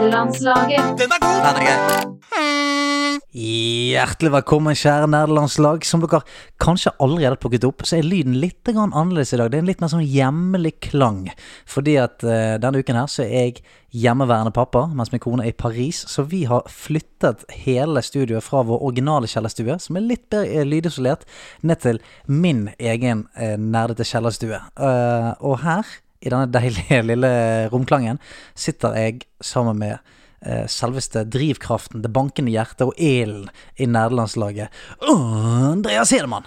Nerdelandslaget. Den er god! Den er grei. Hjertelig velkommen, kjære nerdelandslag. Som dere kanskje allerede har plukket opp, så er lyden litt grann annerledes i dag. Det er en litt mer sånn hjemlig klang. Fordi at eh, denne uken her så er jeg hjemmeværende pappa, mens min kone er i Paris. Så vi har flyttet hele studioet fra vår originale kjellerstue, som er litt bedre eh, lydisolert, ned til min egen eh, nerdete kjellerstue. Eh, og her, i denne deilige lille romklangen, sitter jeg sammen med eh, selveste drivkraften, det bankende hjertet og ilden i nerdelandslaget. Andreas Hedemann!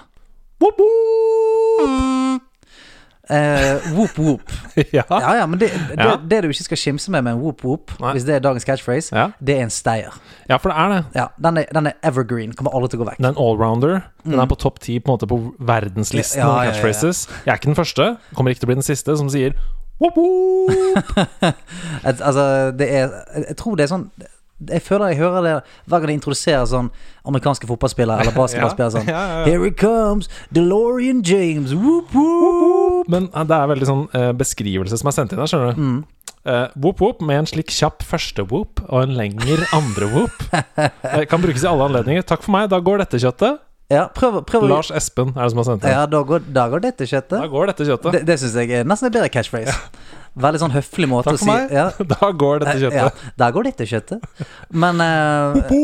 Eh, whoop whoop. Ja. Ja, ja, men det, det, Ja. det du ikke skal skimse med med en whoop whoop, Nei. hvis det er dagens catchphrase, Ja. det er en stayer. ja, for det er det. Ja, den, er, den er evergreen, kommer alle til å gå vekk. Den er en allrounder. Den er på topp ti på, en måte på Mm. verdenslisten Ja, over ja, ja, ja. catchphrases. Jeg er ikke den første, kommer ikke til å bli den siste, som sier wop, wop. Et, altså, det er Jeg tror det er sånn jeg føler jeg hører det hver gang de introduserer sånn amerikanske fotballspillere eller basketballspillere sånn Ja, ja, ja. Here it comes, DeLorean James, whoop whoop. Men eh, det er veldig sånn eh, beskrivelse som er sendt inn her, skjønner du. Mm. Eh, wop, wop med en slik kjapp første wop og en lengre andre wop. Eh, kan brukes i alle anledninger. Takk for meg, da går dette kjøttet. Ja, prøv, prøv å Lars Espen er det som har sendt inn. Ja, da går, da går det til Da kjøttet. går dette kjøttet. Det, det syns jeg er nesten en bedre catchphrase. Veldig sånn høflig måte Takk å for si meg. ja, Da går dette ja, kjøttet. Der går det til kjøttet. Men eh,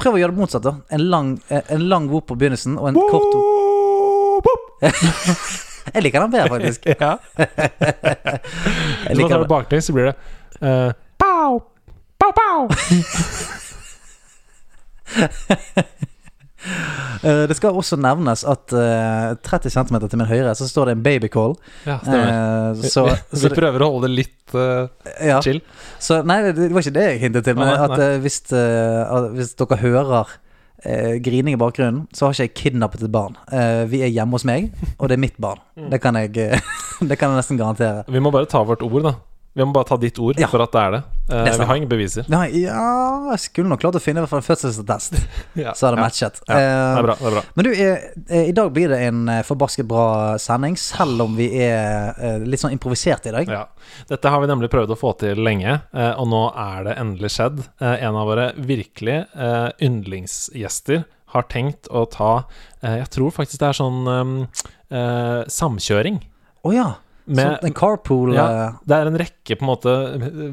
prøv å gjøre det motsatt, da. En lang, eh, en lang whoop på begynnelsen og en kort whoop. Wop, wop. Jeg liker den bedre, faktisk. Ja. Jeg Hvis man liker tar det den. baklengs, så blir det eh, pow, pow, pow. Eh, det skal også nevnes at eh, 30 cm til min høyre så står det en babycall. Ja, stemmer. Uh, så, vi, så, Eh, vi prøver å holde det litt eh, ja. chill. så Nei, det det var ikke det jeg hintet til. Men Nei, at eh, hvis, eh, at hvis dere hører eh, grining i bakgrunnen, så har ikke jeg kidnappet et barn. Eh, vi er hjemme hos meg, og det er mitt barn. Mm. Det kan jeg, eh, det kan jeg nesten garantere. Vi må bare ta vårt ord, da. Vi må bare ta ditt ord Ja. for at det er det. Eh, Det er sant. vi har ingen beviser. Nei, ja Jeg skulle nok klart å finne i hvert fall en fødselsattest, Ja. så hadde det ja. matchet. Ja, Det Eh, er bra. det er bra Men du, eh, eh, i dag blir det en eh, forbasket bra sending, selv om vi er eh, litt sånn improvisert i dag. ja. Dette har vi nemlig prøvd å få til lenge, eh, og nå er det endelig skjedd. Eh, en av våre virkelig eh, yndlingsgjester har tenkt å ta eh, Jeg tror faktisk det er sånn eh, eh, samkjøring. Å ja. Med, sånn en carpool Ja, eh, det er en rekke på en måte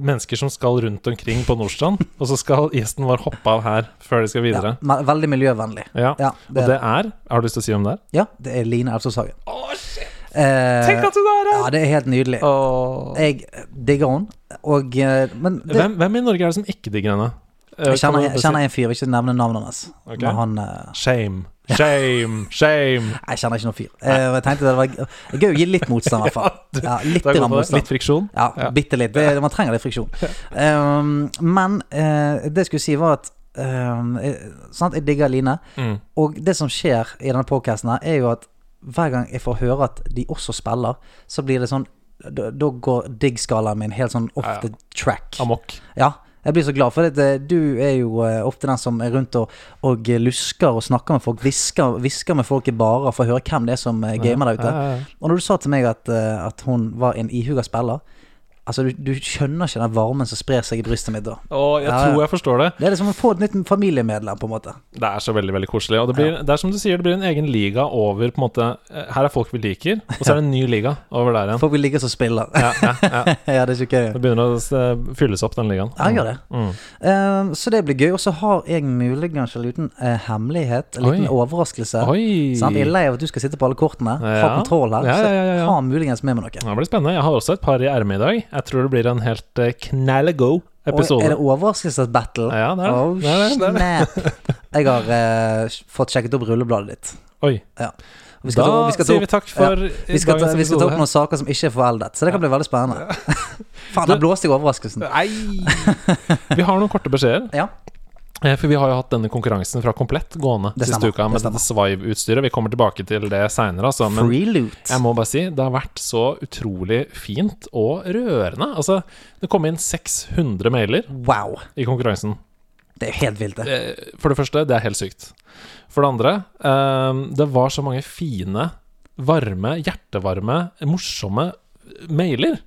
mennesker som skal rundt omkring på Nordstrand, og så skal gjesten vår hoppe av her før de skal ja, videre. me- Veldig miljøvennlig. Ja. Ja, det, Og det er Har du lyst til å si hvem det er? ja, det er Line Elfsås Hagen. Å, shit! Eh, Tenk at hun er her! Ja, det er helt nydelig. Åh. Jeg digger henne, og eh, Men det, Hvem, hvem i Norge er det som ikke digger henne? Eh, jeg kjenner, kan du jeg kjenner en fyr, jeg vil ikke nevne navnet hans. Ok. Men han eh, si- Shame, shame, shame. Jeg kjenner ikke noen fyr. Eh, og jeg tenkte det var g- gøy å gi litt motstand, i hvert fall. Ja, litt Det er grann godt, det. motstand. Litt friksjon. Ja, Ja. bitte litt. Det, man trenger litt friksjon. Um, men eh, det jeg skulle si, var at um, jeg, sant, jeg digger Line. Mm. Og det som skjer i denne podkasten, er jo at hver gang jeg får høre at de også spiller, så blir det sånn Da, da går digg-skalaen min helt sånn off Ja, ja. the track. Amok. Ja, jeg blir så glad for det. det. Du er jo eh, ofte den som er rundt og, og lusker og snakker med folk. Hvisker, hvisker med folk i barer for å høre hvem det er som eh, gamer der ute. Ja, ja, ja. Og når du sa til meg at, eh, at hun var en ihuga spiller Altså, du, du skjønner ikke den varmen som sprer seg i brystet mitt da. Åh, jeg Ja, ja. tror jeg forstår det. Det er det som å få et nytt familiemedlem, på en måte. Det er så veldig veldig koselig. Og det, blir, det er som du sier, det blir en egen liga over på en måte eh, Her er folk vi liker, og så er det en ny liga over der igjen. Folk vil ligge som spiller. Ja, ja, ja. ja, det er ikke gøy. Det begynner å se- fylles opp, den ligaen. Ja, jeg gjør det. Mm. Eh, så det blir gøy. Og så har jeg muligens en liten eh, hemmelighet, en liten Oi. overraskelse. Oi! Sant? Jeg er lei av at du skal sitte på alle kortene, ha Ja. kontroll her. Ja, ja, ja, Så ja. ha muligens med meg noe. Det blir spennende. Jeg har også et par i ermet i dag. Jeg tror det blir en helt eh, knallegod Oi, er episode. det overraskelsesbattle? Ja, det er det. Oh, Det er det, det er snap. Jeg har eh, fått sjekket opp rullebladet ditt. Oi. Ja. Vi Da skal ta- vi skal ta sier opp- vi takk for eh, Vi skal, ta, dagens vi skal ta opp episode. noen saker som ikke er foreldet, så det kan bli veldig spennende. Faen, der blåste jeg overraskelsen. Nei! Vi har noen korte beskjeder. Ja. Eh, For vi har jo hatt denne konkurransen fra Komplett gående Det siste stemmer, uka med det dette Svive-utstyret. Vi kommer tilbake til det seinere, altså. Men Free loot. Jeg må bare si, det har vært så utrolig fint og rørende. Altså, det kom inn 600 mailer Wow. i konkurransen. Det er jo helt vilt, det. Eh, For det første, det er helt sykt. For det andre, eh, det var så mange fine, varme, hjertevarme, morsomme mailer.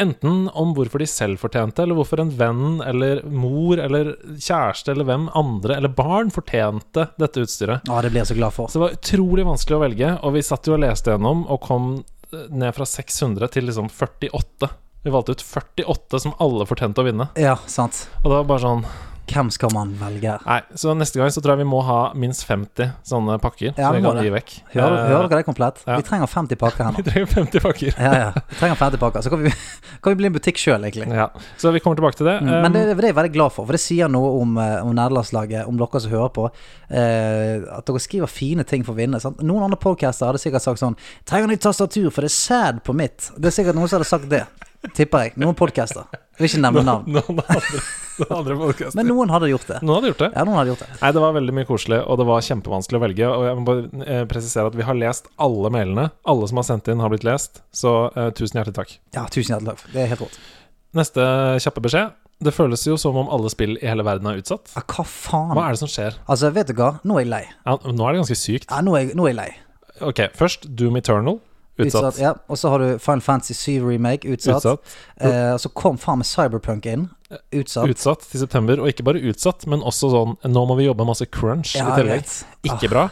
Enten om hvorfor de selv fortjente, eller hvorfor en venn eller mor eller kjæreste eller hvem andre eller barn fortjente dette utstyret. Å, det blir jeg så glad for. Så det var utrolig vanskelig å velge, og vi satt jo og leste gjennom og kom eh, ned fra 600 til liksom 48. Vi valgte ut 48 som alle fortjente å vinne. Ja, sant. Og det var bare sånn Hvem skal man velge? Nei, så neste gang så tror jeg vi må ha minst 50 sånne pakker. Ja, som vi vi må kan det. gi vekk. Hører, Eh, hører dere det komplett? ja. Vi trenger 50 pakker her nå. Vi trenger 50 pakker. Ja, ja. Vi trenger 50 pakker, så kan vi, kan vi bli en butikk sjøl, egentlig. Ja, så vi kommer tilbake til det. Mm, Men Um, det, det er jeg veldig glad for, for det sier noe om, eh, om nederlandslaget, om dere som hører på. Eh, at dere skriver fine ting for å vinne. Sant? Noen andre podcaster hadde sikkert sagt sånn 'Trenger nytt tastatur, for det er sæd på mitt'. Det er sikkert noen som hadde sagt det, tipper jeg. Noen podcaster. Jeg vil ikke nevne navn. Eh, Noen andre, noen andre podcaster. Men noen hadde gjort det. Noen hadde gjort det. Ja, noen hadde gjort det. Nei, det var veldig mye koselig, og det var kjempevanskelig å velge. Og jeg må bare eh, presisere at vi har lest alle mailene. Alle som har sendt inn, har blitt lest. Så eh, tusen hjertelig takk. Ja, tusen hjertelig takk. Det er helt rått. Neste kjappe beskjed. Det føles jo som om alle spill i hele verden er utsatt. Ja, hva faen? Hva er det som skjer? Altså, vet du hva? Nå er jeg lei. Ja, nå er det ganske sykt. Ja, nå er jeg, nå er jeg lei. Ok, først Doom Eternal. Utsatt. ja. Og så har du Final Fantasy 7 Remake, utsatt. Utsatt. Eh, og så kom faen meg Cyberpunk inn. Utsatt. Utsatt til september. Og ikke bare utsatt, men også sånn Nå må vi jobbe masse crunch Ja, i jeg tillegg. vet. Ikke bra.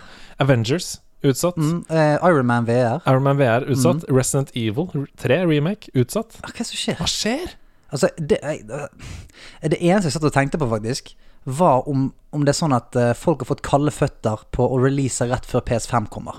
Avengers. Utsatt. Mm, eh, Iron Man VR. Ironman VR utsatt. Resident Evil 3 remake utsatt. Ah, Hva er det som skjer? Hva skjer? Altså, det, jeg- eh, det eneste jeg satt og tenkte på, faktisk, var om, om det er sånn at eh, folk har fått kalde føtter på å release rett før PS5 kommer.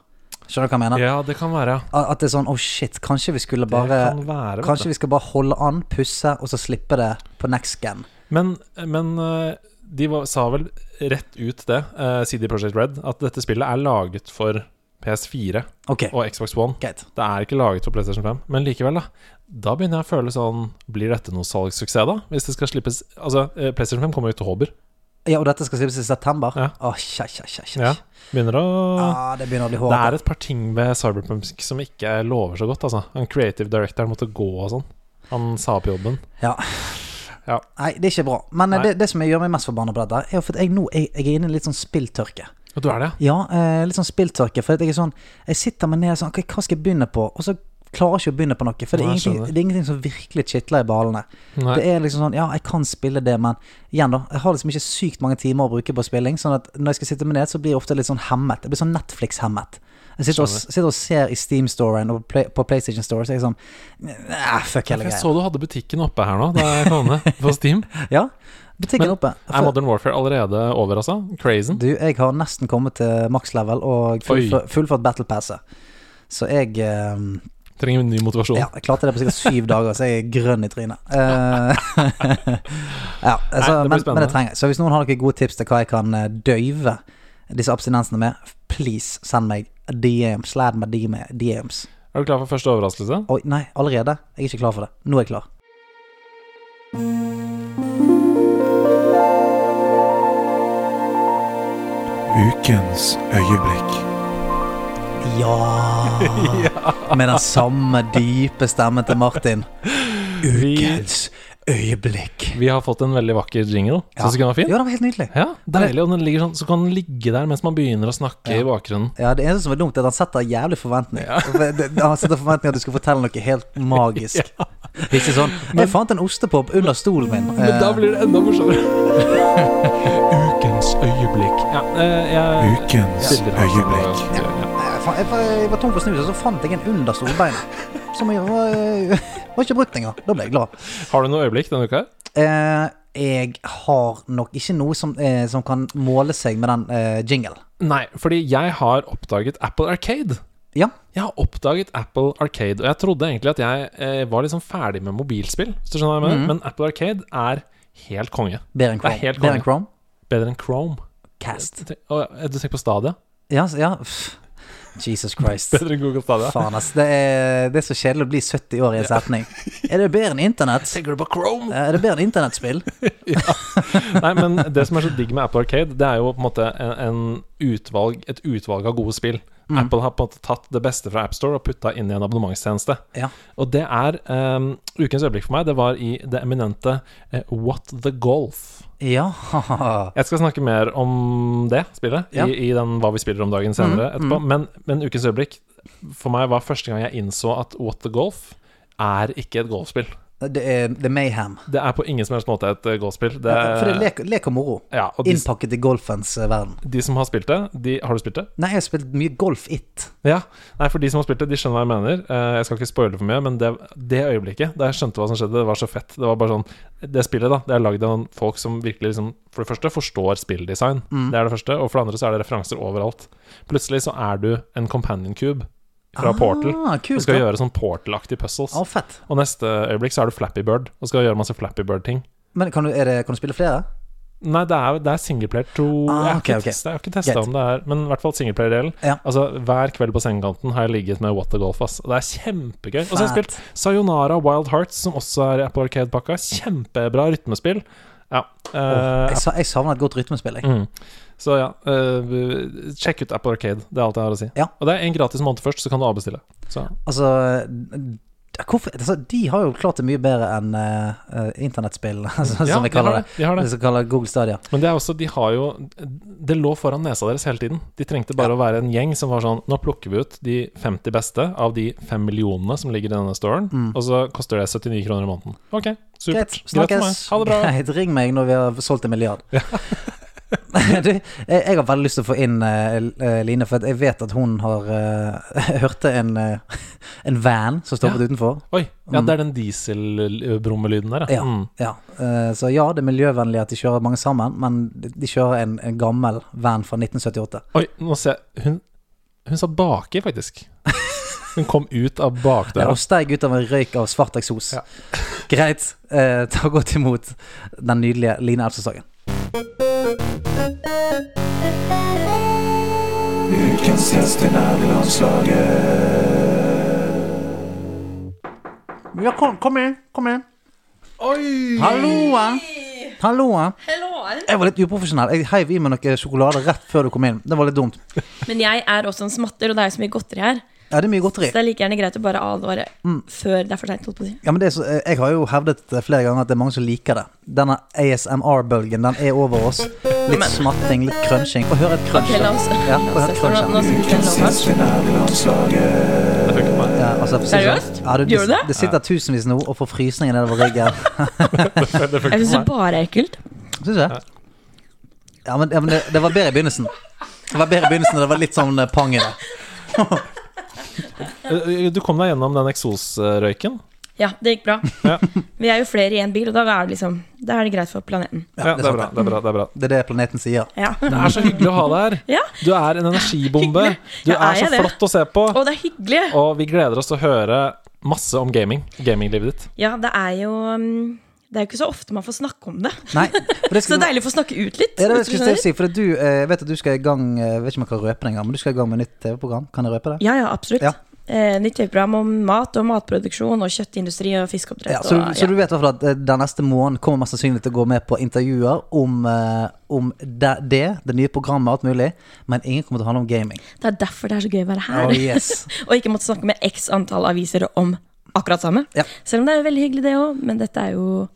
Skjønner du hva jeg mener? Ja, det kan være. ja. At at det er sånn oh shit, kanskje vi skulle Det bare kan være, vet Kanskje du. vi skal bare holde an, pusse, og så slippe det på next gen. Men, men eh, de var, sa vel rett ut det, eh, CD Projekt Red, at dette spillet er laget for PS4 Ok, og Xbox One. greit. Det er ikke laget for PlayStation 5. Men likevel, da. Da begynner jeg å føle sånn Blir dette noe salgssuksess, da? Hvis det skal slippes Altså, eh, PlayStation 5 kommer jo til Håber. Ja, og dette skal slippes i september? Ja. Åh, kjæ, kjæ, kjæ, kjæ. Ja. Begynner å Ah, det begynner å bli Det hårete. er et par ting ved Cyberpunk som ikke lover så godt, altså. Han creative directoren måtte gå og sånn. Han sa opp jobben. Nei, det er ikke bra. Men eh, Nei. det, det som jeg gjør meg mest forbanna på dette, er jo for at jeg nå jeg, jeg er inne i en litt sånn spilltørke. Og du er det, ja? Ja, eh, litt sånn spilltørke. For at jeg er sånn Jeg sitter meg ned og sånn ok, Hva skal jeg begynne på? Og så klarer jeg ikke å begynne på noe. For det er, Nei, jeg ingenting, skjønner. det er ingenting som virkelig kitler i ballene. Nei. Det er liksom sånn Ja, jeg kan spille det, men igjen, da. Jeg har liksom ikke sykt mange timer å bruke på spilling. Sånn at når jeg skal sitte meg ned, så blir jeg ofte litt sånn hemmet. Jeg blir sånn Netflix-hemmet. Jeg sitter og, sitter og ser i Steam-storen og play, på PlayStation Store, så er jeg sånn Nei, fuck hele jeg greia. så du hadde butikken oppe her nå, da jeg kom ned på Steam. Ja, butikken er Men- oppe. Er Modern Warfare allerede over, altså? Crazen? Du, jeg har nesten kommet til max level og fullfø- fullført battle passet. Så jeg eh, Trenger en ny motivasjon. Ja, jeg klarte det på sikkert syv dager, så jeg er grønn i trynet. Eh, ja, altså, Nei, det blir men, spennende. men det trenger jeg. Så hvis noen har noen gode tips til hva jeg kan eh, døyve disse abstinensene med, please send meg DM. Slad meg DM, DMs. Er du klar for første overraskelse? Oi, nei, allerede? Jeg er ikke klar for det. Nå er jeg klar. Ukens øyeblikk. Ja! Med den samme dype stemmen til Martin. Ukens øyeblikk. Vi har fått en veldig vakker jingle. Ja. Syns du ikke den var fin? Ja, det var helt nydelig. Ja, deilig. Og den ligger sånn, så kan den ligge der mens man begynner å snakke Ja. i bakgrunnen. Ja, Det eneste som er dumt, er at han setter jævlig forventning. For det- Han setter forventning at du skal fortelle noe helt magisk. Ikke sånn 'Jeg fant en ostepop under stolen min'. Men da Eh, blir det enda morsommere. Ukens øyeblikk. Ja, eh, jeg Ukens stiller her sånn, øyeblikk. ja. Eh, jeg, fa- jeg, fa- jeg var tom for snus, og så fant jeg en under stolbeinet. Som jeg var, eh, var ikke brukt engang. Da ble jeg glad. Har du noe øyeblikk denne uka? her? Eh, jeg har nok ikke noe som, eh, som kan måle seg med den eh, jingle. Nei, fordi jeg har oppdaget Apple Arcade. Ja. Jeg har oppdaget Apple Arcade, og jeg trodde egentlig at jeg eh, var liksom ferdig med mobilspill, hvis du skjønner hva jeg mener, men Apple Arcade er helt konge. Bedre enn Det er Chrome. helt Bedre enn konge. Chrome. Bedre enn Chrome. Cast. Tenk- Å, ja, du tenker på Stadia? Ja, så- ja. pff. Jesus Christ. Bedre enn Google Stadia. Faen, ass. Det er, det er så kjedelig å bli 70 år i en setning. Er det bedre enn internett? Tenker du på Chrome? Er det bedre enn internettspill? Nei, men det som er så digg med Apple Arcade, det er jo på en måte en, en utvalg, et utvalg av gode spill. Mm. Apple har på en måte tatt det beste fra AppStore og putta inn i en abonnementstjeneste. Ja. Og det er ehm, ukens øyeblikk for meg. Det var i det eminente eh, What the Golf. Ja. Jeg skal snakke mer om det spillet Ja. Mm, i, i den Hva vi spiller om dagen senere etterpå. Men, men ukens øyeblikk for meg var første gang jeg innså at What the Golf er ikke et golfspill. Det er The Mayhem. Det er på ingen som helst måte et eh, gåspill. Det er, For det er lek, lek og moro. ja, og de, Innpakket i golfens eh, verden. de som har spilt det de, Har du spilt det? Nei, jeg har spilt mye Golf It. Ja. Nei, for de som har spilt det, de skjønner hva jeg mener. Eh, jeg skal ikke spoile for mye, men det, det øyeblikket da jeg skjønte hva som skjedde, det var så fett. Det var bare sånn Det spillet, da, det er lagd av noen folk som virkelig liksom For det første forstår spilldesign. Mm. Det er det første. Og for det andre så er det referanser overalt. Plutselig så er du en companion cube fra Portal. Ah, Du kult, skal da. gjøre sånn Portal-aktige puzzles. Å, fett. Og neste øyeblikk så er du Flappy Bird og skal gjøre masse Flappy Bird-ting. Men kan du, er det, kan du spille flere? Nei, det er, det er singleplayer, tror Ah, jeg. har ok, ikke ok. testet- Jeg har ikke testa Greit. om det er Men i hvert fall singleplayer-delen. Ja. Altså, hver kveld på sengekanten har jeg ligget med What the Golf, ass. Og det er kjempegøy. Og så har jeg spilt Fett. Sayonara Wild Hearts, som også er på Arcade-pakka. Kjempebra rytmespill. Ja. eh, Jeg, sa, jeg savner et godt rytmespill, jeg. Mm. Så ja, eh, sjekk ut Apple Arcade. Det er alt jeg har å si. Ja. Og det er en gratis måned først, så kan du avbestille. Så Altså d- Hvorfor altså, De har jo klart det mye bedre enn eh, eh, internettspill, som Ja, vi de har kaller det. det. De har Det det. som kaller Google Stadia. Men det er også, de har jo Det lå foran nesa deres hele tiden. De trengte bare å være en gjeng som var sånn Nå plukker vi ut de 50 beste av de 5 millionene som ligger i denne storen, og så koster det 79 kroner i måneden. Ok, Greit, supert. Greit for snakkes. meg. Ha det bra. Greit, ring meg når vi har solgt en milliard. du, jeg jeg har veldig lyst til å få inn eh, L- eh, Line, for at jeg vet at hun har eh, hørte en, eh, en van som stoppet Ja. utenfor. Oi. Ja, det er den dieselbrummelyden der, Ja. Mm. Ja, eh, så ja, det er miljøvennlig at de kjører mange sammen, men de- de kjører en, en gammel van fra 1978. Oi, nå ser jeg Hun, hun sa baki, faktisk. Hun kom ut av Ja, bakdøra. og steig ut av en røyk av svart eksos. Ja. Greit, eh, ta godt imot den nydelige Line Elfsås-sagen. Ukens gjest i nærlandslaget. Ja, kom, inn, kom inn. Oi! Halloa! Halloa. Hello. Jeg var litt uprofesjonell. Jeg heiv i meg noe sjokolade rett før du kom inn. Det var litt dumt. Men jeg er også en smatter, og det er jo så mye godteri her. Ja, det er mye godteri. Så det er like gjerne greit å bare advare Mm. før det er for seint. holdt på å si. Ja, men det er så, eh, jeg har jo hevdet flere ganger at det er mange som liker det. Denne ASMR-bølgen, den er over oss. Litt smatting, litt crunching. Få høre et crunch. Ok, la oss- Ja, få høre et Nå- crunch. nå skal vi spille en låt. Det funker på meg. Ja, altså, for å si det sånn- Seriøst? Ja, du, Gjør du det? det? Det sitter tusenvis nå og får frysninger nedover ryggen. Det Jeg funker på syns det meg. bare er ekkelt. Syns du det? Ja, men, ja, men det, det var bedre i begynnelsen. Det var bedre i begynnelsen, og det var litt sånn eh, pang i det. Eh, Du kom deg gjennom den eksosrøyken. Ja, det gikk bra. Ja. Vi er jo flere i én bil, og da er det liksom Da er det greit for planeten. Ja, Ja, det Mm. er det, er sant bra, det er bra. Det er bra. Det er det planeten sier. Ja. Det er så hyggelig å ha deg her. Ja. Du er en energibombe. Du Ja, er er så jeg det? flott å se på. Og det er hyggelig! Og vi gleder oss til å høre masse om gaming. Gaminglivet ditt. Ja, det er jo um, Det er jo ikke så ofte man får snakke om det. Nei, for det Så skulle, deilig å få snakke ut litt. Ja, det hvis skulle jeg du til å skjønner. si, for du, eh, jeg vet at du skal i gang eh, Jeg vet ikke om jeg kan røpe det engang, men du skal i gang med nytt TV-program. Kan jeg røpe det? ja, ja, absolutt. Ja. Eh, nytt TV-program om mat og matproduksjon og kjøttindustri og fiskeoppdrett. Ja, så, og, så du vet i hvert fall at eh, den neste måneden kommer mest sannsynlig til å gå med på intervjuer om, eh, om det, det, det nye programmet, alt mulig, men ingen kommer til å handle om gaming. Det er derfor det er så gøy å være her. Oh, yes. og ikke måtte snakke med x antall aviser om akkurat samme. Ja. Selv om det er jo veldig hyggelig, det òg, men dette er jo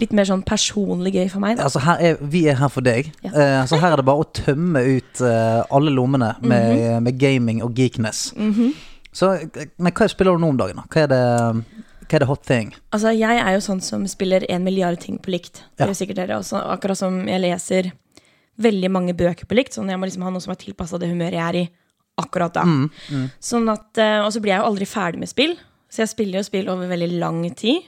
litt mer sånn personlig gøy for meg. Da. Altså, her er, vi er her for deg, Ja. Eh, så her er det bare å tømme ut eh, alle lommene med, Mhm. med gaming og geekness. Så, eh, men hva spiller du nå om dagen? da? Hva er det, hva er det hot thing? Altså, jeg er jo sånn som spiller en milliard ting på likt. Det Ja. er jo sikkert dere også. Akkurat som jeg leser veldig mange bøker på likt. Sånn jeg må liksom ha noe som er tilpassa det humøret jeg er i akkurat da. Mm, Sånn at, eh, og så blir jeg jo aldri ferdig med spill, så jeg spiller jo spill over veldig lang tid.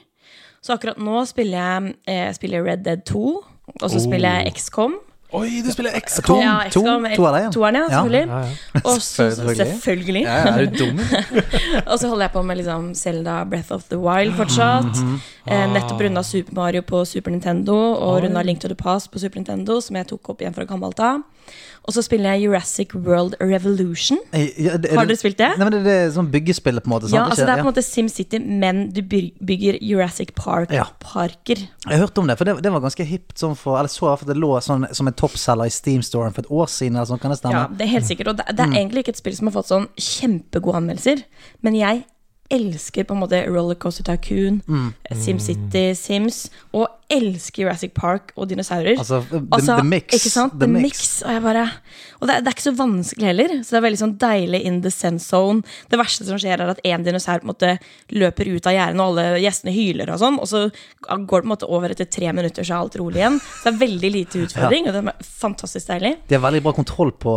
Så akkurat nå spiller jeg, eh, jeg spiller Red Dead 2, og så spiller Oh. jeg XCOM. Oi, du spiller x Tom, Ja, to, XCOM, eh, to av deg, ja. Toeren, ja, Ja. selvfølgelig. Ja, ja. Og så Selvfølgelig. selvfølgelig. er du dum? Og så holder jeg på med liksom Zelda Breath of the Wild fortsatt. Mhm. eh, nettopp runda Super Mario på Super Nintendo og runda Link to the Past på Super Nintendo, som jeg tok opp igjen fra gammelt av. Og så spiller jeg Jurassic World Revolution. Har dere spilt det? Nei, men det, det er sånn byggespillet, på en måte. Sant? Ja, altså Det er på en Ikke- måte SimCity, men du byg- bygger Jurassic Ja. Park-parker. ja. Jeg hørte om det, for det, det var ganske hipt. Sånn for, eller så jeg for at det lå sånn, som en toppselger i Steam-storen for et år siden, eller sånn, kan det Ja. stemme? det er helt sikkert. Og det, Mm. det er egentlig ikke et spill som har fått sånn kjempegode anmeldelser, men Mm. jeg elsker på en måte Rollercoaster Tycoon, SimCity, Sims, og elsker Jurassic Park og dinosaurer. Altså, the, Altså, the mix. Ikke sant? The mix. Og, jeg bare, og det, er- det er ikke så vanskelig heller, så det er veldig sånn deilig in the sense zone. Det verste som skjer, er at én dinosaur på en måte løper ut av gjerdet, og alle gjestene hyler, og sånn, og så går det på en måte over etter tre minutter, så er alt rolig igjen. Så det er veldig lite utfordring, og det er fantastisk deilig. De har veldig bra kontroll på,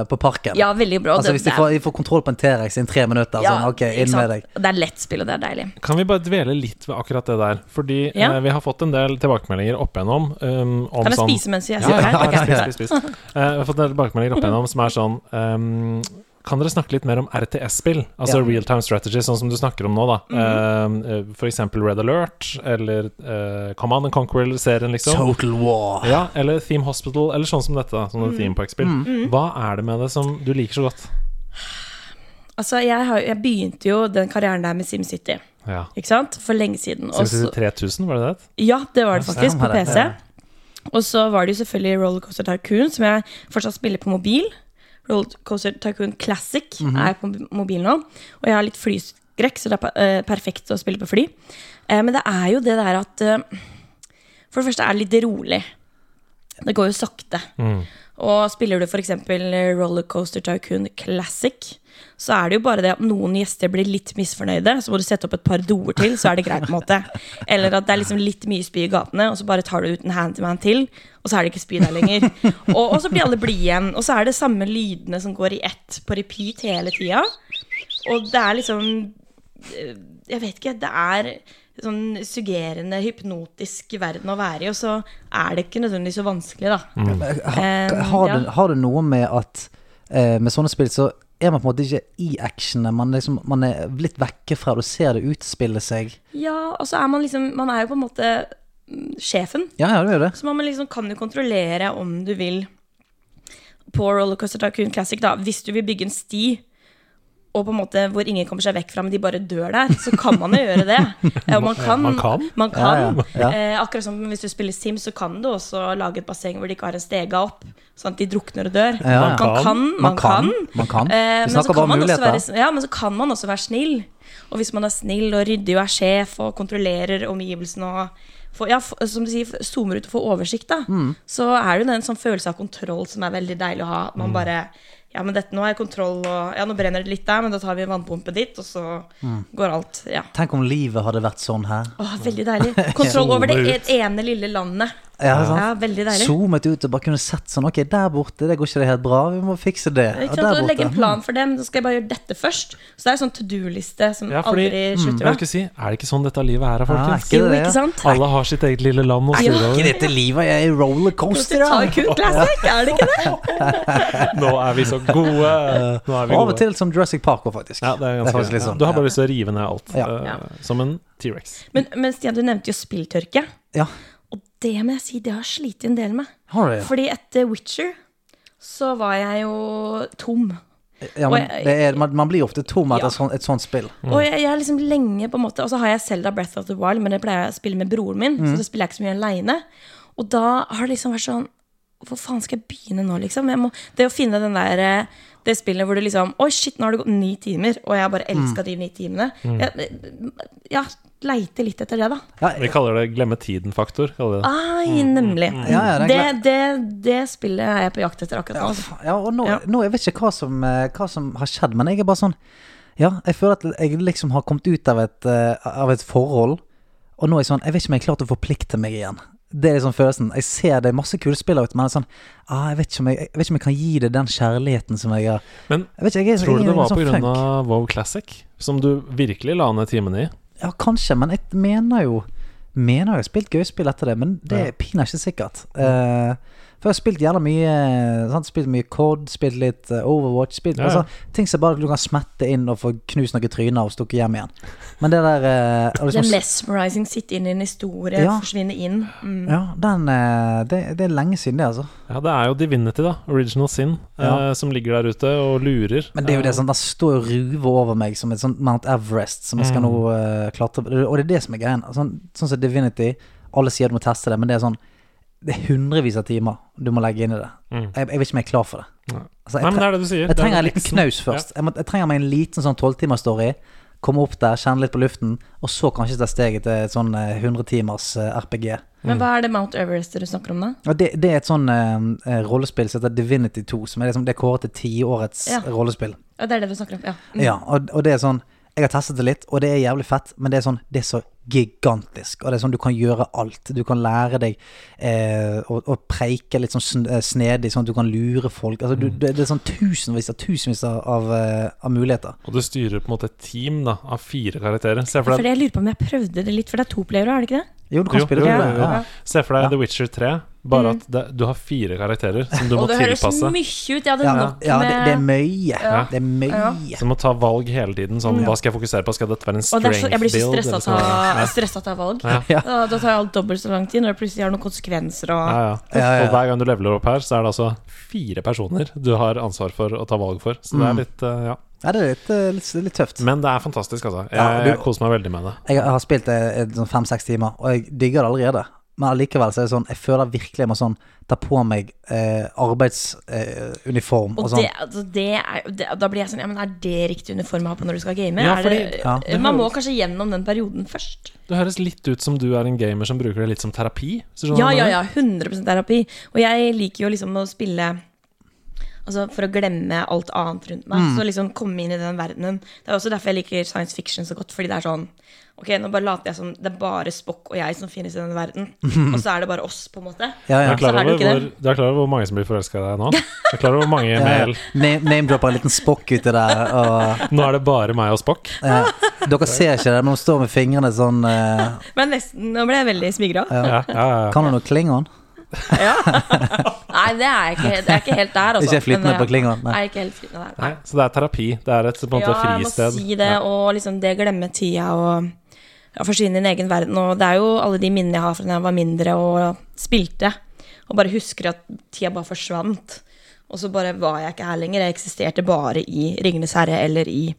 eh, på parken. Ja, veldig bra. altså, det, hvis de det er- får, de får kontroll på en T-rex innen tre minutter, ja, sånn, ok, ikke inn med sant? deg. Og Det er lett spill, og det er deilig. Kan vi bare dvele litt ved akkurat det der? Fordi Ja. eh, vi har fått en del tilbakemeldinger opp igjennom um, om Kan jeg sånn spise mens jeg Ja, sitter ja, her? ja, Ok. spis, spis, spis. Eh, Jeg har fått en del tilbakemeldinger opp igjennom som er sånn ehm, Kan dere snakke litt mer om RTS-spill? Altså Ja. real time strategy, sånn som du snakker om nå, da. Mhm. Mm. for eksempel Red Alert, eller eh, Command and Conquer-serien, liksom. Total war. ja, eller Theme Hospital, eller sånn som dette. da, Mhm. Sånne theme park-spill. Hva er det med det som du liker så godt? Altså, jeg, har, jeg begynte jo den karrieren der med SimCity, Ja. ikke sant? For lenge siden. og så- SimCity 3000, var det det? het? Ja, det var det Ja, faktisk, på stemmer det. PC. Ja. Og så var det jo selvfølgelig Rollercoaster Tycoon, som jeg fortsatt spiller på mobil. Rollercoaster Tycoon Classic Mhm. er på mobil nå. Og jeg har litt flyskrekk, så det er pa- eh, perfekt å spille på fly. Eh, men det er jo det der at eh, For det første er det litt rolig. Det går jo sakte. Mm. Og spiller du f.eks. Rollercoaster Tycoon Classic, så er det jo bare det at noen gjester blir litt misfornøyde, så må du sette opp et par doer til, så er det greit. på en måte Eller at det er liksom litt mye spy i gatene, og så bare tar du ut en handyman til, og så er det ikke spy der lenger. Og, og så blir alle blide igjen. Og så er det samme lydene som går i ett på repeat hele tida. Og det er liksom eh, Jeg vet ikke. Det er sånn suggerende, hypnotisk verden å være i, og så er det ikke nødvendigvis så vanskelig, da. Mm. Har, Um, Eh, har, du, ja. har du noe med at eh, med sånne spill så er man på en måte ikke i actionet, man, liksom, man er litt vekke fra det, du ser det utspille seg. Ja, og så er man liksom Man er jo på en måte mm, sjefen. Ja, ja, det er jo det. Så man liksom kan jo kontrollere om du vil på Rollercoaster Tycoon Classic, da, hvis du vil bygge en sti og på en måte hvor ingen kommer seg vekk fra, men de bare dør der, så kan man jo gjøre det. Eh, Og man kan. Man kan? Man kan. Ja, ja, ja. Eh, akkurat som hvis du spiller Sims, så kan du også lage et basseng hvor de ikke har en stege opp, sånn at de drukner og dør. Ja, ja. Man kan, Mm, man kan. Man kan. Eh, Vi men, så snakker kan bare om man også muligheter. være, ja, men så kan man også være snill. Og hvis man er snill og ryddig og er sjef og kontrollerer omgivelsene og får, ja, f- som du sier, f- zoomer ut og får oversikt, da, Mm. så er det jo den sånn følelse av kontroll som er veldig deilig å ha. At Mm. Man bare Ja, men dette, nå har jeg kontroll, og ja, nå brenner det litt der, men da tar vi en vannpumpe dit, og så Mm. går alt. Ja. Tenk om livet hadde vært sånn her. Åh, veldig deilig. Kontroll over det Zoome e- ene lille landet. Ja, sant? Ja, veldig deilig. Zoomet ut og bare kunne sett sånn Ok, der borte, det går ikke det helt bra, vi må fikse det. Ikke Og sant? der Og legge en borte. plan for dem. Så skal jeg bare gjøre dette først. Så det er en sånn to do-liste som Ja, fordi aldri mm, jeg slutter. da. skulle si, Er det ikke sånn dette livet er, da, Ja, folkens? er Jo, det, ja? ikke sant? Alle har sitt eget lille land å Ja. styre Ikke over. dette livet, jeg er i rollercoaster, da. Tycoon Classic, er det ikke det? Nå er vi så gode! Nå er Og vi Eh, av og gode. til som Jurassic Park også, faktisk. Ja, det er ganske faktisk litt ja. sånn, Du har ja. bare lyst til å rive ned alt. Ja. eh, Ja. Som en T-rex. Men, men Stian, du nevnte jo spilltørke. Ja. Og det må jeg si, det har slitt en del med. Har du det? Fordi etter Witcher så var jeg jo tom. Ja, men Og jeg- det er, man, man blir ofte tom etter Ja. et sånt- et sånt spill. Og jeg, jeg er liksom lenge på en måte Og så har jeg Selda Breath of the Wild, men det pleier jeg å spille med broren min. Mm. Så det spiller jeg ikke så mye aleine. Og da har det liksom vært sånn Hvor faen skal jeg begynne nå, liksom? Jeg må, det å finne den der eh, det spillet hvor du liksom Oi, shit, nå har det gått ni timer. Og jeg har bare Mm. elska de ni timene. Jeg, ja, leite litt etter det, da. Ja, Vi kaller det 'glemme tiden-faktor'. kaller vi Ah. det. Ai, nemlig. Mm. Ja, ja, det det, er det, det spillet er jeg på jakt etter akkurat nå. altså. ja og nå, Ja. nå jeg vet ikke hva som, eh, hva som har skjedd, men jeg er bare sånn Ja, jeg føler at jeg liksom har kommet ut av et, eh, av et forhold, og nå er jeg sånn Jeg vet ikke om jeg er klar til å forplikte meg igjen. Det er liksom følelsen. Jeg ser det er masse kule spill ut, men jeg er sånn ah, jeg, vet ikke om jeg, jeg vet ikke om jeg kan gi det den kjærligheten som jeg har Men Jeg vet ikke, jeg er, tror du jeg er det var sånn pga. funk. Av WoW Classic? Som du virkelig la ned timene i? Ja, kanskje, men jeg mener jo Mener jeg har spilt gøy spill etter det, men det Ja. er pinadø ikke sikkert. Eh, for jeg har spilt jævla mye sant? Spilt mye Cod, spilt litt eh, Overwatch spilt, Ja, ja. Altså, Ting som bare du kan smette inn og få knust noen tryner og stukket hjem igjen. Men det der eh, og Det liksom- er mesmerizing, sitte inn i en historie, Ja. forsvinne inn. Mm. ja, den, eh, det, det er lenge siden, det, altså. Ja, det er jo Divinity, da. Original Sin. Ja. Eh, som ligger der ute og lurer. Men det er jo det Eh, sånn, der står jo ruver over meg som et sånt Mount Everest som jeg skal nå Mm. eh, klatre på. Og det er det som er greien. Sånn, sånn som Divinity. Alle sier du må teste det, men det er sånn Det er hundrevis av timer du må legge inn i det. Mm. Jeg, jeg vet ikke om jeg er klar for det. Nei. Altså, Nei, jeg, men det tre er det du sier. jeg Det er trenger en det liten liksom. knaus først. Jeg, må, jeg trenger meg en liten sånn tolvtimersstory. Komme opp der, kjenne litt på luften, og så kanskje ta steget til et sånn eh, hundretimers RPG. Men hva er det Mount Everest du snakker om, da? Og det, det er et sånn eh, rollespill som heter Divinity 2, som er liksom, det er kåret til tiårets Ja. rollespill. Ja, det er det du snakker om. Ja. Mm. Ja, og, og det er sånn Jeg har testet det litt, og det er jævlig fett, men det er sånn Det er så gigantisk, og det er sånn du kan gjøre alt. Du kan lære deg eh, å, å preike litt sånn sn- eh, snedig, sånn at du kan lure folk. Altså, du, det, det er sånn tusenvis av tusenvis av, av, eh, av muligheter. Og du styrer på en måte et team da, av fire karakterer. Se for For deg, jeg lurer på om jeg prøvde det litt, for det er to playere, er det ikke det? Jo, du kan Jo, spille jo, det. jo, Ja, jo. ja. se for Ja. deg The Witcher 3, bare at det, du har fire karakterer som du må Mm. Og det høres tilpasse. mye ut. Jeg hadde Ja, nok ja det, det er med mye. Ja. Det er mye. Så du må ta valg hele tiden. Sånn, Hva skal jeg fokusere på? Skal dette være en Og det er strength så, build? jeg blir så eller stressa skal det være- av Ja. stressa av valg. Ja. Ja. Da, da tar jeg alt dobbelt så lang tid, når det plutselig har noen konsekvenser og Ja, ja. Ja, ja, ja. Og hver gang du leveler opp her, så er det altså fire personer du har ansvar for å ta valg for. Så Mm. det er litt, eh, ja. Ja, det er litt, eh, litt, litt tøft. Men det er fantastisk, altså. Jeg, Ja, du- jeg koser meg veldig med det. Jeg har spilt det eh, sånn fem-seks timer, og jeg digger det allerede. Men allikevel så er det sånn, jeg føler virkelig jeg må sånn ta på meg eh, arbeidsuniform eh, uniform Og og sånn. det, altså, det er, jo- det, da blir jeg sånn Ja, men er det riktig uniform å ha på når du skal game? Ja, er det, fordi- ja. Man må kanskje gjennom den perioden først. Det høres litt ut som du er en gamer som bruker det litt som terapi. hvis du skjønner Ja, hva jeg ja, mener. ja. 100 terapi. Og jeg liker jo liksom å spille Altså For å glemme alt annet rundt meg. Mm. Så liksom komme inn i den verdenen. Det er også derfor jeg liker science fiction så godt. Fordi det er sånn Ok, nå bare later jeg som det er bare Spock og jeg som finnes i den verden. Og så er det bare oss, på en måte. Ja, Du ja. er klar Så er det over jo ikke hvor, du er klar over hvor mange som blir forelska i deg nå? Du er klar over hvor mange mail Eh, Name- Name-dropper en liten spokk uti der, og Nå er det bare meg og Spock. eh, Dere ser ikke det, men hun står med fingrene sånn eh, Men nesten. Nå ble jeg veldig smigra. Ja, ja, ja. Kan hun noe klingon? Ja. Nei, det er jeg ikke, det er ikke helt der, altså. Ikke flytende Men det- på klingon, nei. Jeg er ikke helt flytende der. Nei, så det er terapi. Det er et på en måte ja, jeg fristed. må si det, og liksom det glemme tida og ja, forsvinne i en egen verden. Og det er jo alle de minnene jeg har fra da jeg var mindre og spilte, og bare husker at tida bare forsvant. Og så bare var jeg ikke her lenger. Jeg eksisterte bare i Ringenes herre eller i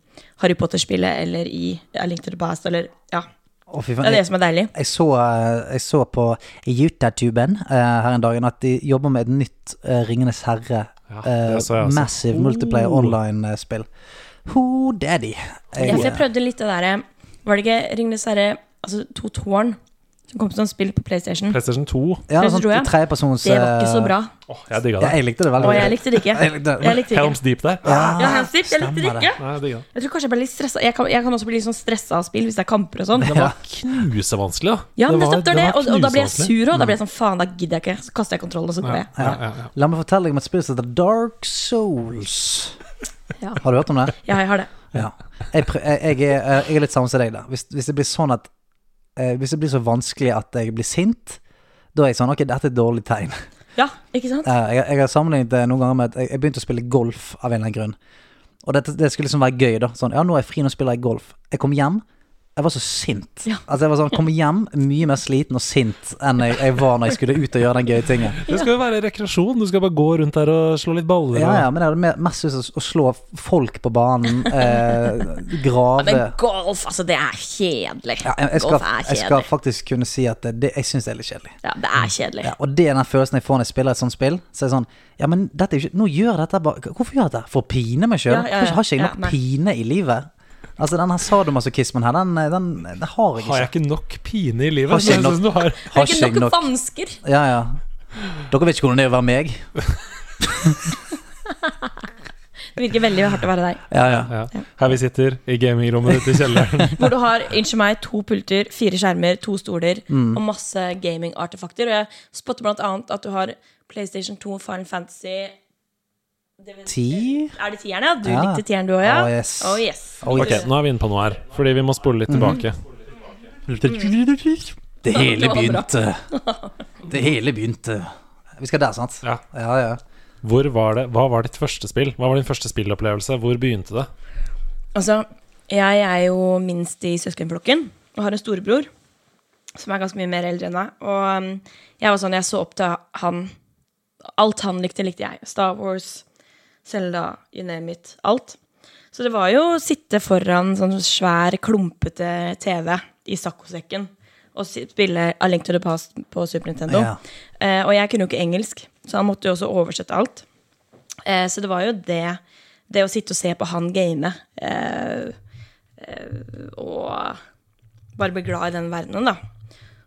Harry Potter-spillet eller i A Link to the Past eller Ja. Å, fy Det er faen. det Jeg, som er deilig. jeg, så, eh, jeg så på YouTube-tuben eh, her en dag at de jobber med et nytt eh, Ringenes herre. Ja, eh, det så jeg også. Oh. massive multiplayer online-spill. Ho daddy. Ja, for jeg eh, prøvde litt det derre Var det ikke Ringenes herre, altså To tårn, som kom som spill på PlayStation? PlayStation 2. Ja, Prøvde, sånn tror jeg. trepersons Det var ikke så eh, bra. Åh, jeg digga Ja, det. jeg likte det veldig Og jeg likte det ikke. Jeg likte det. Ah, Jeg likte det ikke. Helms Deep der. Ja, hands up, jeg likte det stemmer det. ikke. Nei, jeg digga det. Jeg tror kanskje jeg ble litt stresset. Jeg kan, jeg kan også bli litt sånn stressa av spill hvis det er kamper og sånn. Det var knusevanskelig, da. Ja, men var- nettopp det var det. var Og, og da ble jeg knusevanskelig. sur òg. Da ble jeg sånn faen, da gidder jeg ikke. Så kaster jeg kontrollen, og så går jeg. Ja, ja, ja. La meg fortelle deg om et spill som heter Dark Souls. Ja. Har du hørt om det? Ja, jeg har det. Ja. Jeg, prø- jeg, jeg, er, eh, jeg er litt samme som deg, da. Hvis, hvis det blir sånn at eh, Hvis det blir så vanskelig at jeg blir sint, da er jeg sånn Ok, dette er et dårlig tegn. Ja, ikke sant? Eh, jeg, jeg har sammenlignet det noen ganger med at jeg, jeg begynte å spille golf av en eller annen grunn. Og dette, det skulle liksom være gøy, da. Sånn, ja, nå er jeg fri, nå spiller jeg golf. Jeg kom hjem, jeg var så sint. Ja. Altså, jeg var sånn, kom hjem mye mer sliten og sint enn jeg, jeg var når jeg skulle ut og gjøre den gøye tingen. Det skal jo være rekreasjon. Du skal bare gå rundt der og slå litt baller. Ja, og- ja, men jeg hadde mer- mest lyst til å slå folk på banen, eh, Men grave golf, altså, det er kjedelig. ja, jeg, jeg, skal, golf er jeg skal kjedelig. faktisk kunne si at det, det, jeg syns det er litt kjedelig. Ja, det er kjedelig. Ja, og det er den følelsen jeg får når jeg spiller et sånt spill. Så er det sånn Ja, men dette er jo ikke Nå gjør jeg dette bare Hvorfor gjør jeg dette? For å pine meg sjøl? Ja, ja, ja. Har ikke jeg nok Ja, nei. pine i livet? Altså, den her sadomasochismen her, den, den, den har jeg ikke. Har jeg ikke nok pine i livet? Har ikke Jeg synes du har. Det er ikke nok vansker. Ja, ja. Dere vet ikke hvordan det er å være meg? Det virker veldig hardt å være deg. Ja, ja. Ja. Her vi sitter, i gamingrommet ute i kjelleren. Hvor du har unnskyld meg, to pulter, fire skjermer, to stoler og masse gaming-artefakter. Og jeg spotter blant annet at du har PlayStation 2, Final Fantasy Ti? Er det tieren, ja? Du Ja. likte tieren, du òg, ja? Å, yes. Mhm. Å, yes. Oh, Ok, nå er vi inne på noe her, fordi vi må spole litt tilbake. Det Det hele var bra. begynte. Det hele begynte. Vi skal der, sant? Ja. Ja, ja. Hvor var det, hva var ditt første spill? Hva var din første spillopplevelse? Hvor begynte det? Altså, jeg er jo minst i søskenflokken og har en storebror som er ganske mye mer eldre enn meg. Og um, jeg var sånn, jeg så opp til han. Alt han likte, likte jeg. Star Wars, Zelda, you name it. Alt. Så det var jo å sitte foran sånn svær, klumpete TV i saccosekken og si- spille A Link to the Past på Super Nintendo. Ja. Eh, og jeg kunne jo ikke engelsk, så han måtte jo også oversette alt. Eh, så det var jo det Det å sitte og se på han game eh, eh, og bare bli glad i den verdenen, da.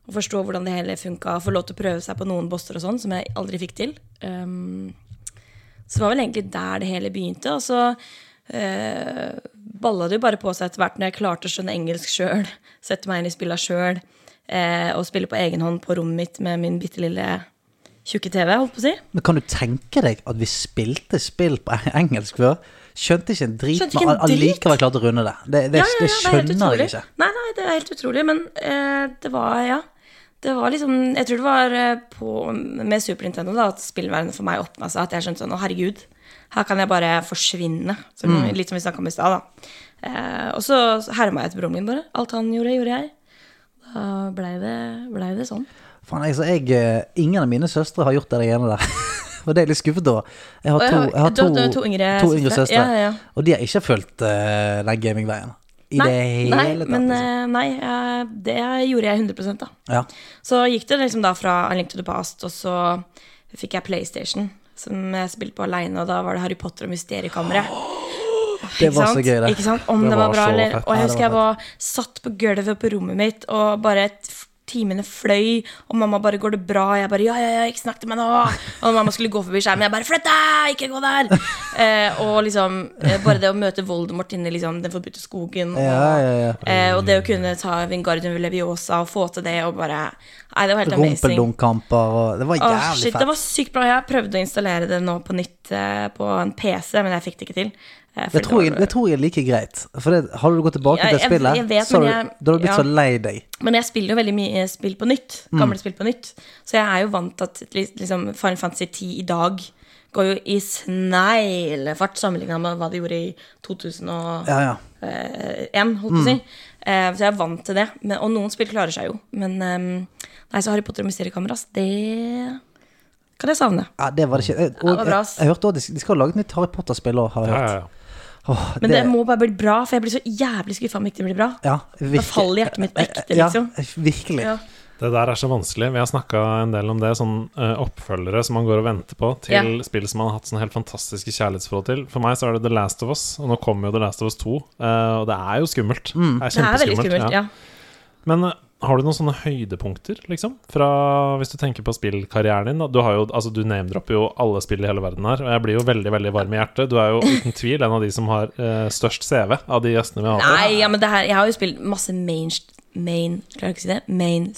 og forstå hvordan det hele funka. Få lov til å prøve seg på noen bosser og sånn, som jeg aldri fikk til. Um, så det var vel egentlig der det hele begynte. Og så eh, balla det jo bare på seg etter hvert når jeg klarte å skjønne engelsk sjøl, sette meg inn i spilla sjøl, eh, og spille på egen hånd på rommet mitt med min bitte lille tjukke TV, holdt på å si. Men kan du tenke deg at vi spilte spill på engelsk før? Skjønte ikke en drit, Skjønte ikke en men all- drit. allikevel klarte å runde det. Det, det, det helt skjønner jeg utrolig. ikke. Nei, nei, det er helt utrolig, men eh, det var, ja. Det var liksom, jeg tror det var eh, på, med Super Nintendo da, at spillverdenen for meg åpna seg. At jeg skjønte sånn, å herregud, her kan jeg bare forsvinne. Som, Mm. Litt som vi snakka om i stad, da. Eh, og så herma jeg til broren min, bare. Alt han gjorde, gjorde jeg. Da blei det, blei det sånn. Faen, altså, jeg, eh, ingen av mine søstre har gjort det greiene der. Og det er jeg litt skuffet over. Jeg har Å, to, ja, jeg har du to, har- du har to yngre to yngre søstre. søstre, Ja, ja, ja. og de har ikke fulgt eh, den gamingveien. I Nei, det hele nei, tatt. men liksom. eh, nei, eh, det gjorde jeg 100 da. ja. Så gikk det liksom da fra A Link to the Past, og så fikk jeg PlayStation, som jeg spilte på aleine, og da var det Harry Potter og Mysteriekammeret. Det Ikke var så sant? gøy, det. Ikke sant? Om Det det, var, var bra, så eller fett. Og Ja, jeg det husker jeg var satt på gulvet på rommet mitt, og bare et f- timene fløy, og mamma bare 'Går det bra?' Jeg bare 'Ja, ja, ja, ikke snakk til meg nå'. Og mamma skulle gå forbi skjermen, jeg bare 'Flytt deg! Ikke gå der!' Eh, og liksom eh, bare det å møte Voldemort inne i liksom, den forbudte skogen, og, Ja, ja, ja. Eh, og det å kunne ta Vingardium Leviosa og få til det, og bare Nei, det var helt amazing. Rumpeldunk-kamper og Det var Åh, jævlig shit, fett. det var sykt bra. Jeg prøvde å installere det nå på nytt eh, på en PC, men jeg fikk det ikke til. Eh, fordi Det tror, jeg, var- det tror jeg er like greit. For det, hadde du gått tilbake Ja, til det jeg- spillet, jeg vet, så men hadde du, jeg- da hadde du blitt ja. så lei deg. Men jeg spiller jo veldig mye spill på nytt. Mm. Gamle spill på nytt. Så jeg er jo vant til at li- liksom, Final Fantasy 10 i dag går jo i sneglefart sammenligna med hva de gjorde i 2001, Ja, ja. holdt Mm. på å si. Eh, så jeg er vant til det. Men, og noen spill klarer seg jo. Men ehm, nei, så Harry Potter og Mysteriekammeret, ass, det kan jeg savne. ja det var det ikke. Jeg, det var og, bra, jeg, ass. jeg hørte også, de sk- de skal jo lage et nytt Harry Potter-spill òg, har jeg Ja, hørt. ja, ja. Åh, Men det, må bare bli bra, for jeg blir så jævlig skuffa om ikke det blir bra. ja, virke- Da faller hjertet mitt på ekte, Ja, liksom. virkelig. Ja. Det der er så vanskelig. Vi har snakka en del om det. Sånn eh, oppfølgere som man går og venter på til Ja. spill som man har hatt sånn helt fantastiske kjærlighetsforhold til. For meg så er det The Last of Us, og nå kommer jo The Last of Us 2. eh, og det er jo skummelt. Det er Det er veldig kjempeskummelt. skummelt. ja. ja. Men eh, har du noen sånne høydepunkter, liksom? Fra, hvis du tenker på spillkarrieren din. da? Du, har jo, altså, du name-dropper jo alle spill i hele verden her, og jeg blir jo veldig veldig varm i hjertet. Du er jo uten tvil en av de som har eh, størst CV av de gjestene vi har hatt. her. Nei, ja, men det her, jeg har jo spilt masse main, main, klarer jeg ikke å si det?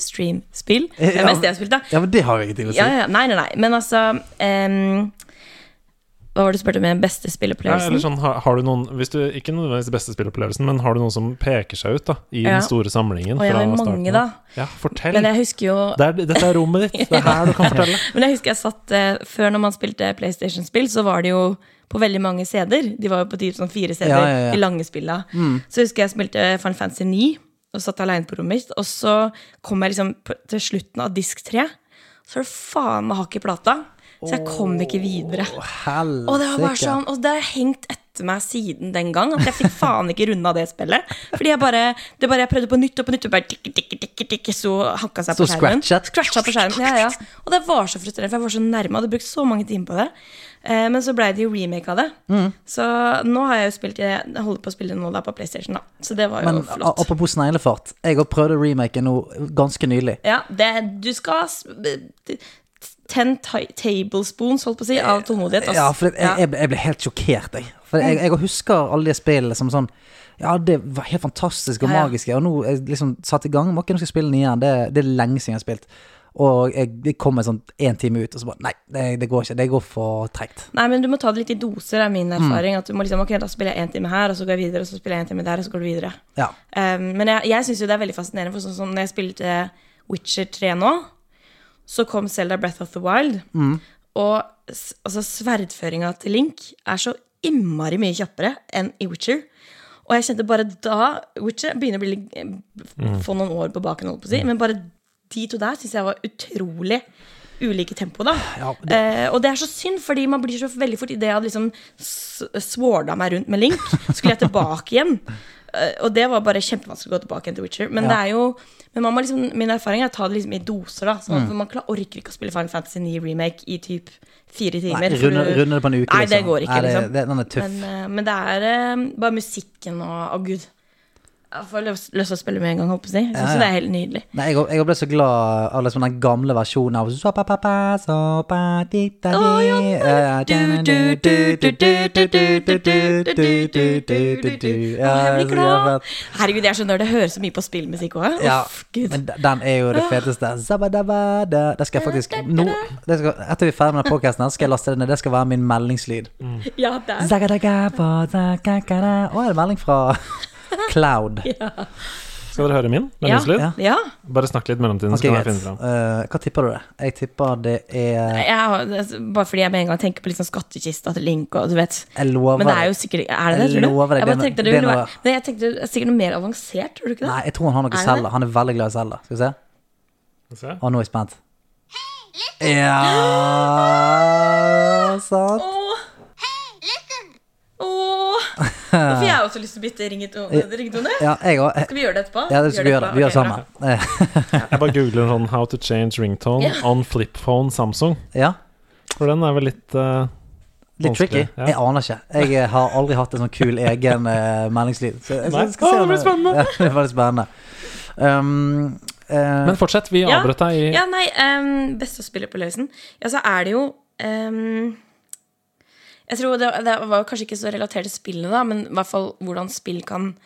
mainstream-spill. Det Ja. er mest det jeg har spilt, da. Ja, men det har jo ingenting å si. Ja, ja, nei, nei, nei. Men altså ehm, Hva var det du spurte om? den Beste Ja, eller spillopplevelsen? sånn, har, har du noen hvis du, Ikke nødvendigvis beste spillopplevelsen, men har du noen som peker seg ut da i Ja. den store samlingen? Og jeg fra har jo starten mange, av? da. Ja, fortell. Men jeg husker jo Det er, dette er rommet ditt. Det er her du kan fortelle. Men jeg husker jeg satt eh, Før når man spilte PlayStation-spill, så var det jo på veldig mange CD-er. De var jo på typ sånn fire CD-er, Ja, ja, Mm. ja. de lange spilla. Så husker jeg spilte Final Fantasy 9 og satt aleine på rommet mitt. Og så kom jeg liksom på- til slutten av disk 3, så er det faen meg hakk i plata. Så jeg kom ikke videre. Å, helsike. Og det var bare sånn, og det har hengt etter meg siden den gang. At jeg fikk faen ikke runda det spillet. Fordi jeg bare, det bare jeg prøvde på nytt og på nytt, og bare tikk, tikk, tikk, tikk, så hakka seg på Så skjermen. scratchet. Scratchet på skjermen, ja, ja. Og det var så frustrerende, for jeg var så nærme. Jeg hadde brukt så mange timer på det. Eh, men så blei det jo remake av det. Mm. Så nå har jeg jo spilt jeg holder på å spille nå da på PlayStation, da. Så det var jo Men a- flott. apropos sneglefart. Jeg har prøvd å remake nå ganske nylig. Ja, det, du skal s- t- Ten ti- tablespoons, holdt på å si, av tålmodighet. ass. Ja, for det, jeg, Ja. jeg, ble- jeg ble helt sjokkert, jeg. For jeg, jeg husker alle de spillene som sånn Ja, det var helt fantastisk og Ja, ja. magisk. Og nå er jeg liksom satt i gang. Må ikke nå skal spille den igjen. Det, det er lenge siden jeg har spilt. Og jeg, jeg kom en sånn én time ut, og så bare Nei, det, det går ikke. Det går for tregt. Nei, men du må ta det litt i doser, er min erfaring. At du må liksom, ok, da spiller jeg en time her, og så går jeg videre, og så spiller jeg en time der, og så går du videre. Ja. Um, men jeg, jeg syns jo det er veldig fascinerende, for sånn som når jeg spilte Witcher 3 nå, så kom Zelda Breath of the Wild, og s- altså, sverdføringa til Link er så innmari mye kjappere enn i Witcher. Og jeg kjente bare da Witcher begynner å bli, litt- eh, få noen år på baken, holdt på å si, men bare de to der syns jeg var utrolig ulike tempo, da. Ja, Eh, og det er så synd, fordi man blir så veldig fort Idet jeg hadde liksom s- sworda meg rundt med Link, skulle jeg tilbake igjen. Eh, og det var bare kjempevanskelig å gå tilbake igjen til Witcher. Men det er jo Men man må liksom, min erfaring er å ta det liksom i doser. da Mm. sånn, at For Man klar, orker ikke å spille Final Fantasy 9 remake i typ fire timer. Nei, for runde, du- runde det på en uke, Nei, det liksom. går ikke, Nei, det, det, liksom. den er tøff. Men, eh, men det er eh, bare musikken og Å, gud. Jeg får lyst lyst til å spille med en gang, håper jeg. Jeg syns Ja, ja. det er helt nydelig. Nei, jeg, jeg ble så glad av liksom den gamle versjonen av Såpa pappa, såpa ditta di Å, ja. Ja, ja. Du, du, du, du, du, du, du, du, du, du, du, du, du, du, du. Å, Ja, jeg så jævla- blir glad. Herregud, jeg skjønner det høres så mye på spillmusikk òg. Ja, Uff, gud. men d- den er jo det feteste. Zabadabada. Det skal jeg faktisk nå, det skal, Etter vi er ferdig med denne podcasten her, skal jeg laste det ned. Det skal være min meldingslyd. Ja, det er Zagadagaba, zakakada. Å, er det melding fra Cloud? Skal dere høre min meldingslyd? ja. ja. Bare snakk litt i mellomtiden, Ok, så kan greit. jeg finne fram. Eh, hva tipper du det? Jeg tipper det er Jeg har- altså, bare fordi jeg med en gang tenker på liksom skattkista til Link og du vet. Jeg lover Men det er jo deg. sikkert Er det Jeg det, tror du? lover deg, Jeg det er bare no- tenkte det det er ville noe- være Nei, jeg tenkte det er sikkert noe mer avansert, tror du ikke det? Nei, jeg tror han har Er noe det selger. det? Han er veldig glad i selger. Skal vi se. Se. Å, nå er jeg spent. Ja Sant. Åh. Åh. Nå får jeg også lyst til å bytte ringetone. ringetone. Ja, jeg òg. Skal vi gjøre det etterpå? Ja, det skal vi gjøre. Vi gjør det samme. Eh, Jeg bare googler sånn 'How to change ringtone Ja. on flipphone Samsung'. Ja. For den er vel litt eh, Litt tricky. Vanskelig, ja. Jeg aner ikke. Jeg eh, har aldri hatt en sånn kul egen eh, meldingslyd. Så jeg Nei. skal, skal Å, se det om blir spennende. Ja, det er veldig spennende. Um, eh, Men fortsett, vi Ja. avbrøt deg i Ja, nei, um, beste spilleopplevelsen Ja, så er det jo ehm, Jeg tror det, det var jo kanskje ikke så relatert til spillene, da, men i hvert fall hvordan spill kan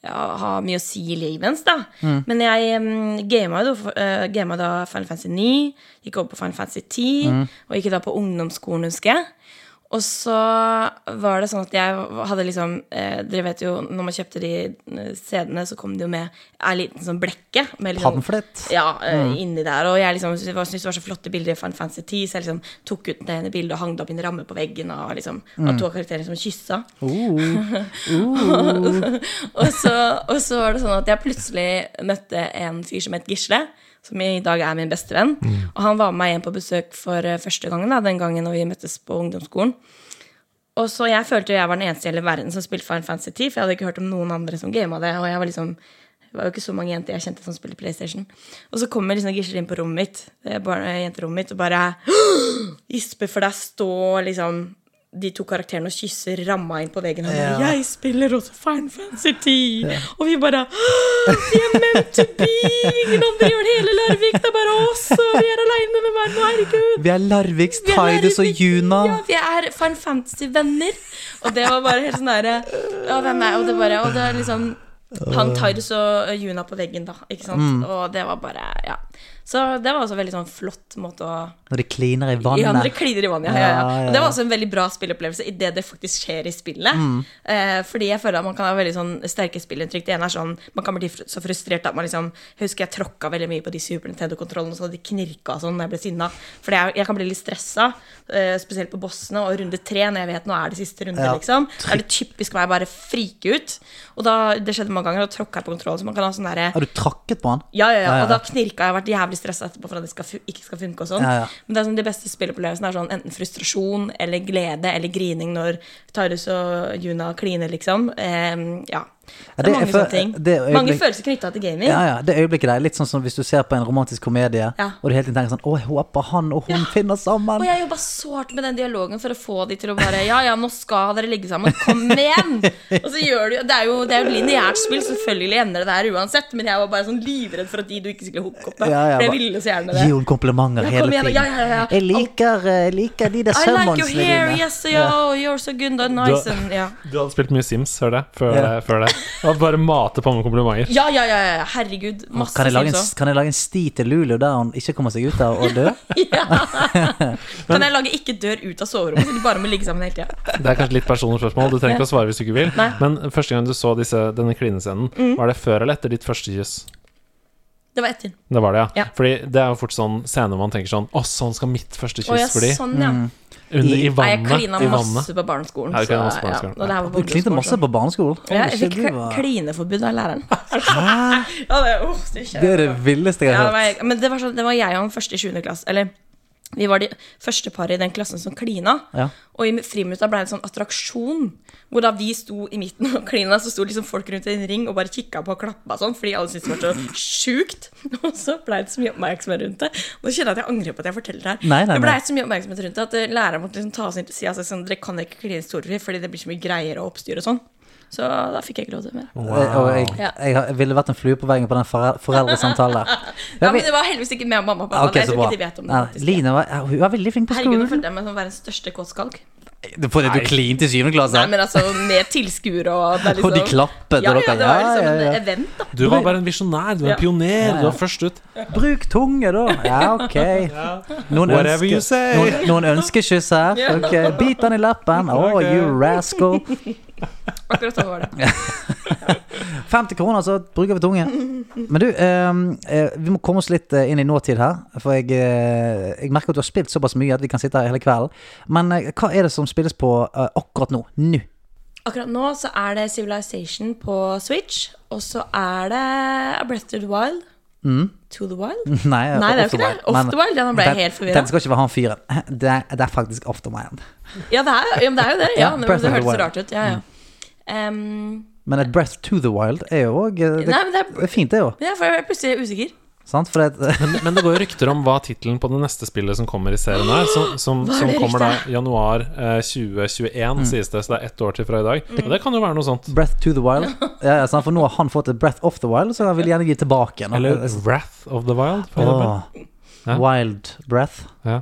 ja, ha mye å si i livet ens, da. Men jeg um, gama jo da, eh, gama da Final Fantasy 9, gikk over på Final Fantasy 10, og gikk da på ungdomsskolen, husker jeg. Og så var det sånn at jeg hadde liksom eh, Dere vet jo, når man kjøpte de eh, CD-ene, så kom det jo med ei liten sånn blekke. Med litt sånn- Pamflett. ja, eh, inni der. Og jeg liksom syntes det var- syntes det var så flotte bilder fra en fancy tea, så jeg liksom tok ut det ene bildet og hang det opp i en ramme på veggen av liksom, av to karakterer som kyssa. og, så, og så var det sånn at jeg plutselig møtte en fyr som het Gisle. Som i dag er min bestevenn. Og han var med meg hjem på besøk for eh, første gangen. da, Den gangen når vi møttes på ungdomsskolen. Og så jeg følte jo jeg var den eneste i hele verden som spilte Final Fantasy 10, for jeg hadde ikke hørt om noen andre som gama det. Og jeg var liksom, det var jo ikke så mange jenter jeg kjente som spilte PlayStation. Og så kommer liksom Gisle inn på rommet mitt, eh, barne- jenterommet mitt, og bare gisper for deg, stå liksom de to karakterene og kysser ramma inn på veggen. Han bare, 'Jeg spiller også Final Fantasy 10'. Og vi bare «Åh, 'Vi er meant to be! Ingen andre gjør det hele Larvik! Det er bare oss, og vi er aleine med verden, herregud!' Vi er Larviks, Vi er Tidus og Larvik. Juna. Ja, vi er Final Fantasy-venner. Og det var bare helt sånn derre Ja, hvem er Og det bare Og det er liksom Hang Tidus og eh, Juna på veggen, da. Ikke sant? Og det var bare Ja. Så det var også veldig sånn flott måte å Når de kliner i vannet. ja, når det kliner i vannet. Ja, ja, ja. Ja, ja, Og det ja. var også en veldig bra spilleopplevelse i det det faktisk skjer i spillet. Mm. Eh, fordi jeg føler at man kan ha veldig sånn sterke spillinntrykk. Det ene er sånn man kan bli fr- så frustrert at man liksom Jeg husker jeg tråkka veldig mye på de Super Nintendo-kontrollene, så de knirka sånn når jeg ble sinna. For jeg, jeg kan bli litt stressa, eh, spesielt på bossene og runde tre, når jeg vet nå er det siste runde, Ja. liksom. Da er det typisk meg å bare frike ut. Og da, det skjedde mange ganger, da tråkka jeg på kontrollen, så man kan ha sånn derre Har du trakket på han? ja, ja, ja, Ja, ja. og da knirka jeg og vært jævlig stressa etterpå for at det skal fu ikke skal funke. og sånn Ja, ja. Men det er sånn, de beste spilleopplevelsene er sånn enten frustrasjon eller glede eller grining når Tyrus og Juna kliner, liksom. Ehm, ja. Ja, Det er det- mange jeg føl- sånne ting. det er jo mange egentlig- følelser knytta til gaming. Ja, ja, Det øyeblikket der er litt sånn som hvis du ser på en romantisk komedie, Ja. og du hele tiden tenker sånn Å, jeg håper han og hun finner sammen. Og jeg jobba så hardt med den dialogen for å få de til å bare Ja, ja, nå skal dere ligge sammen. Kom igjen! Og så gjør du Det er jo, det er jo et lineært spill, selvfølgelig ender det der uansett. Men jeg var bare sånn livredd for at de du ikke skulle hooke opp med. Ja, ja, for jeg bare- ville så gjerne det. Gi henne komplimenter Ja, hele kom igjen, tiden. ja, ja, ja, ja. Jeg liker, eh, jeg liker de der I like your sømmene hair, dine. yes, yo, you're so good and nice Du- and ja. Du hadde spilt mye Sims før det. Før, Ja. det, før det. Og bare mate på med komplimenter. ja, ja, ja, ja, herregud. Masse Kan jeg, lage en, Sims også. kan jeg lage en sti til Lulu der hun ikke kommer seg ut av og dør? Kan jeg lage ikke dør ut av soverommet, så de bare må ligge sammen hele tida? Det er kanskje litt personlig spørsmål, du trenger ikke å svare hvis du ikke vil. Nei. Mm. Men første gang du så disse, denne klinescenen, var det før eller etter ditt første kyss? Det var etter. Det var det, ja. Ja. Fordi det er jo fort sånn scene man tenker sånn Å, sånn skal mitt første Å ja, kyss bli. sånn, ja. Mm. Under, I Nei, jeg vannet. klina I vannet. masse på barneskolen. Ja, du så, klina masse på ja, barneskolen. og det her var Du klinte barneskolen, masse på barneskolen. så- Ja, jeg Ikke fikk du kl- var- klineforbud av læreren. ja, det, oh, det, Det er det villeste jeg Ja, har hørt. det var, men det var, sånn, det var jeg og han første i sjuende klasse. Eller vi var de første paret i den klassen som klina. Ja. Og i friminutta ble det en sånn attraksjon. Hvor da vi sto i midten og klina, så sto liksom folk rundt i en ring og bare kikka på og klappa sånn, fordi alle syntes det var så sjukt. Og så ble det så mye oppmerksomhet rundt det. Nå kjenner jeg at jeg angrer på at jeg forteller det her. Nei, nei, det ble nei. så mye oppmerksomhet rundt det at eh, læreren måtte liksom ta oss inn til sida og si sånn, dere kan ikke kline storfri fordi det blir så mye greier og oppstyr og sånn. Så da fikk jeg ikke lov til mer. Eh, Og jeg, Ja. jeg, har- jeg ville vært en flue på veggen på den forel- foreldresamtalen. Ja, men det var heldigvis ikke med mamma og pappa. Ah, Ok, jeg så tror bra. ikke de vet om det. Nei, faktisk. Line var, ja, hun var veldig flink på Herregud, nå skolen. følte jeg meg som verdens største kåtskalk. Fordi du klinte i syvende Nei, klasse? men altså, med tilskuere og det er liksom, Og de klappet, Ja, og ja, dere- det var ja, liksom ja, ja. en event, da. Du var bare en visjonær, du var Ja. en pioner, ja. du var først ut. Bruk tunge, da! Ja, OK. Noen Whatever you ønsker, say. noen, noen ønskekyss her. Ja. Ok, Bit den i leppen. Å, Ok. you rascal. Akkurat sånn var det. 50 kroner, så bruker vi tunge. Men du, ehm, eh, vi må komme oss litt eh, inn i nåtid her. For jeg, eh, jeg merker at du har spilt såpass mye at vi kan sitte her hele kvelden. Men eh, hva er det som spilles på eh, akkurat nå? Nå? Akkurat nå så er det Civilization på Switch, og så er det A Breath to the Wild. To the Wild? Nei, Nei, det er Mm. Off the jo ikke det. Off eh, Men the Wild, ja, nå ble jeg den- helt forvirra. Den skal ikke være han fyren. Det, er- det er faktisk After Mind. Ja, det er, ja, men det er jo det. Ja, Ja, men Breath of det the hørtes så Wild. Mm. rart ut. Ja, ja. Em, Men et Breath to the Wild er jo òg det, Nei, men det det er fint, det òg. men jeg ble plutselig usikker. Sant? For det, Men, men det går jo rykter om hva tittelen på det neste spillet som kommer i serien er, som, som, Hva er som det kommer da ryktet? januar eh, 2021, sies det, så det er ett år til fra i dag. Mm. Og det kan jo være noe sånt. Breath to the Wild. Ja, ja, sant? For nå har han fått et Breath of the Wild, så han vil gjerne gi tilbake igjen. Eller Wrath of the Wild, for eksempel. Åh, Ja. Wild Breath. Ja.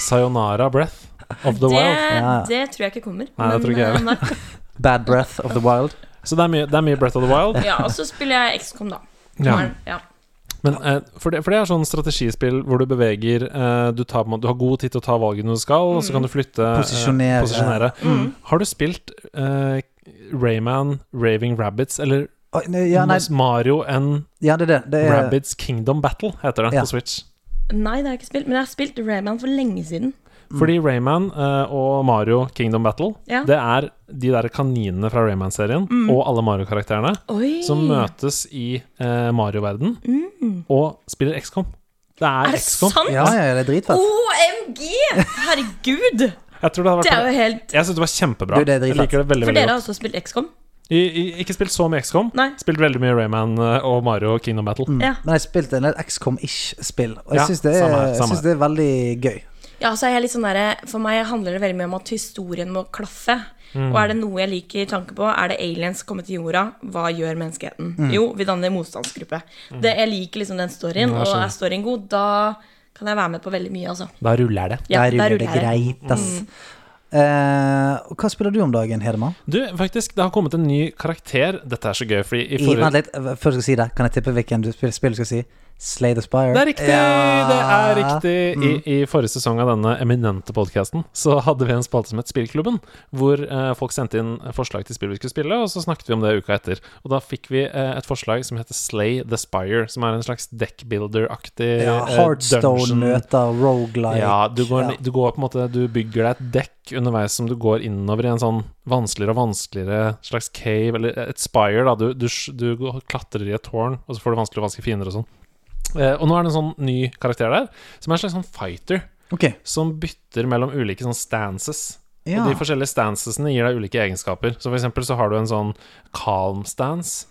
Sayonara Breath of the Det, Wild. ja. det tror jeg ikke kommer. Nei, det tror ikke jeg men, eh, Bad Breath of the Wild. Så det er mye, det er mye Breath of the Wild. nei. Ja, og så spiller jeg XCOM, da. Ja. Ja. Men, eh, for, det, for det er sånn strategispill hvor du beveger eh, du, tar, på en måte- du har god tid til å ta valgene du skal, og så kan du flytte eh, Mm. Posisjonere. posisjonere. Mm. Har du spilt eh, Rayman, Raving Rabbits eller Oi, nei, ja, nei, Mario and ja, det er det. det er, Rabbits Kingdom Battle, heter det Ja. på Switch. Nei, det har jeg ikke spilt. Men jeg har spilt Rayman for lenge siden. Mm. Fordi Rayman eh, og Mario Kingdom Battle, Ja. Mm. det er de der kaninene fra Rayman-serien og alle Mario-karakterene Oi! som uh, møtes i eh, Mario-verden og spiller XCOM. Det Mm. Er er, det XCOM. sant? ja, ja, det er dritfett. Oh, OMG! Herregud! Jeg tror det hadde Det er vært jo helt Jeg syns det var kjempebra. Du, det er jeg dritfett. liker det veldig, For veldig dere har godt. også spilt XCOM? I, i, ikke spilt så mye XCOM. Nei. Spilt veldig mye Rayman eh, og Mario Kingdom Battle. Ja. Men jeg spilte en del XCOM-ish-spill, og jeg Ja, syns det, er- samme her, jeg samme synes det er veldig gøy. ja, så er jeg litt sånn der, For meg handler det veldig mye om at historien må klaffe. Mm. Og er det noe jeg liker tanke på, er det aliens kommer til jorda, hva gjør menneskeheten? Mm. Jo, vi danner motstandsgruppe. Det, jeg liker liksom den storyen, og er storyen god, da kan jeg være med på veldig mye, altså. Da ruller det. Ja, Der der ruller det ruller jeg. greit, ass. Eh, og hva spiller du om dagen, Hedemann? Du, faktisk, det har kommet en ny karakter. Dette er så gøy, fordi i I, forrige vent litt, eh, Før du skal si det, kan jeg tippe hvilken du spiller, spill du skal si? Slay the Spire. Det er riktig! Ja. Mm. Det er riktig. I, I forrige sesong av denne eminente podkasten så hadde vi en spalte som het Spillklubben, hvor eh, folk sendte inn forslag til spill vi skulle spille, og så snakket vi om det uka etter. Og da fikk vi eh, et forslag som heter Slay the Spire, som er en slags deckbuilder-aktig Ja, eh, Heartstone dungeon. møter Roguelike Ja, du går, Ja. du går på en måte Du bygger deg et dekk underveis som du går innover i en sånn vanskeligere og vanskeligere slags cave, eller et spire, da. Du, du, s- du går- klatrer i et tårn, og så får du vanskeligere og vanskeligere fiender og sånn. Eh, og nå er det en sånn ny karakter der, som er en slags sånn fighter, Ok, som bytter mellom ulike sånn stances. ja. Og de forskjellige stancesene gir deg ulike egenskaper. Så for eksempel så har du en sånn calm stance,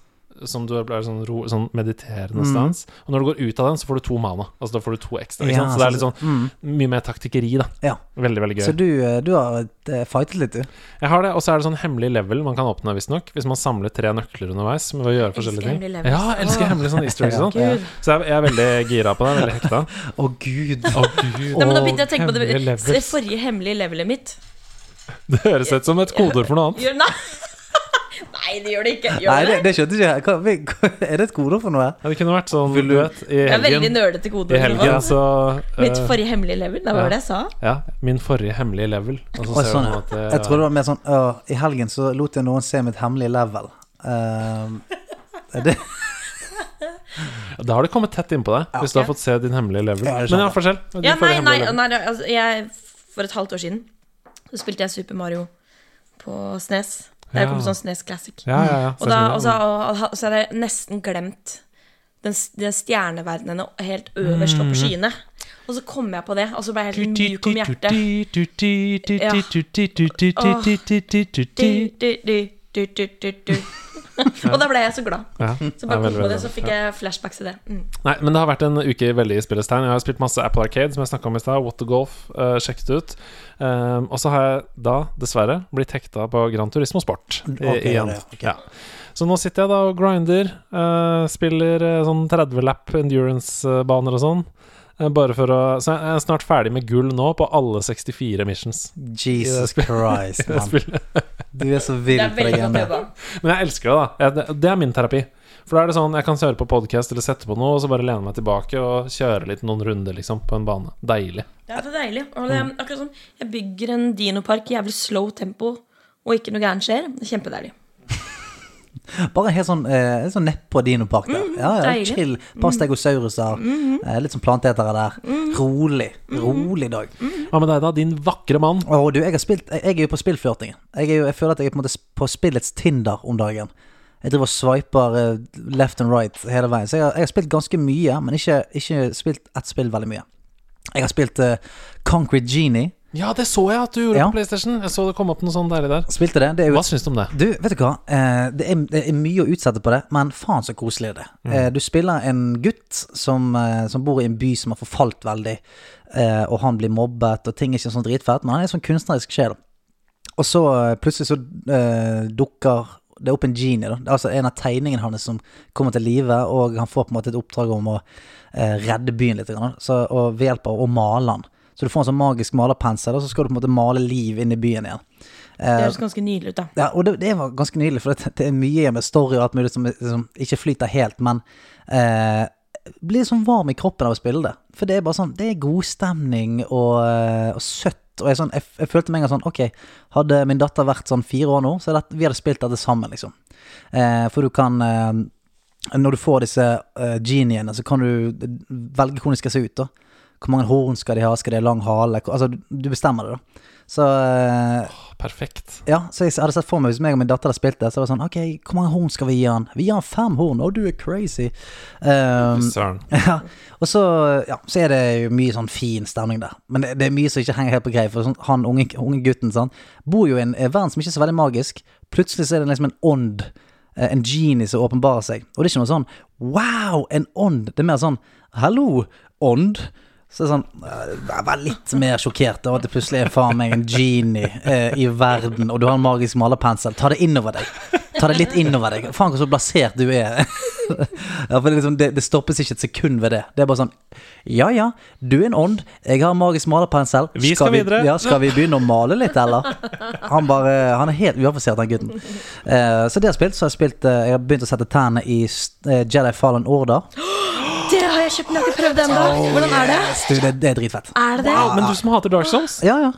som du er sånn, ro, sånn mediterende Mm. stance. Og når du går ut av den, så får du to mana. Altså da får du to ekstra. Ikke Ja, sant? Så det er litt så- mm. sånn mye mer taktikkeri, da. Ja. Veldig, veldig gøy. Så du, eh, du har eh, fightet litt, du. Jeg har det, Og så er det sånn hemmelig level man kan åpne, visstnok, hvis man samler tre nøkler underveis. Ved å gjøre forskjellige ting. hemmelige levels. Ja, jeg elsker Åh. hemmelige sånne easter eggs og sånn. Gud. Så jeg, jeg er veldig gira på det. Veldig hekta. Å, gud. Å, gud. Nei, men da begynte jeg å tenke på Hemmelige det, levels. det forrige hemmelige levelet mitt. Det høres ut som et kodeord for noe annet. Gjør, nei. nei, det gjør det ikke. Gjør Nei, det? det, det skjønte ikke jeg. Hva- vi- hva- Er det et kode for noe? Ja, det kunne vært sånn, du vet, i Jeg er veldig helgen, nerdete kode. i helgen så eh, Mitt forrige hemmelige level, det var det jeg sa. Ja, min forrige hemmelige level. Og så Å, ser sånn, du ja. at det, Jeg trodde det var mer sånn «Å, I helgen så lot jeg noen se mitt hemmelige level. Ehm, er det, Da har du kommet tett innpå deg, hvis du har fått se din hemmelige level. Ja, jeg skjønner. Men ja, forskjell. Din Ja, nei, forrige nei, hemmelige level. nei altså, jeg, For et halvt år siden Så spilte jeg Super Mario på Snes. Der Ja. kom sånn Snes Classic. Ja, ja, ja. Og, da, Ser og, sånn så, ut. og, og så hadde jeg nesten glemt den, s- den stjerneverdenene helt øverst Mm. oppe i skyene. Og så kom jeg på det, og så ble jeg helt myk om hjertet. Ja. Åh. Du, du, du, du, du, du, du. Og da ble jeg så glad. Ja, Så det er bare kom veldig, på det, veldig så fikk jeg flashbacks til det. Mm. Nei, men det har vært en uke veldig i spillets tegn. Jeg har spilt masse Apple Arcade, som jeg snakka om i stad. What the Golf, eh, sjekket ut. Ehm, og så har jeg da, dessverre, blitt hekta på Gran Turismo Sport i, Mm, Ok, ja, igjen. det, ok. Ja. Så nå sitter jeg da og grinder. eh, spiller eh, sånn 30-lap endurance-baner og sånn. eh, bare for å Så jeg er snart ferdig med gull nå på alle 64 missions. Jesus Christ, Jeg mann. spiller. Du er så Det vill er på det veldig greiene godt der. jobba. Men jeg elsker det, da. Jeg, det- det er min terapi. For da er det sånn, Jeg kan høre på podkast eller sette på noe, og så bare lene meg tilbake og kjøre litt noen runder liksom, på en bane. Deilig. Det er så deilig. Og det er Mm. akkurat som jeg bygger en dinopark i jævlig slow tempo, og ikke noe gærent skjer. Det er Kjempedeilig. Bare helt sånn, eh, litt sånn nedpå dinopark der. Ja, ja, deilig. chill. Pastegosauruser. Eh, litt sånn plantetere der. Rolig. Rolig dag. Hva med deg, da, din vakre mann? Å, du, jeg, har spilt, jeg er jo på spillflørtingen. Jeg, er jo, jeg føler at jeg er på, en måte s- på spillets Tinder om dagen. Jeg driver og swiper eh, left and right hele veien. Så jeg har, jeg har spilt ganske mye, men ikke, ikke spilt ett spill veldig mye. Jeg har spilt eh, Concrete Genie. Ja, det så jeg at du gjorde Ja. på PlayStation. Jeg så det kom opp noe sånn deilig der. Spilte det. det er jo Hva syns du om det? Du, vet du hva? Eh, det, er, det er mye å utsette på det, men faen så koselig det er. Eh, du spiller en gutt som, eh, som bor i en by som har forfalt veldig, eh, og han blir mobbet, og ting er ikke sånn dritfett, men han er en sånn kunstnerisk sjel. Og så eh, plutselig så eh, dukker det opp en genie, da. Det er altså en av tegningene hans som kommer til live, og han får på en måte et oppdrag om å eh, redde byen litt, grann, da. så, og ved hjelp av å male han. Så du får en sånn magisk malerpensel, og så skal du på en måte male liv inn i byen igjen. Det Eh, høres ganske nydelig ut, da. ja, og det, det var ganske nydelig, for det, det er mye med story og alt mulig som liksom, ikke flyter helt, men eh, blir sånn varm i kroppen av å spille det. For det er bare sånn, det er god stemning og, eh, og søtt. Og jeg, sånn, jeg, jeg følte meg en gang sånn, ok, hadde min datter vært sånn fire år nå, så hadde vi hadde spilt dette sammen, liksom. Eh, for du kan eh, Når du får disse eh, geniene, så kan du velge hvordan de skal se ut. da Hvor mange horn skal de ha? Skal de ha lang hale? Hvor- Altså, du- du bestemmer det, da. Så eh, Åh, perfekt. ja, så jeg hadde sett for meg hvis meg og min datter hadde spilt det, så var det sånn Ok, hvor mange horn skal vi gi han? Vi gir han fem horn, og du er crazy. Ehm, Fy Søren. ja, og så, ja, så er det jo mye sånn fin stemning der. Men det, det er mye som ikke henger helt på greip. For sånn, han unge, unge gutten sant? bor jo i en eh, verden som ikke er så veldig magisk. Plutselig så er det liksom en ånd, eh, en genie, som åpenbarer seg. Og det er ikke noe sånn wow, en ånd. Det er mer sånn hallo, ånd. Så det er sånn, eh, jeg var litt mer sjokkert over at det plutselig er faen meg en genie eh, i verden, og du har en magisk malerpensel. Ta det innover deg. Ta det litt innover deg. Faen, hvor så blasert du er. Ja, for det, er liksom, det, det stoppes ikke et sekund ved det. Det er bare sånn Ja ja, du er en ånd. Jeg har magisk malerpensel. Vi skal videre. Ja, skal vi begynne å male litt, eller? Han bare Han er helt uaffisert, den gutten. Eh, så det jeg har spilt, så har jeg spilt eh, Jeg har begynt å sette tennene i eh, Jedi Fallen Order. Det har jeg kjøpt, men jeg har ikke prøvd det ennå. Hvordan er det? Du, det, det er dritfett. Er det det? Men du som hater Dark Souls? Ja ja.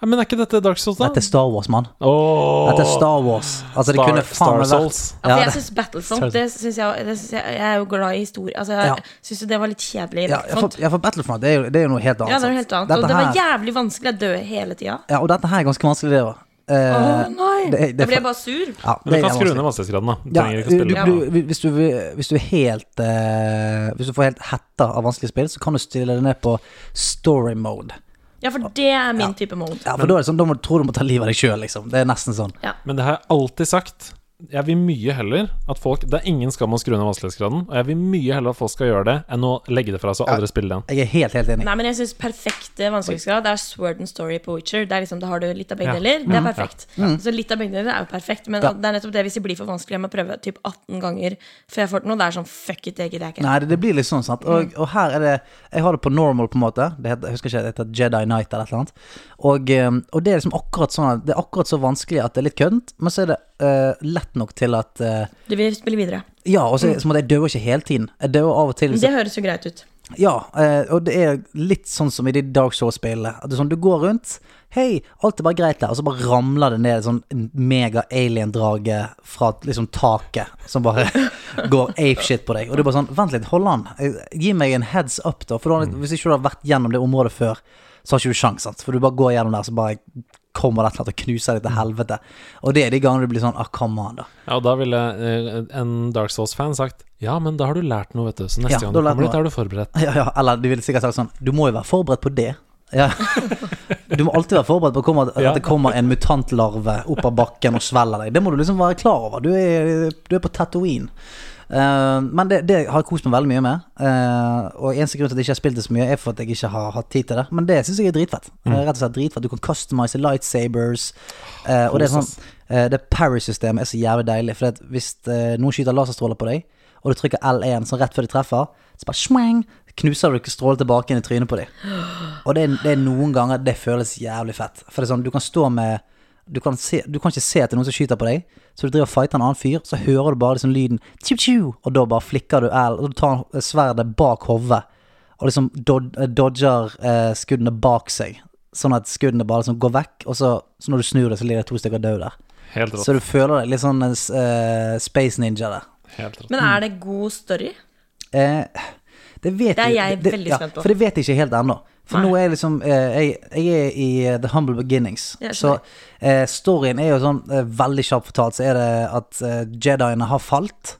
Ja, Men er ikke dette Dark Souls, da? Dette er Star Wars, mann. Åh, Dette er Star Wars. Altså, det Star- kunne faen meg Star vært Souls. Ja, ja, for Altså, jeg det- syns Battlefront det synes jeg, det synes jeg, jeg er jo glad i historie. Altså, jeg Ja. synes jo det var litt kjedelig. ja, i ja, for, Battlefront. ja, for Battlefront det er, jo, det er jo noe helt annet. Ja, det er sant? noe helt annet. Og Dette det var her, jævlig vanskelig. Jeg dør hele tida. ja, og dette her er ganske vanskelig, det òg. Å nei! Eh, det er- det er Da blir for- jeg bare sur. ja, Men det du er kan skru vanskelig. ned vanskelighetsgraden, da. Du Ja, trenger ikke du, spille. du, du, hvis, du, hvis du er helt eh, Hvis du får helt hetta av vanskelige spill, så kan du stille deg ned på story mode. Ja, for det er min type mode. Ja, for da er det sånn, da må, tror du må ta livet av deg sjøl, liksom. Det er nesten sånn. Men det har jeg alltid sagt. Jeg vil mye heller at folk Det er ingen skam å skru ned vanskelighetsgraden, og jeg vil mye heller at folk skal gjøre det, enn å legge det fra seg og aldri spille det igjen. Jeg er helt, helt enig. Nei, men jeg synes perfekt eh, vanskelighetsgrad Det er Sword and Story på Witcher. Det er liksom, da har du litt av begge Ja. deler. Det er Mm. perfekt. Så litt av begge deler er jo perfekt, men Mm-hmm. Ja. det er nettopp det hvis det blir for vanskelig, jeg må prøve typ 18 ganger før jeg får til noe. Det er sånn fuck it, det gidder jeg ikke. Nei, det, det blir litt sånn, sant. Og, og her er det Jeg har det på normal, på en måte. Det heter, jeg husker ikke, det heter Jedi Knight eller et eller annet. Og, eh, og det er liksom akkurat sånn at Det er akkurat så vanskelig at det er litt køddent, men så er det eh, lett nok til at eh, Du vil spille videre. Ja, og så, så må jeg dø ikke hele tiden. Jeg dør av og til. hvis Det høres jo greit ut. Ja, eh, og det er litt sånn som i de Dark Souls-spillene. At det er sånn, du går rundt, hei, alt er bare greit der, og så bare ramler det ned en sånn mega-alien-drage fra liksom taket, som bare går apeshit på deg. Og du er bare sånn, vent litt, hold an, Eh, gi meg en heads up, da. For da, hvis ikke du har vært gjennom det området før, så har ikke du sjans, sant. For du bare går gjennom der, så bare kommer det et eller annet og knuser deg til helvete. Og det er de gangene du blir sånn, ah, come on, da. Ja, og da ville eh, en Dark Souls-fan sagt Ja, men da har du lært noe, vet du. Så Ja, neste gang da du har jeg lært kommer dit, noe. er du forberedt. Ja, ja, eller de ville sikkert sagt sånn Du må jo være forberedt på det. Ja. Du må alltid være forberedt på å komme- Ja. at det kommer en mutantlarve opp av bakken og svelger deg. Det må du liksom være klar over. Du er, du er på Tatooine. Eh, men det, det har jeg kost meg veldig mye med. Eh, og eneste grunn til at jeg ikke har spilt det så mye, er for at jeg ikke har hatt tid til det. Men det syns jeg er dritfett. Eh, Rett og slett dritfett. Du kan customize lightsabers. eh, og det er sånn eh, Det parry-systemet er så jævlig deilig. For at hvis eh, noen skyter laserstråler på deg, og du trykker L1 sånn rett før de treffer, så bare schwang, knuser du strålen tilbake inn i trynet på dem. Og det er, det er noen ganger det føles jævlig fett. For det er sånn, du kan stå med du kan, se, du kan ikke se at det er noen som skyter på deg, så du driver og fighter en annen fyr, så hører du bare liksom lyden tju, tju, Og da bare flikker du L, og du tar sverdet bak hodet, og liksom dod, eh, dodger eh, skuddene bak seg. Sånn at skuddene bare liksom går vekk, og så, så når du snur deg, så ligger det to stykker døde der. Helt rått. Så du føler deg litt sånn eh, s- eh, Space Ninja der. Helt rått. Men Mm. er det god story? Eh, det, vet Det er jeg det- veldig ja, spent på. For det vet jeg ikke helt ennå. For Nei. nå er jeg liksom eh, jeg, jeg er i eh, The Humble Beginnings. Jeg Så skjønner. eh, storyen er jo sånn eh, veldig kjapt fortalt, så er det at eh, Jediene har falt.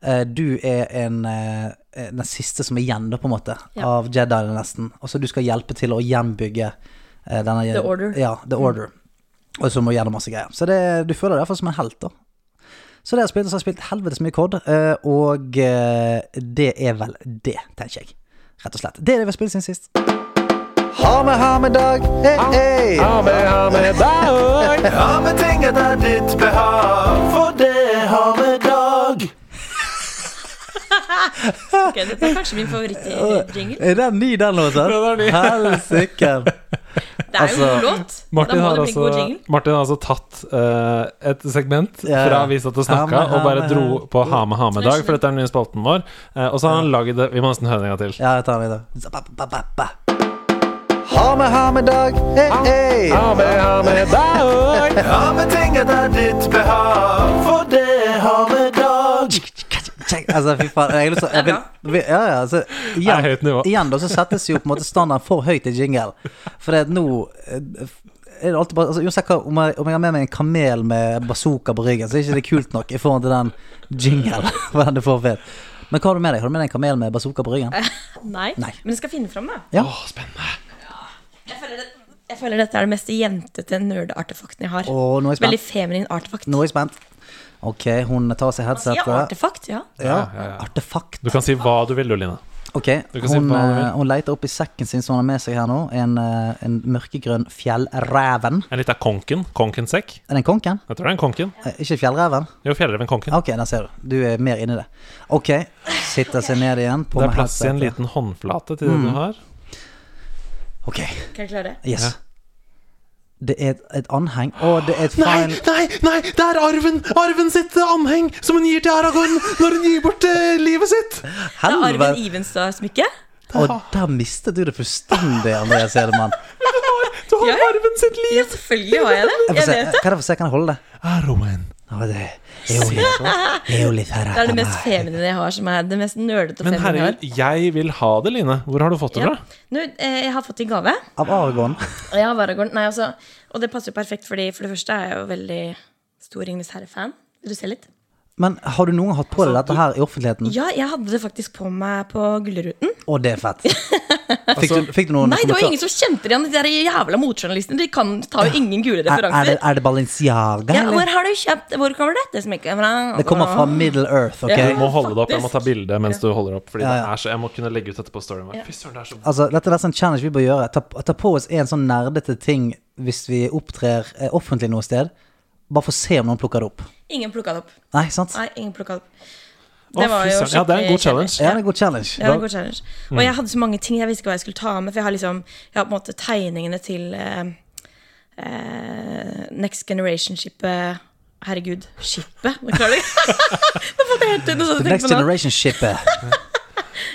Eh, du er en eh, eh, den siste som er igjen, da, på en måte, Ja. av Jediene, nesten. Og så du skal hjelpe til å gjenbygge eh, denne The Order. Mm. Ja, The Order. Og så må du gjennom masse greier. Så det, du føler deg iallfall som en helt, da. Så det har jeg spilt, og så har jeg spilt helvetes mye COD, eh, og eh, det er vel det, tenker jeg. Rett og slett. Det er det vi har spilt siden sist. Ha med, ha med dag. Hey, hey. Ha med, ha med dag! Ja, men ting etter ditt behag, for det har vi dag. Ok, Dette er kanskje min favorittjingle. Er den ny, den låten? Den er ny. Helsike. Det er jo Altså, en låt. Martin da må har, det bli en altså, god jingle. Martin har altså tatt eh, et segment Ja, ja. fra Avisa til Ha med, snakka ha og bare med, dro ha. på Ha med ha med dag, for dette er den nye spalten vår. Eh, og så har han lagd det Vi må nesten høre den en gang til. Ja, jeg tar den i dag. Ha med, ha med dag. Hey, hey. med, ha med dag! Ja, men ting etter ditt behag, for det har vi dag. Altså, fy faen. Jeg har lyst til å- jeg vil, vil, Ja, ja. Altså, igjen, Det er høyt nivå. igjen da, så settes jo på en måte standarden for høyt i jingle. For det at nå eh, er det alltid bare altså, Uansett hva, om jeg, om jeg har med meg en kamel med bazooka på ryggen, så er ikke det kult nok i forhold til den jingle. For den du får ved. Men hva har du med deg? Har du med deg en kamel med bazooka på ryggen? Nei. Nei. Men jeg skal finne fram, da. Ja. Åh, spennende. Jeg føler, det, jeg føler dette er det mest jentete nerdeartefakten jeg har. Og nå er jeg Veldig spent. feminin artefakt. Nå er jeg spent. Ok, hun tar av seg Ja, headsetet. artefakt, ja. Ja, Ja, ja, ja. artefakt. Du kan si hva du vil, du, Line. Ok, Du kan si hun, hva du vil. eh, hun leter opp i sekken sin som hun har med seg her nå. En, eh, en mørkegrønn fjellreven. En liten konken. Konkensekk. Er den konken? Jeg tror det er en konken. Eh, Ikke fjellreven? Jo, fjellreven konken. Ok, der ser du. Du er mer inni det. Ok, sitter seg ned igjen. På med Det er plass i en headsetet. liten håndflate Mm. til det du har. Ok, Kan jeg klare det? yes. Ja. Det er et, et anheng. Å, det er et feil nei, nei! Det er arven! Arven sitt anheng som hun gir til Aragorn når hun gir bort eh, livet sitt! Det er Arven Helvete! Ivenstad-smykket. Og der mistet du det fullstendig, Andreas Hedemann. Du har Ja, ja. arven sitt liv! Ja, selvfølgelig har jeg det. Kan Jeg jeg vet det. få se, kan jeg holde det? Arwen. Å, det er jo litt, det er jo litt her. Det er det mest feminine jeg har, som er det mest nerdete og Men feminine jeg har. herregud, jeg vil ha det, Line. Hvor har du fått det Ja. fra? Nå, eh, jeg har fått i gave. Av Aragon. Og jeg har Aragorn. Nei, altså, og det passer jo perfekt, fordi for det første er jeg jo veldig stor Ringnes Herre-fan. Vil du se litt? Men har du noen gang hatt på deg dette her i offentligheten? Ja, jeg hadde det faktisk på meg på Gullruten. Å, det er fett. Fikk du, fikk du noen Nei, det kommentar- var jo ingen som kjente igjen de der jævla motjournalistene. De kan, tar jo ingen gule Er, er, det, referanser. er det Balenciaga, Ja, eller? hvor har du kjøpt Hvor kommer dette smykket fra? Det kommer fra Middle Earth, ok? Ah. Ja. Du må holde det opp. Jeg må ta bilde mens du holder opp. Fordi Ja, det ja. er så, Jeg må kunne legge ut dette på storyen vår. Fy søren, det er så Altså, dette er nesten en challenge vi bør gjøre. Ta, ta på oss en sånn nerdete ting hvis vi opptrer eh, offentlig noe sted. Bare for å se om noen plukker det opp. Ingen plukka det opp. Nei, sant? Nei, ingen plukka det opp. Å, Det var fy jo søren. Ja, det er en skikkelig god Ja, challenge. det er en god challenge. Det var en god challenge. Og Mm. jeg hadde så mange ting jeg visste ikke hva jeg skulle ta med. For jeg har liksom Jeg har på en måte tegningene til eh, eh, Next Generation-skipet. Herregud, skipet? Nå klarer jeg Nå får jeg helt noe sånt å The tenke Next på nå. Generation-shipet.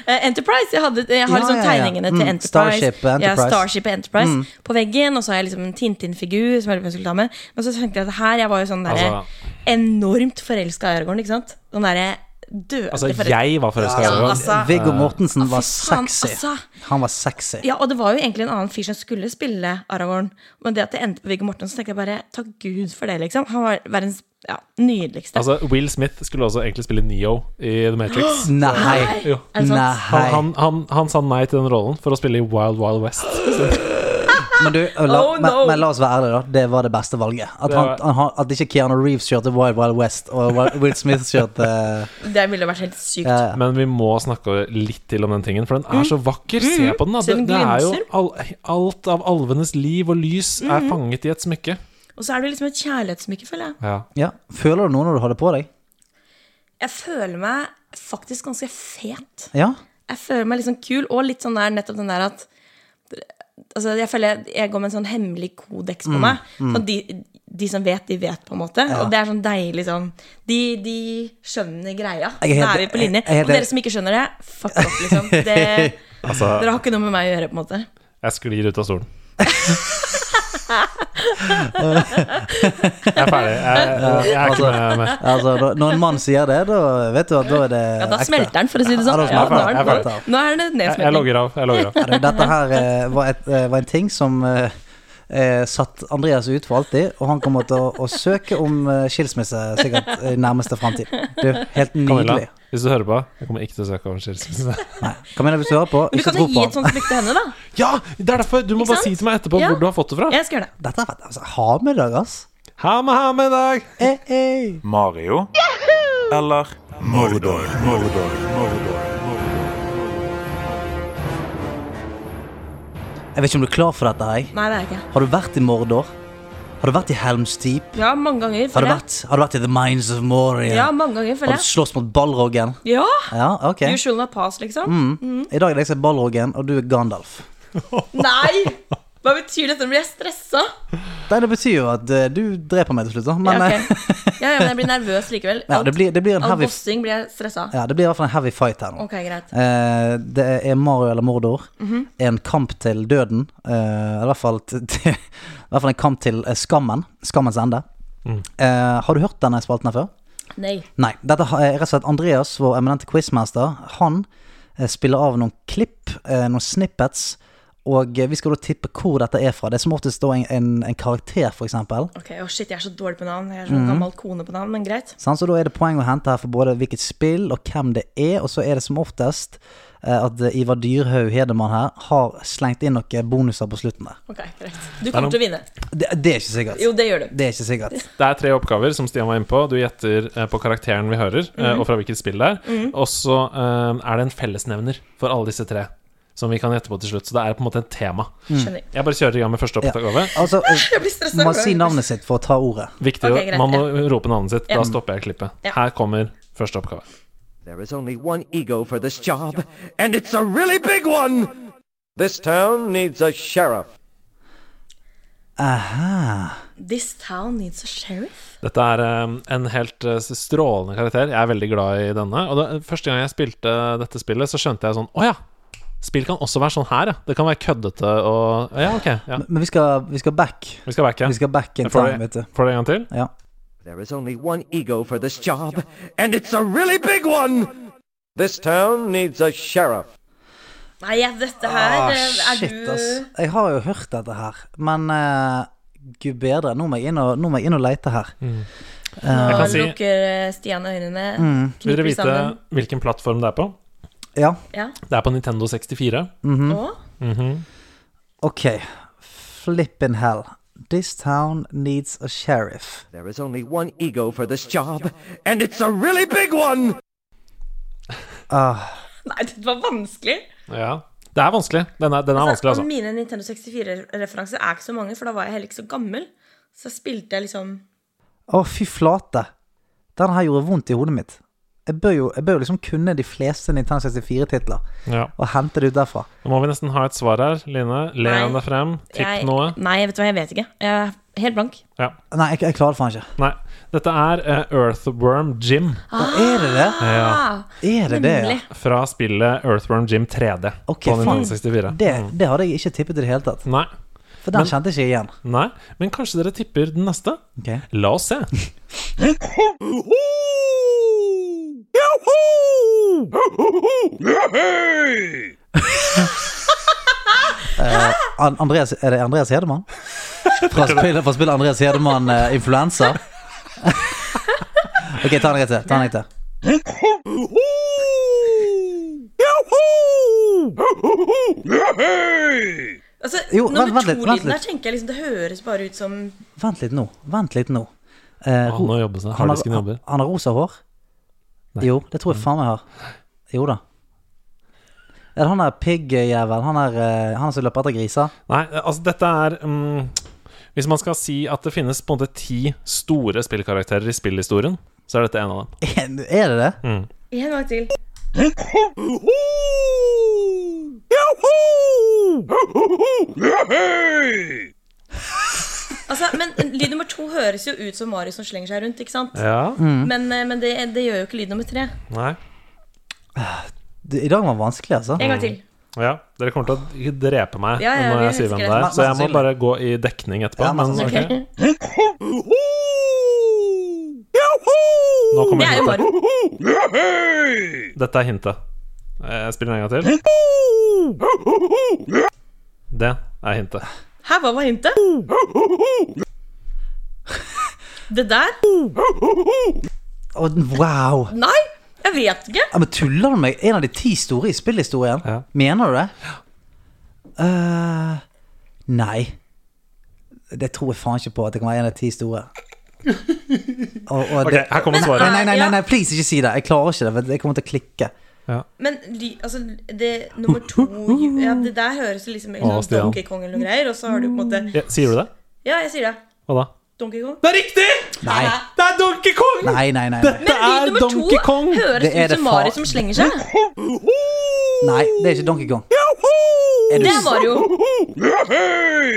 Eh, Enterprise. Jeg, hadde, jeg har Ja, liksom ja, ja. tegningene Mm, til Enterprise. Starship, Enterprise. Mm. Ja, Starship Enterprise På veggen. Og så har jeg liksom en Tintin-figur som jeg lurer på om jeg skulle ta med. Men så tenkte jeg at her Jeg var jo sånn der, Altså- enormt forelska i Aragorn, ikke sant? Den derre døde Altså, forelska- jeg var forelska i Ja, Aragorn. altså. Viggo Mortensen var faen, sexy. altså. Han var sexy. Ja, og det var jo egentlig en annen fyr som skulle spille Aragorn. Men det at det endte på Viggo Mortensen, tenkte jeg bare takk Gud for det, liksom. Han var verdens ja, nydeligste. Altså, Will Smith skulle også egentlig spille Neo i The Matrix. Nei. Jo. Er det Han, sant? sånn. Nei. han, han, han sa nei til den rollen for å spille i Wild Wild West. Men du, eh, la, Oh, no. men, men la oss være ærlige, da. Det var det beste valget. At, Det han, var- han, har- at ikke Keanu Reeves kjørte Wild Wild West, og Wi- Will Smith kjørte eh, Det ville vært helt sykt. ja, ja. Men vi må snakke litt til om den tingen, for den er så vakker. Se på den, da. Se Det, den det er jo glinser. all, alt av alvenes liv og lys er fanget i et smykke. Og så er det liksom et kjærlighetssmykke, føler jeg. Ja. ja. Føler du noe når du har det på deg? Jeg føler meg faktisk ganske fet. Ja? Jeg føler meg litt sånn kul, og litt sånn der nettopp den der at Altså, jeg føler jeg- jeg går med en sånn hemmelig kodeks Mm, på meg. Sånn de, de som vet, de vet, på en måte. Og det er sånn deilig sånn De, de skjønner greia. Jeg er helt- Da e- er vi på linje. jeg er helt- Og dere som ikke skjønner det, fuck off, liksom. Det, Altså- dere har ikke noe med meg å gjøre, på en måte. Jeg sklir ut av stolen. jeg er ferdig. Jeg, jeg er ikke med. med. Altså, da, når en mann sier det, da vet du at da er det Ja, da smelter den, for å si det Ja, da sånn. Ja, smelter den. da er Jeg den vet det. på. Nå er det Jeg, jeg nedsmelting. logger av. Jeg logger av. Ja, du, Dette her eh, var, et, eh, var en ting som eh, eh, satt Andreas ut for alltid, og han kommer til å, å søke om eh, skilsmisse sikkert i nærmeste framtid. Det er jo helt Camilla, nydelig. hvis du hører på, jeg kommer ikke til å søke om skilsmisse. Nei. Camilla, hvis du hører på, Men Du ikke kan tro jo gi på et han. sånt smykke til henne, da. Ja, det er derfor! Du må Ikke bare sant? si til meg etterpå Ja. hvor du har fått det fra. Jeg skal gjøre det. Dette er fett, altså. Ha med deg, ass. Ha med, ha med deg! Eh, eh. Mario eller Mordor. Mordor. Mordor. Jeg vet ikke om du er klar for dette, jeg. Nei, det er jeg ikke. Har du vært i Mordor? Har du vært i Helms Deep? Ja, mange ganger, Har du føler jeg. vært, har du vært i The Mines of Moria? Ja, mange ganger, føler har du jeg. slåss mot Balrogen? Ja! Ja, ok. You shall not pass, liksom. Mm. I dag er det jeg som er Balrogen, og du er Gandalf. Nei! Hva betyr dette? Nå blir jeg stressa. Nei, det betyr jo at eh, du dreper meg til slutt, da. Ja, Men eh, ok. ja, ja, men jeg blir nervøs likevel. ja, det, blir, det blir en Av heavy vossing blir jeg stressa. ja, det blir i hvert fall en heavy fight her nå. Ok, Mhm. greit. Eh, det er Mario eller Mordor. En kamp til døden. eh, I hvert fall, til, til, i hvert fall en kamp til eh, skammen. Skammens ende. Eh, har du hørt denne spalten her før? Nei. Nei. Dette har- er rett og slett Andreas, vår eminente quizmaster. Han eh, spiller av noen klipp, eh, noen snippets, og eh, vi skal da tippe hvor dette er fra. Det er som oftest da en, en, en karakter, for eksempel. Ok, å Shit, jeg er så dårlig på navn. Jeg er Mm. sånn gammel kone på navn, men greit. Sant? Så da er det poeng å hente her for både hvilket spill og hvem det er, og så er det som oftest eh, at eh, Ivar Dyrhaug Hedemann her har slengt inn noen bonuser på slutten der. Ok, greit. Du kommer til å vinne. Det, det er ikke sikkert. Jo, det gjør du. Det er ikke sikkert. Det er tre oppgaver, som Stian var inne på. Du gjetter eh, på karakteren vi hører, eh, Mhm. og fra hvilket spill det er. Og så eh, er det en fellesnevner for alle disse tre, som vi kan gjette på til slutt. Så det er på en måte et tema. Skjønner. Jeg bare kjører i gang med første oppgave. Altså, eh, Jeg blir stressa. Mm. må man si navnet sitt for å ta ordet. Viktig, å- Ok, greit, Man må rope navnet sitt. Da Ja. stopper jeg klippet. Ja. Her kommer første oppgave. There is only one ego for this job, and it's a really big one! This town needs a sheriff. Aha. This town needs a sheriff. Dette er eh, en helt eh, strålende karakter. Jeg er veldig glad i denne. Og da, første gang jeg spilte dette spillet, så skjønte jeg sånn Å ja! Spill kan også være sånn her, ja. Det kan være køddete og Ja, ok. Ja. Men vi skal, vi skal back. Vi skal backe. Vi skal back in Får time, du vet du. får du en gang til? Ja. There is only one ego for this job, and it's a really big one! This town needs a sheriff. Nei, jeg- dette her Ah, eh, er shit, du ass. Jeg har jo hørt dette her, men eh, gud bedre. Nå må jeg inn og, nå må jeg inn og lete her. Mm. Jeg Nå kan si- lukker eh, Stian øynene. Mm. Vil Kniper dere vite sammen. hvilken plattform det er på? Ja, Ja. Det er på Nintendo Mhm. 64. Mhm. Og? ok. Flippin' hell. This town needs a sheriff. There is only one ego for this job, and it's a really big one! Ah, Nei, dette var vanskelig. Ja. Det er vanskelig. Den er, den er vanskelig, altså. Mine Nintendo 64-referanser er ikke så mange, for da var jeg heller ikke så gammel. Så spilte jeg liksom Å, fy flate. Den her gjorde vondt i hodet mitt. Jeg bør jo, jeg bør jo liksom kunne de fleste Nintendo 64-titler Ja. og hente det ut derfra. Nå må vi nesten ha et svar her. Line, le Nei. deg frem. Tipp jeg, noe. Nei, vet du hva, jeg vet ikke. Jeg er helt blank. Ja. Nei, jeg, jeg klarer det faen ikke. Nei. Dette er eh, Earthworm Jim Og er det det? Ah, Er det det? ja? nemlig. fra spillet Earthworm Jim 3D Ok, på faen. Nintendo Mm. 64. Det, det hadde jeg ikke tippet i det hele tatt. Nei. For den kjente jeg ikke igjen. Nei. Men kanskje dere tipper den neste? Ok. Eh, La oss se. Eh, An Andreas, er det Andreas Hedemann? Fra spillet, fra spillet Andreas Hedemann eh, Influensa? ok, ta en rett til. Ta en rett til. Yahoo! Altså, Altså, Jo, vent- vent nummer litt, vent to-lyden her litt. tenker jeg liksom Det høres bare ut som Vent litt nå. Vent litt nå. Eh, Han må jobbe seg. han har- Harddisken jobber. Han har rosa hår? Nei. Jo, det tror jeg faen meg har. Jo da. Er det han der piggjævelen? Han, er, eh, han som løper etter griser? Nei, altså dette er mm, Hvis man skal si at det finnes på en måte ti store spillkarakterer i spillhistorien, så er dette en av dem. Er det det? En gang til. Altså, men lyd nummer to høres jo ut som Marius som slenger seg rundt, ikke sant? Ja, Mm. Men, eh, men det, det gjør jo ikke lyd nummer tre. nei Du, I dag var det vanskelig, altså. En gang til. ja, Dere kommer til å drepe meg Ja, ja, når vi jeg sier husker hvem det det. er, så jeg må Sannsynlig. bare gå i dekning etterpå. Ja, men, sannsynlig. ok. Nå Det kommer er jo hintet. Marius. Dette er hintet. Jeg spiller den en gang til. Det er hintet. Hæ, hva var hintet? Det der? Å, wow! Nei, jeg vet ikke. Ja, men Tuller du med meg? En av de ti store i spillhistorien? Ja. Mener du det? Eh, nei. Det tror jeg faen ikke på at det kan være en av de ti store. Og, og Ok, det, her kommer nei, Men- eh, svaret. nei, nei, Ja. nei, nei, please, ikke si det. Jeg klarer ikke det. vet du. Jeg kommer til å klikke. Men ly, altså, det nummer to ja, Det der høres jo liksom ut Å, som Stian. Donkey Kong eller noe greier, og så har du på en måte Ja, sier du det? Ja, jeg sier det. Hva da? Donkey Kong. Det er riktig! Nei, Det er Donkey Kong! nei, nei. nei, nei. Men lyd nummer to høres Det er ut det som fa- Mario som slenger seg. nei det er ikke Donkey Kong. Er du, Det er Mario.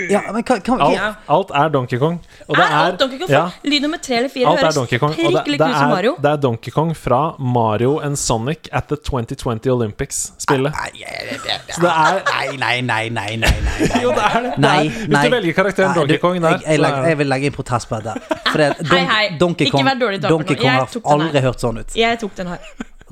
ja, men kan, kan, Alt, kan, alt er Donkey Kong. Og Er alt Donkey Kong? ja, Lyd nummer tre eller fire alt er høres Donkey Kong. Og prikk det, likt det, ut som er, Mario. det er Donkey Kong fra Mario and Sonic at the 2020 Olympics-spillet. Nei, det- det- det- Så det er nei, nei, nei, nei, nei, nei, nei. Jo, det er det. det. Nei, nei. er- Hvis du velger karakteren Nei, Donkey du, Kong der, jeg, jeg, så legger- er det jeg vil legge inn protest på dette. For det, er Don, Hei, hei. Donkey Ikke Kong, vær dårlig taper nå. Donkey Kong Jeg har tok den her. aldri hørt sånn ut. Jeg tok den her.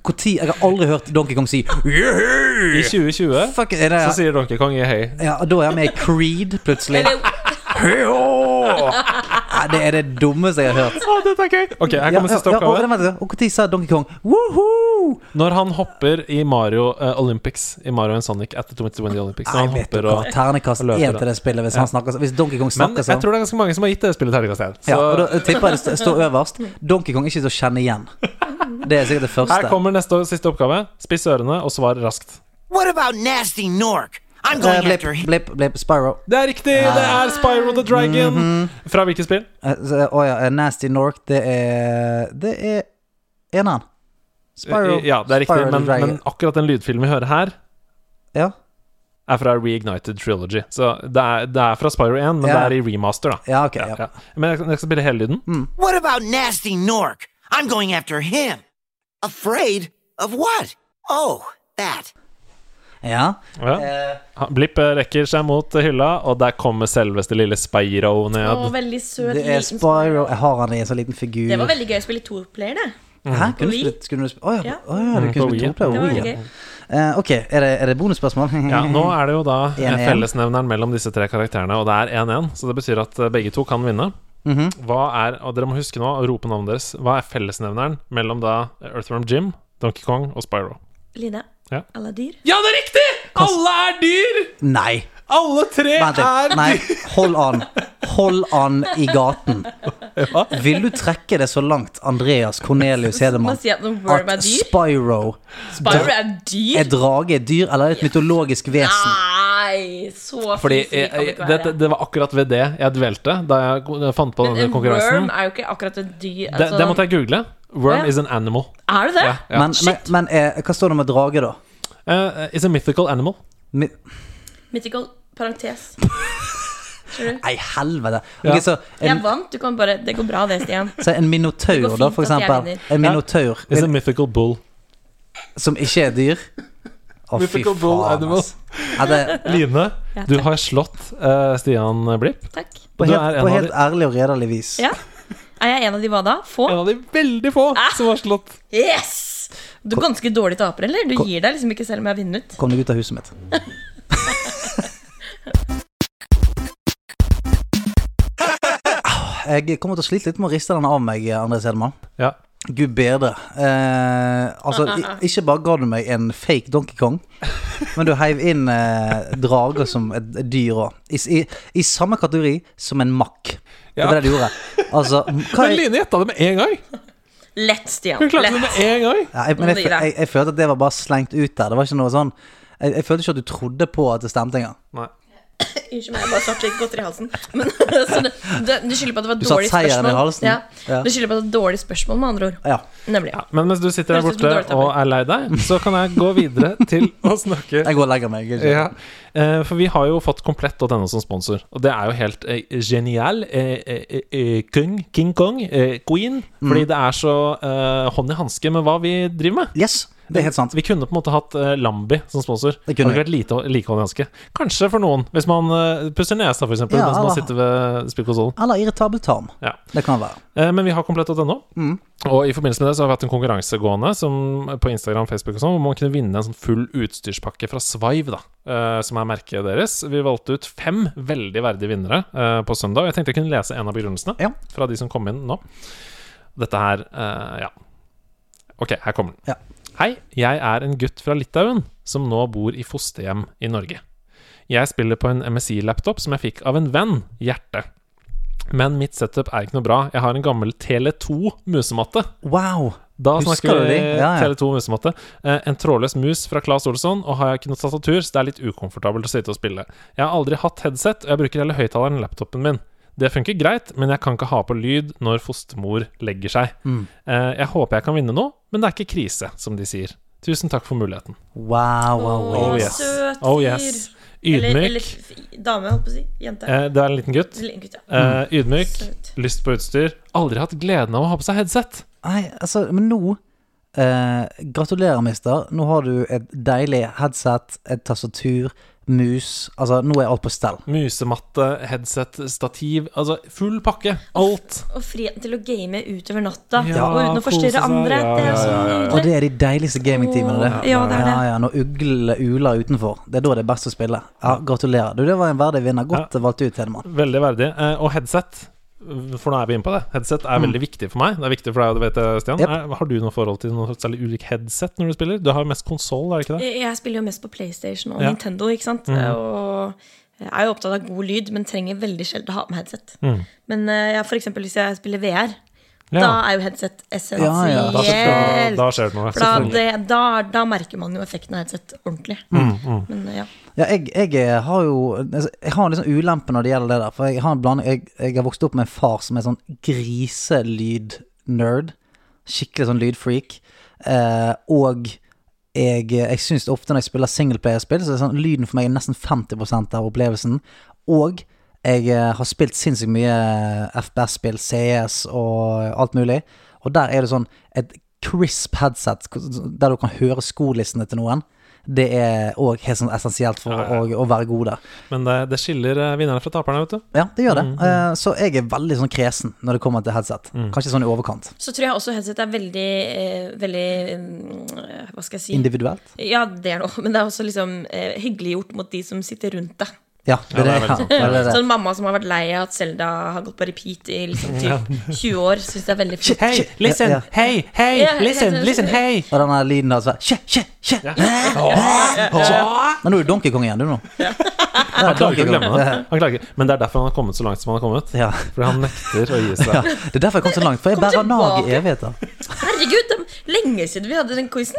Hvor tid, jeg har aldri hørt Donkey Kong si I 2020 Fuck, er det, så sier Donkey Kong yeah, hey. ja, Da er jeg med i Creed, plutselig. Eller, Hei-hå! Ja, det er det dummeste jeg har hørt. Å, dette er gøy! Ok, Ja, her kommer ja, siste ja, og oppgave. vent, og når sa Donkey Kong Woohoo! Når han hopper i Mario eh, Olympics I Mario and Sonic etter 2020 Olympics Når Nei, han vet du hopper hva, og ternekast løper, én da. til det spillet hvis, han snakker, så- hvis Donkey Kong Men snakker jeg sånn. tror det er ganske mange som har gitt det spillet terningkast én. Ja, og Så da tipper jeg det st- står øverst. Donkey Kong er ikke til å kjenne igjen. Det er sikkert det her første. kommer neste siste oppgave. Spiss ørene og svar raskt. What about Nasty Nork? I'm Eh, going Blipp, after him. blipp, blipp, Spyro. Det er riktig! Det er Spyro the Dragon. Mhm. Fra hvilket spill? Eh, så- Å ja, eh, Nasty Nork, det er Det er eneren. Spyro. Eh, Ja, det er riktig, Spyro the men, Dragon. men akkurat den lydfilmen vi hører her, Ja. er fra Reignited Trilogy. Så det er, det er fra Spyro 1, men Ja. det er i remaster, da. ja, ok. Ja. Mm. Ja. Men jeg, jeg skal spille hele lyden. What about Nasty Nork? I'm going after him. Afraid of what? Oh, that. ja. Ja. Han- Blipp eh, rekker seg mot eh, hylla, og der kommer selveste lille Spyro å, ned. veldig søt Det er liten Spyro Jeg har han i en sånn liten figur. Det var veldig gøy å spille toplayer, det. Hæ? Kunne du Wii. spille Skulle du spille Å ja, Ja. å ja, du Mm, kunne på spille Wii, ja. toplayer Det var Wii, veldig ja. gøy. Eh, ok, er det, er det bonusspørsmål? Ja, nå Mhm. er det jo da eh, 1-1. fellesnevneren mellom disse tre karakterene, og det er 1-1. Så det betyr at eh, begge to kan vinne. Mhm. Hva er, og Dere må huske nå å rope navnet deres. Hva er fellesnevneren mellom da Earthworm Jim, Donkey Kong og Spyro? Line, Ja. alle dyr. Ja, det er riktig! Alle er dyr! Nei. Alle tre Vent litt. Nei, hold an. Hold an i gaten. Vil du trekke det så langt, Andreas Cornelius Hedemann, Man sier at noen worm er at dyr. Spyro Spyro er er dyr? drage, et dyr eller et mytologisk vesen? Nei, så Fordi fint kan det eh, ikke det, være. det var akkurat ved det jeg dvelte da jeg ko- fant på denne En konkurransen. worm er jo ikke akkurat et dyr. Det, Altså, det måtte jeg google. Worm Ja. is an animal. Er det det? Ja, ja. Men, men, men eh, hva står det med drage, da? Eh, is a mythical animal. Mi- Mythical parentes. Nei, helvete. Ja. Ok, så Jeg en, vant. Du kan bare, det går bra, det, Stian. så en Det minotaur, går da, fint for at jeg eksempel. vinner. En minotaur Is a mythical bull. som ikke er dyr. Å, fy Mythical bull faen, animal. ass. Ja, det, Line, Ja, du takk. har slått eh, Stian Blipp. Takk. på Du helt, er en på av helt de- ærlig og redelig vis. Ja. Er jeg en av de hva da? Få? Ah. En av de veldig få som har slått. Yes! Du er ganske dårlig taper, eller? Du gir deg liksom ikke selv om jeg har vunnet. Kom deg ut av huset mitt. Jeg kommer til å slite litt med å riste den av meg, André Sedemann. Ja. Gud bedre. Eh, altså, i- ikke bare ga du meg en fake Donkey Kong, Men du heiv inn eh, drager som et et dyr òg. I, s- i, I samme kategori som en makk. Det Ja. var det du gjorde. Altså, hva Men er, Line gjetta det med en gang! Lett, Stian. Hun klarte det Lett. med en gang! ja, jeg, men jeg, Nå gir jeg. fø- jeg, jeg følte at det var bare slengt ut der. Det var ikke noe sånn Jeg, jeg følte ikke at du trodde på at det stemte engang. Nei. Unnskyld meg, jeg bare satt litt godteri i halsen. Men, så det, det, det skylder på at det var satt dårlig seieren i spørsmål. halsen. Ja. Ja. Det skylder på at det var dårlig spørsmål, med andre ord. Ja. Nemlig. Ja, men mens du sitter der Høres ut som borte en dårlig og er lei deg, så kan jeg gå videre til å snakke Jeg går og legger meg. ikke? Ja. Eh, for vi har jo fått komplett.no som sponsor, og det er jo helt eh, genial. Eh, eh, eh, Kung, King Kong, eh, Queen. Fordi det er så eh, hånd i hanske med hva vi driver med. Yes, det er helt sant. Vi kunne på en måte hatt eh, Lambi som sponsor. Det Det kunne kunne vært lite, like hånd i hanske. Kanskje for noen, hvis man eh, pusser nesa, f.eks., Ja, mens man eller- sitter ved spillkonsollen. Eller irritabel tarm. Ja. Det kan være. Eh, Men vi har komplett.no, Mm. og i forbindelse med det så har vi hatt en konkurranse gående som, eh, på Instagram Facebook og sånn, hvor man kunne vinne en sånn full utstyrspakke fra Svive, da, eh, som er merket deres. Vi valgte ut fem veldig verdige vinnere eh, på søndag. Jeg tenkte jeg kunne lese en av begrunnelsene Ja. fra de som kom inn nå. Dette her eh, Ja. Ok, her kommer den. Ja. Hei, jeg er en gutt fra Litauen som nå bor i fosterhjem i Norge. Jeg spiller på en MSI-laptop som jeg fikk av en venn, Hjerte. Men mitt setup er ikke noe bra. Jeg har en gammel Tele2 musematte. Wow. Da Husker snakker du vi de? Ja, ja. Tele2 musematte. Eh, en trådløs mus fra Claes Olsson, og har jeg ikke noe tastatur, så det er litt ukomfortabelt å sitte og spille. Jeg har aldri hatt headset, og jeg bruker hele høyttaleren i laptopen min. Det funker greit, men jeg kan ikke ha på lyd når fostermor legger seg. Eh, jeg håper jeg kan vinne noe, men det er ikke krise, som de sier. Tusen takk for muligheten. Wow, wow, wow. Åh, Oh yes. søt Oh fyr. yes. Eller, Ydmyk. eller f- dame, holdt på å si. Jente. Eh, det er en liten gutt. Eller gutt, ja. Eh, ydmyk, Søt. lyst på utstyr. Aldri hatt gleden av å ha på seg headset. Nei, altså, men nå eh, Gratulerer, mister. Nå har du et deilig headset, et tastatur, mus Altså, nå er alt på stell. Musematte, headset, stativ. Altså full pakke. Alt. Og frihet til å game utover natta. Ja, og uten å kose forstyrre seg. andre. Ja, Det er så ja, ja, ja. nydelig. Og det er de deiligste gamingtimene, det. Åh, ja, det er det. Ja, ja, når ugler uler utenfor. Det er da det er best å spille. Ja, Gratulerer. Du, det var en verdig vinner. Godt valgt ut, Hedemann. Veldig verdig. Eh, og headset. For nå er vi inne på det. Headset er veldig viktig for meg. Det er viktig for deg, og det vet jeg, Stian. Jep. Eh, Har du noe forhold til noe særlig ulik headset når du spiller? Du har jo mest konsoll, er det ikke det? Jeg jeg spiller jo mest på PlayStation og Ja. Mhm. Nintendo, ikke sant? Og jeg er jo opptatt av god lyd, men trenger veldig sjelden å ha på meg headset. Men eh, ja, for eksempel hvis jeg spiller VR, Mhm. Ja. da er jo headset Ja, ja. Da, da, essensielt. da skjer det noe. For da, Selvfølgelig. det, da, da merker man jo effekten av headset ordentlig. Mhm, Men eh, ja. Ja, jeg, jeg har jo altså, Jeg har en liksom ulempe når det gjelder det der. For jeg har en blanding jeg, jeg har vokst opp med en far som er sånn griselyd-nerd. Skikkelig sånn lydfreak. Eh, og jeg, jeg syns ofte når jeg spiller singleplayer-spill, så er sånn, lyden for meg er nesten 50 av opplevelsen. Og jeg eh, har spilt sinnssykt mye eh, FBS-spill, CS og alt mulig. Og der er det sånn et crisp headset der du kan høre skolissene til noen. Det er òg helt sånn essensielt for Å, å være god der. Men det, det skiller eh, vinnerne fra taperne, vet du. Ja, det gjør det. Eh, Så jeg er veldig sånn kresen når det kommer til headset. Kanskje sånn i overkant. Så tror jeg også headset er veldig, eh, veldig eh, Hva skal jeg si? Individuelt. Ja, det er noe. Men det er også liksom eh, hyggeliggjort mot de som sitter rundt deg. Ja, det er det. Ja, det er Ja, veldig sant. det er det. Sånn mamma som har vært lei av at Selda har gått på repeat i liksom typ 20 år, syns det er veldig flott. Hei, listen, Ja, ja. hei, hei, Ja, listen, ja, listen, hei! Og den der lyden der sånn Kje, kje, kje. Men nå er du Donkey Kong igjen, du nå. Han klarer ikke å glemme det. Han klarer ikke. Men det er derfor han har kommet så langt som han har kommet. Ja. Fordi han nekter å gi seg. Ja, det er derfor jeg kom så langt, for jeg Kom bærer nag i tilbake. evigheter. Herregud, det er lenge siden vi hadde den quizen.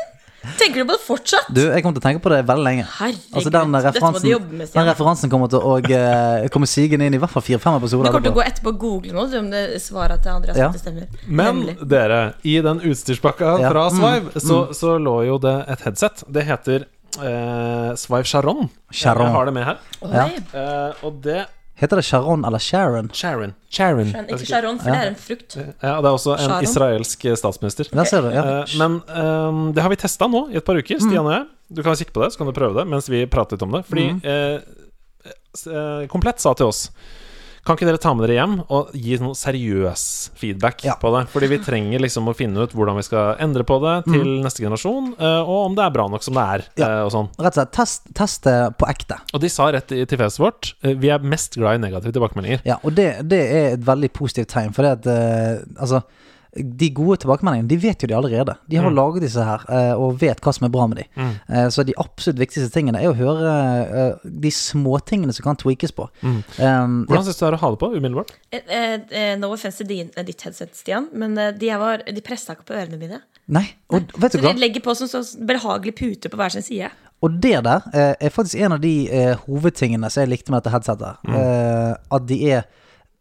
Tenker du på det fortsatt? Du, jeg kommer til å tenke på det veldig lenge. Herregud, Altså, den dette må du referansen, jobbe med, Stian. den referansen kommer til å eh, komme sigende inn i hvert fall fire-fem Du episoder. kommer til å etterpå. gå etterpå og google nå du, om det svaret til Andreas Ja. ikke stemmer. Men Nemlig. dere, i den utstyrspakka Ja. fra Svive, så, så lå jo det et headset. Det heter eh, Svive Charon. Charon. Jeg har det med her. Oi. Eh, og det Heter det Sharon eller Sharon? Sharon. Men Ikke Sharon, for det er en frukt. Ja, det er også en Sharon. israelsk statsminister. Der ser du. ja Eh, men ehm, det har vi testa nå i et par Mm. uker, Stian og jeg. Du kan kikke på det, så kan du prøve det mens vi prater litt om det. Fordi Mm. eh, s- eh, Komplett sa til oss Kan ikke dere ta med dere hjem og gi noe seriøs feedback Ja. på det? Fordi vi trenger liksom å finne ut hvordan vi skal endre på Mm. det til neste generasjon, eh, og om det er bra nok som det er, eh, og sånn. Rett og slett, test, test det på ekte. Og de sa rett i- til fjeset vårt eh, Vi er mest glad i negative tilbakemeldinger. Ja, og det, det er et veldig positivt tegn, for det at eh, Altså, de gode tilbakemeldingene, de vet jo de allerede. De har laget disse her, eh, og vet hva som er bra med de. Eh, Så de absolutt viktigste tingene er å høre eh, de småtingene som kan tweakes på. Eh, Hvordan syns du det er å ha det på umiddelbart? Eh, eh, no offense til din, eh, ditt headset, Stian, men eh, de, jeg var, de pressa ikke på ørene mine. Nei, og vet Så du hva? de legger på sånn, sånn behagelig pute på hver sin side. Og det der eh, er faktisk en av de eh, hovedtingene som jeg likte med dette headsetet. Eh, at de er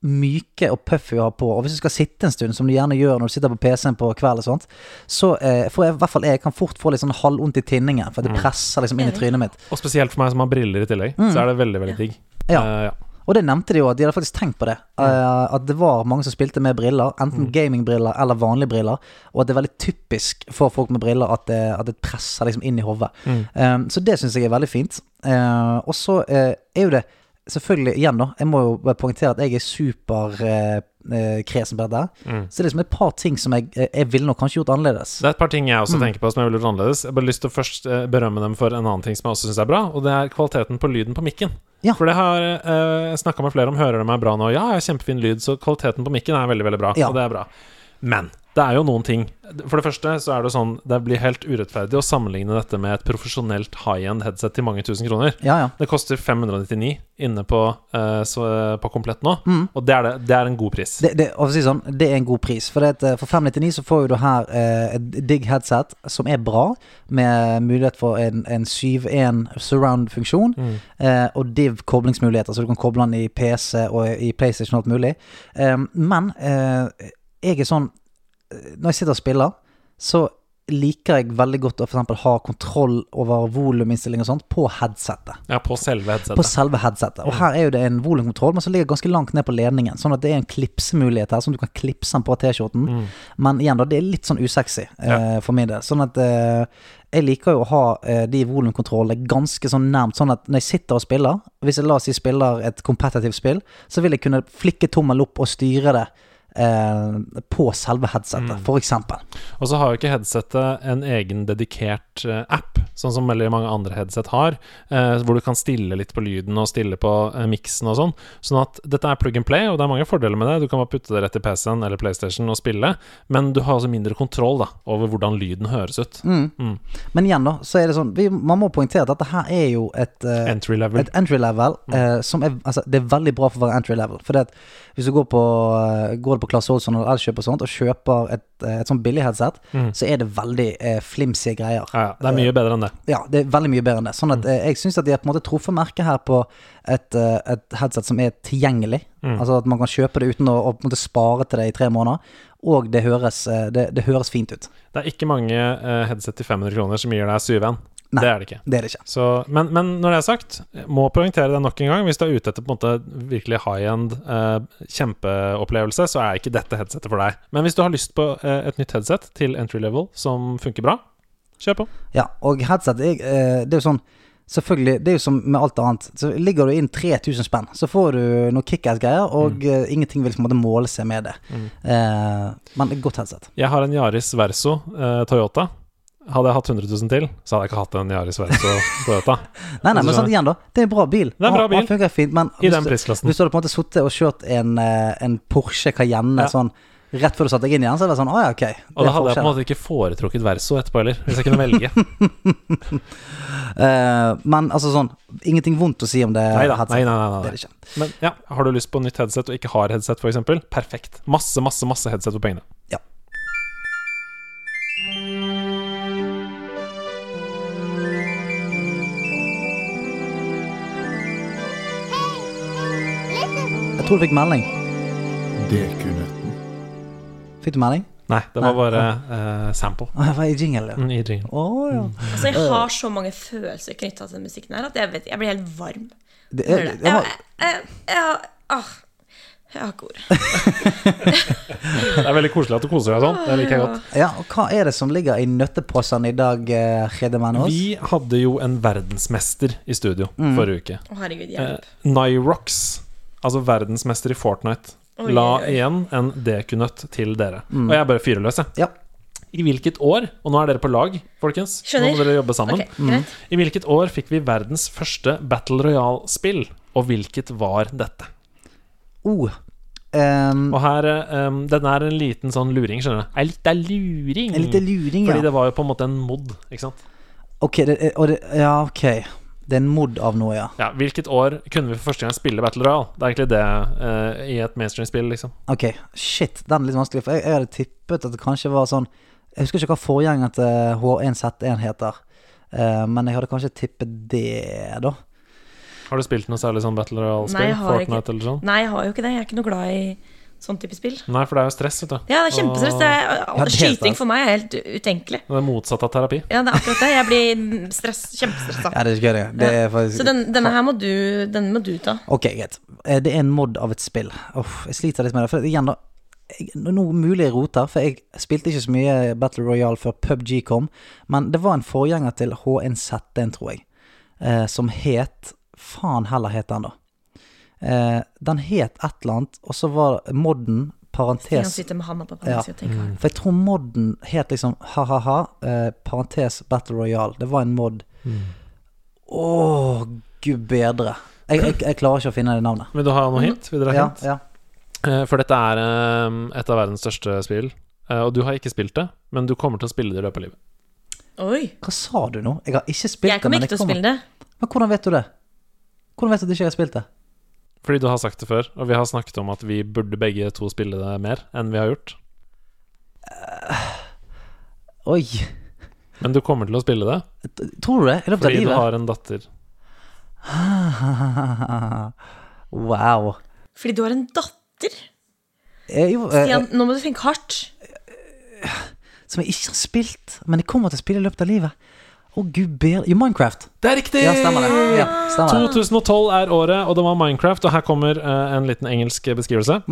myke og puffy å ha på. Og hvis du skal sitte en stund, som du gjerne gjør når du sitter på PC-en på kvelden, og sånt, så eh, får jeg i hvert fall jeg kan fort få litt sånn halvvondt i tinningen, for det presser liksom inn i trynet mitt. Og spesielt for meg som har briller i tillegg, så er det veldig, veldig digg. Mm. Ja. Eh, ja. Og det nevnte de jo, at de hadde faktisk tenkt på det. Eh, at det var mange som spilte med briller, enten gamingbriller eller vanlige briller, og at det er veldig typisk for folk med briller at det, at det presser liksom inn i hodet. Eh, så det syns jeg er veldig fint. Eh, og så eh, er jo det Selvfølgelig, igjen da, jeg må jo bare poengtere at jeg er superkresen eh, kresen på dette. her Så det er liksom et par ting som jeg, jeg ville nok kanskje gjort annerledes. Det er et par ting jeg også Mm. tenker på som jeg ville gjort annerledes. Jeg har bare lyst til å først eh, berømme dem for en annen ting som jeg også syns er bra, og det er kvaliteten på lyden på mikken. Ja. For det har eh, jeg snakka med flere om, hører de meg bra nå? Ja, jeg har kjempefin lyd, så kvaliteten på mikken er veldig, veldig bra, Ja. og det er bra. Men det er jo noen ting. For det første så er det sånn Det blir helt urettferdig å sammenligne dette med et profesjonelt high-end headset til mange tusen kroner. Ja, ja. Det koster 599 inne på, eh, så, på komplett nå, og det er, det, det er en god pris. Mm. Det, det, og for å si sånn, det er en god pris. For, det, at, eh, for 599 så får jo du her eh, et digg headset som er bra, med mulighet for en, en 7.1 surround-funksjon, eh, og div koblingsmuligheter, så du kan koble den i PC og i PlayStation og alt mulig. Eh, men eh, jeg er sånn eh, Når jeg sitter og spiller, så liker jeg veldig godt å for eksempel ha kontroll over voluminnstilling og sånt på headsetet Ja, på selve headsetet. på selve headsetet. Og her er jo det en volumkontroll, men som ligger ganske langt ned på ledningen. Sånn at det er en klipsemulighet her, som du kan klipse den på T-skjorten. Men igjen, da, det er litt sånn usexy eh, for min del. Sånn at eh, jeg liker jo å ha eh, de volumkontrollene ganske sånn nærmt, sånn at når jeg sitter og spiller, hvis jeg la oss si spiller et competitive spill, så vil jeg kunne flikke tommel opp og styre det. eh, På selve headsetet, for eksempel. Og så har jo ikke headsetet en egen dedikert eh, app, sånn som veldig mange andre headset har, eh, hvor du kan stille litt på lyden og stille på eh, miksen og sånn. Sånn at dette er plug and play, og det er mange fordeler med det. Du kan bare putte det rett i PC-en eller PlayStation og spille, men du har altså mindre kontroll da, over hvordan lyden høres ut. Mm. Men igjen, da, så er det sånn vi, Man må poengtere at dette her er jo et eh, Entry level. Et entry level eh, som er, altså, det er veldig bra for å være entry level. For det at hvis du går på eh, Går på Claes Olsson eller Elkjøp og sånt og kjøper et, eh, et sånt billig headset, så er det veldig eh, flimsige greier. Ja, ja, det er mye bedre enn det. Ja, det er veldig mye bedre enn det. Sånn at eh, jeg syns at de har på en måte truffet merket her på et, eh, et headset som er tilgjengelig. Altså at man kan kjøpe det uten å, å på en måte spare til det i tre måneder. Og det høres, eh, det, det høres fint ut. Det er ikke mange eh, headset til 500 kroner som gir deg 7-1. Nei. Det er det ikke. Det er det ikke. Så, men, men når det er sagt, må poengtere det nok en gang. Hvis du er ute etter på en måte virkelig high-end eh, kjempeopplevelse, så er ikke dette headsetet for deg. Men hvis du har lyst på eh, et nytt headset til entry level som funker bra, kjør på. Ja, og headset jeg, eh, Det er jo sånn Selvfølgelig, det er jo som med alt annet Så ligger du inn 3000 spenn Så får du noen kickass-greier Og Mm. eh, ingenting vil på en måte måle seg med det eh, Men et godt headset Jeg har en Yaris Verso eh, Toyota. Hadde jeg hatt 100 000 til, så hadde jeg ikke hatt en Yaris Verso Toyota. Nei, nei, men sånn igjen da Det er en bra bil Altså- er en bra Han- han bil. fungerer fint Men I hvis den du- prisklassen. Hvis du hadde på en måte suttet og kjørt en, eh, en Porsche Cayenne Ja. Sånn Rett før du satt deg inn igjen Så er det sånn, åja, ok Og da hadde jeg på en måte ikke foretrukket Verso etterpå heller, hvis jeg kunne velge. eh, Men altså sånn Ingenting vondt å si om det Nei da. headsetet. Nei, nei, nei, Det nei. er det ikke Men ja, har du lyst på nytt headset og ikke har headset, f.eks.? Perfekt. Masse, masse, masse headset for pengene. Ja. Jeg tror du fikk melding Det kunne Fikk du melding? Nei, det var bare eh, sample. Åh, jeg var i jingle ja. Mm, I jingle. Åh, ja. Altså, jeg har så mange følelser knytta til den musikken her at jeg, vet, jeg blir helt varm. Det, Hører jeg, jeg, det. Jeg, har- jeg, jeg, jeg, ah, jeg har ikke ord. Det er veldig koselig at du koser deg sånn. Det liker jeg godt. ja, og hva er det som ligger i nøtteposen i dag, eh, Redemann? Vi hadde jo en verdensmester i studio forrige uke. Å, herregud, Eh, hjelp. Nyrox, altså verdensmester i Fortnite, Oi, la oi, oi. igjen en DQ-nøtt til dere. Og jeg bare fyrer løs, jeg. Ja. I hvilket år, og nå er dere på lag, folkens, Skjønner. nå må dere jobbe sammen. Ok, greit. I hvilket år fikk vi verdens første Battle Royale-spill, og hvilket var dette? Oh, Ehm, Og her, eh, um, den er en liten sånn luring, skjønner du. Ei lita luring! en liten luring, Fordi ja. det var jo på en måte en mod, ikke sant. Ok, det, er- og det, ja, ok. Det er en mod av noe, ja. Ja, Hvilket år kunne vi for første gang spille Battle Royale? Det er egentlig det eh, i et mainstream-spill, liksom. Ok, shit. Den er litt vanskelig, for jeg, jeg hadde tippet at det kanskje var sånn Jeg husker ikke hva forgjengeren til H1Z1 heter, eh, men jeg hadde kanskje tippet det, da. Har du spilt noe særlig sånn Battle Nei, Royale-spill? jeg har Fortnite eller sånn? Nei, jeg har jo ikke det. Jeg er ikke noe glad i sånn type spill. Nei, for det er jo stress, vet du. Ja, det er kjempestress. Det er, Ja, det er helt skyting sant. for meg er helt utenkelig. Det er motsatt av terapi. Ja, det er akkurat det. Jeg blir stress, Ja, kjempestressa. det er ikke gøy, det. det er faktisk... Så den, denne her må du, denne må du ta. Ok, greit. Eh, Det er en mod av et spill. Uff, jeg sliter litt med det. For igjen, da. Jeg, noe mulig jeg roter, for jeg spilte ikke så mye Battle Royale før PubG kom. Men det var en forgjenger til H1Z1, tror jeg, eh, som het Faen heller het den, da. Eh, den het et eller annet, og så var modden Stian parentes sitter med handa Ja. på panna si og tenker For jeg tror modden het liksom ha-ha-ha, eh, parentes Battle Royale. Det var en mod. Åh, gud bedre. Jeg, jeg, jeg klarer ikke å finne det navnet. Vil du ha Mm. noe hint? Vil dere ha Ja, hint? ja. Eh, For dette er eh, et av verdens største spill. Eh, Og du har ikke spilt det, men du kommer til å spille det i løpet av Mm. livet. Oi, Hva sa du nå? Jeg har ikke spilt jeg det. kommer men ikke jeg til å spille det. Men hvordan vet du det? Hvordan vet du at ikke jeg har spilt det? Fordi du har sagt det før, og vi har snakket om at vi burde begge to spille det mer enn vi har gjort. Oi, Men du kommer til å spille det t- tror du det? I løpet av fordi du livet? har en datter. wow. Fordi du har en datter. Jeg, jo, eh, Stian, nå må du tenke hardt. som jeg ikke har spilt, men jeg kommer til å spille i løpet av livet. Å, gud bedre Jo, Minecraft. Det er riktig! Ja, stemmer det. Ja, stemmer det. 2012 er året, og det var Minecraft. Og her kommer eh, en liten engelsk beskrivelse.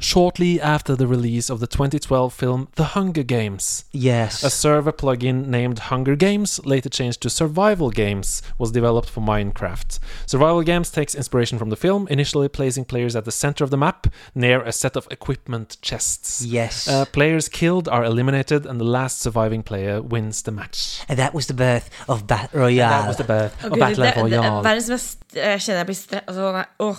Shortly after the release of the 2012 film The Hunger Games, Yes. a server plugin named Hunger Games, later changed to Survival Games, was developed for Minecraft. Survival Games takes inspiration from the film, initially placing players at the center of the map near a set of equipment chests. Yes. Uh, players killed are eliminated, and the last surviving player wins the match. And that was the birth of Battle Royale. That was the birth Å, of Gud, Battle det- det- Royale. Verdens mest eh, Jeg kjenner jeg blir stress... Altså, nei, åh.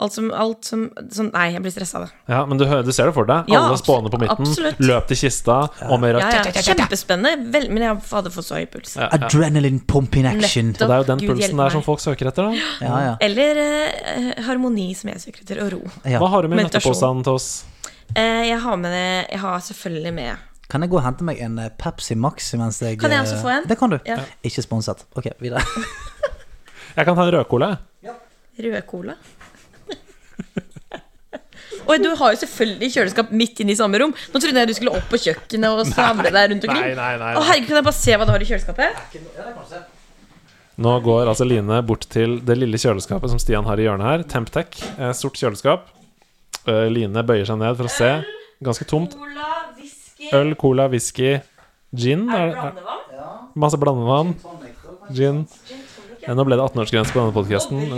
Alt som, alt som sånn, Nei, jeg blir stressa av det. Ja, men du, hø- du ser det for deg. Ja, Alle spåner på midten. absolutt. Løp til kista. Og mer Ja, ja. at Kjempespennende, vel, men jeg hadde fått så høy puls. Adrenaline pump in action. Det er jo den Gud hjelpe pulsen der som meg. folk søker etter, da. Ja, ja. Eller eh, harmoni, som jeg søker etter, og ro. Ja. Hva har du med i Meditasjon. nøtteposen til oss? Eh, jeg har med det Jeg har selvfølgelig med Kan jeg gå og hente meg en eh, Pepsi Max mens jeg Kan jeg eh, også få en? Det kan du. Ja. Ikke sponset. Ok, videre. Jeg kan ta en rødcola. jeg. rød cola. Oi, du har jo selvfølgelig kjøleskap midt inne i samme rom. Nå trodde jeg du skulle opp på kjøkkenet og samle deg rundt omkring. Nei, nei, nei, Å, nei. herregud, kan jeg bare se hva du har i kjøleskapet? Nå går altså Line bort til det lille kjøleskapet som Stian har i hjørnet her. Temptec. eh, Sort kjøleskap. Eh, Line bøyer seg ned for å se. Ganske tomt. Cola, whisky, Øl, cola, whisky, gin. Er, er, blandevann. masse blandevann. Gin. Eh, Nå ble det 18-årsgrense på denne podkasten.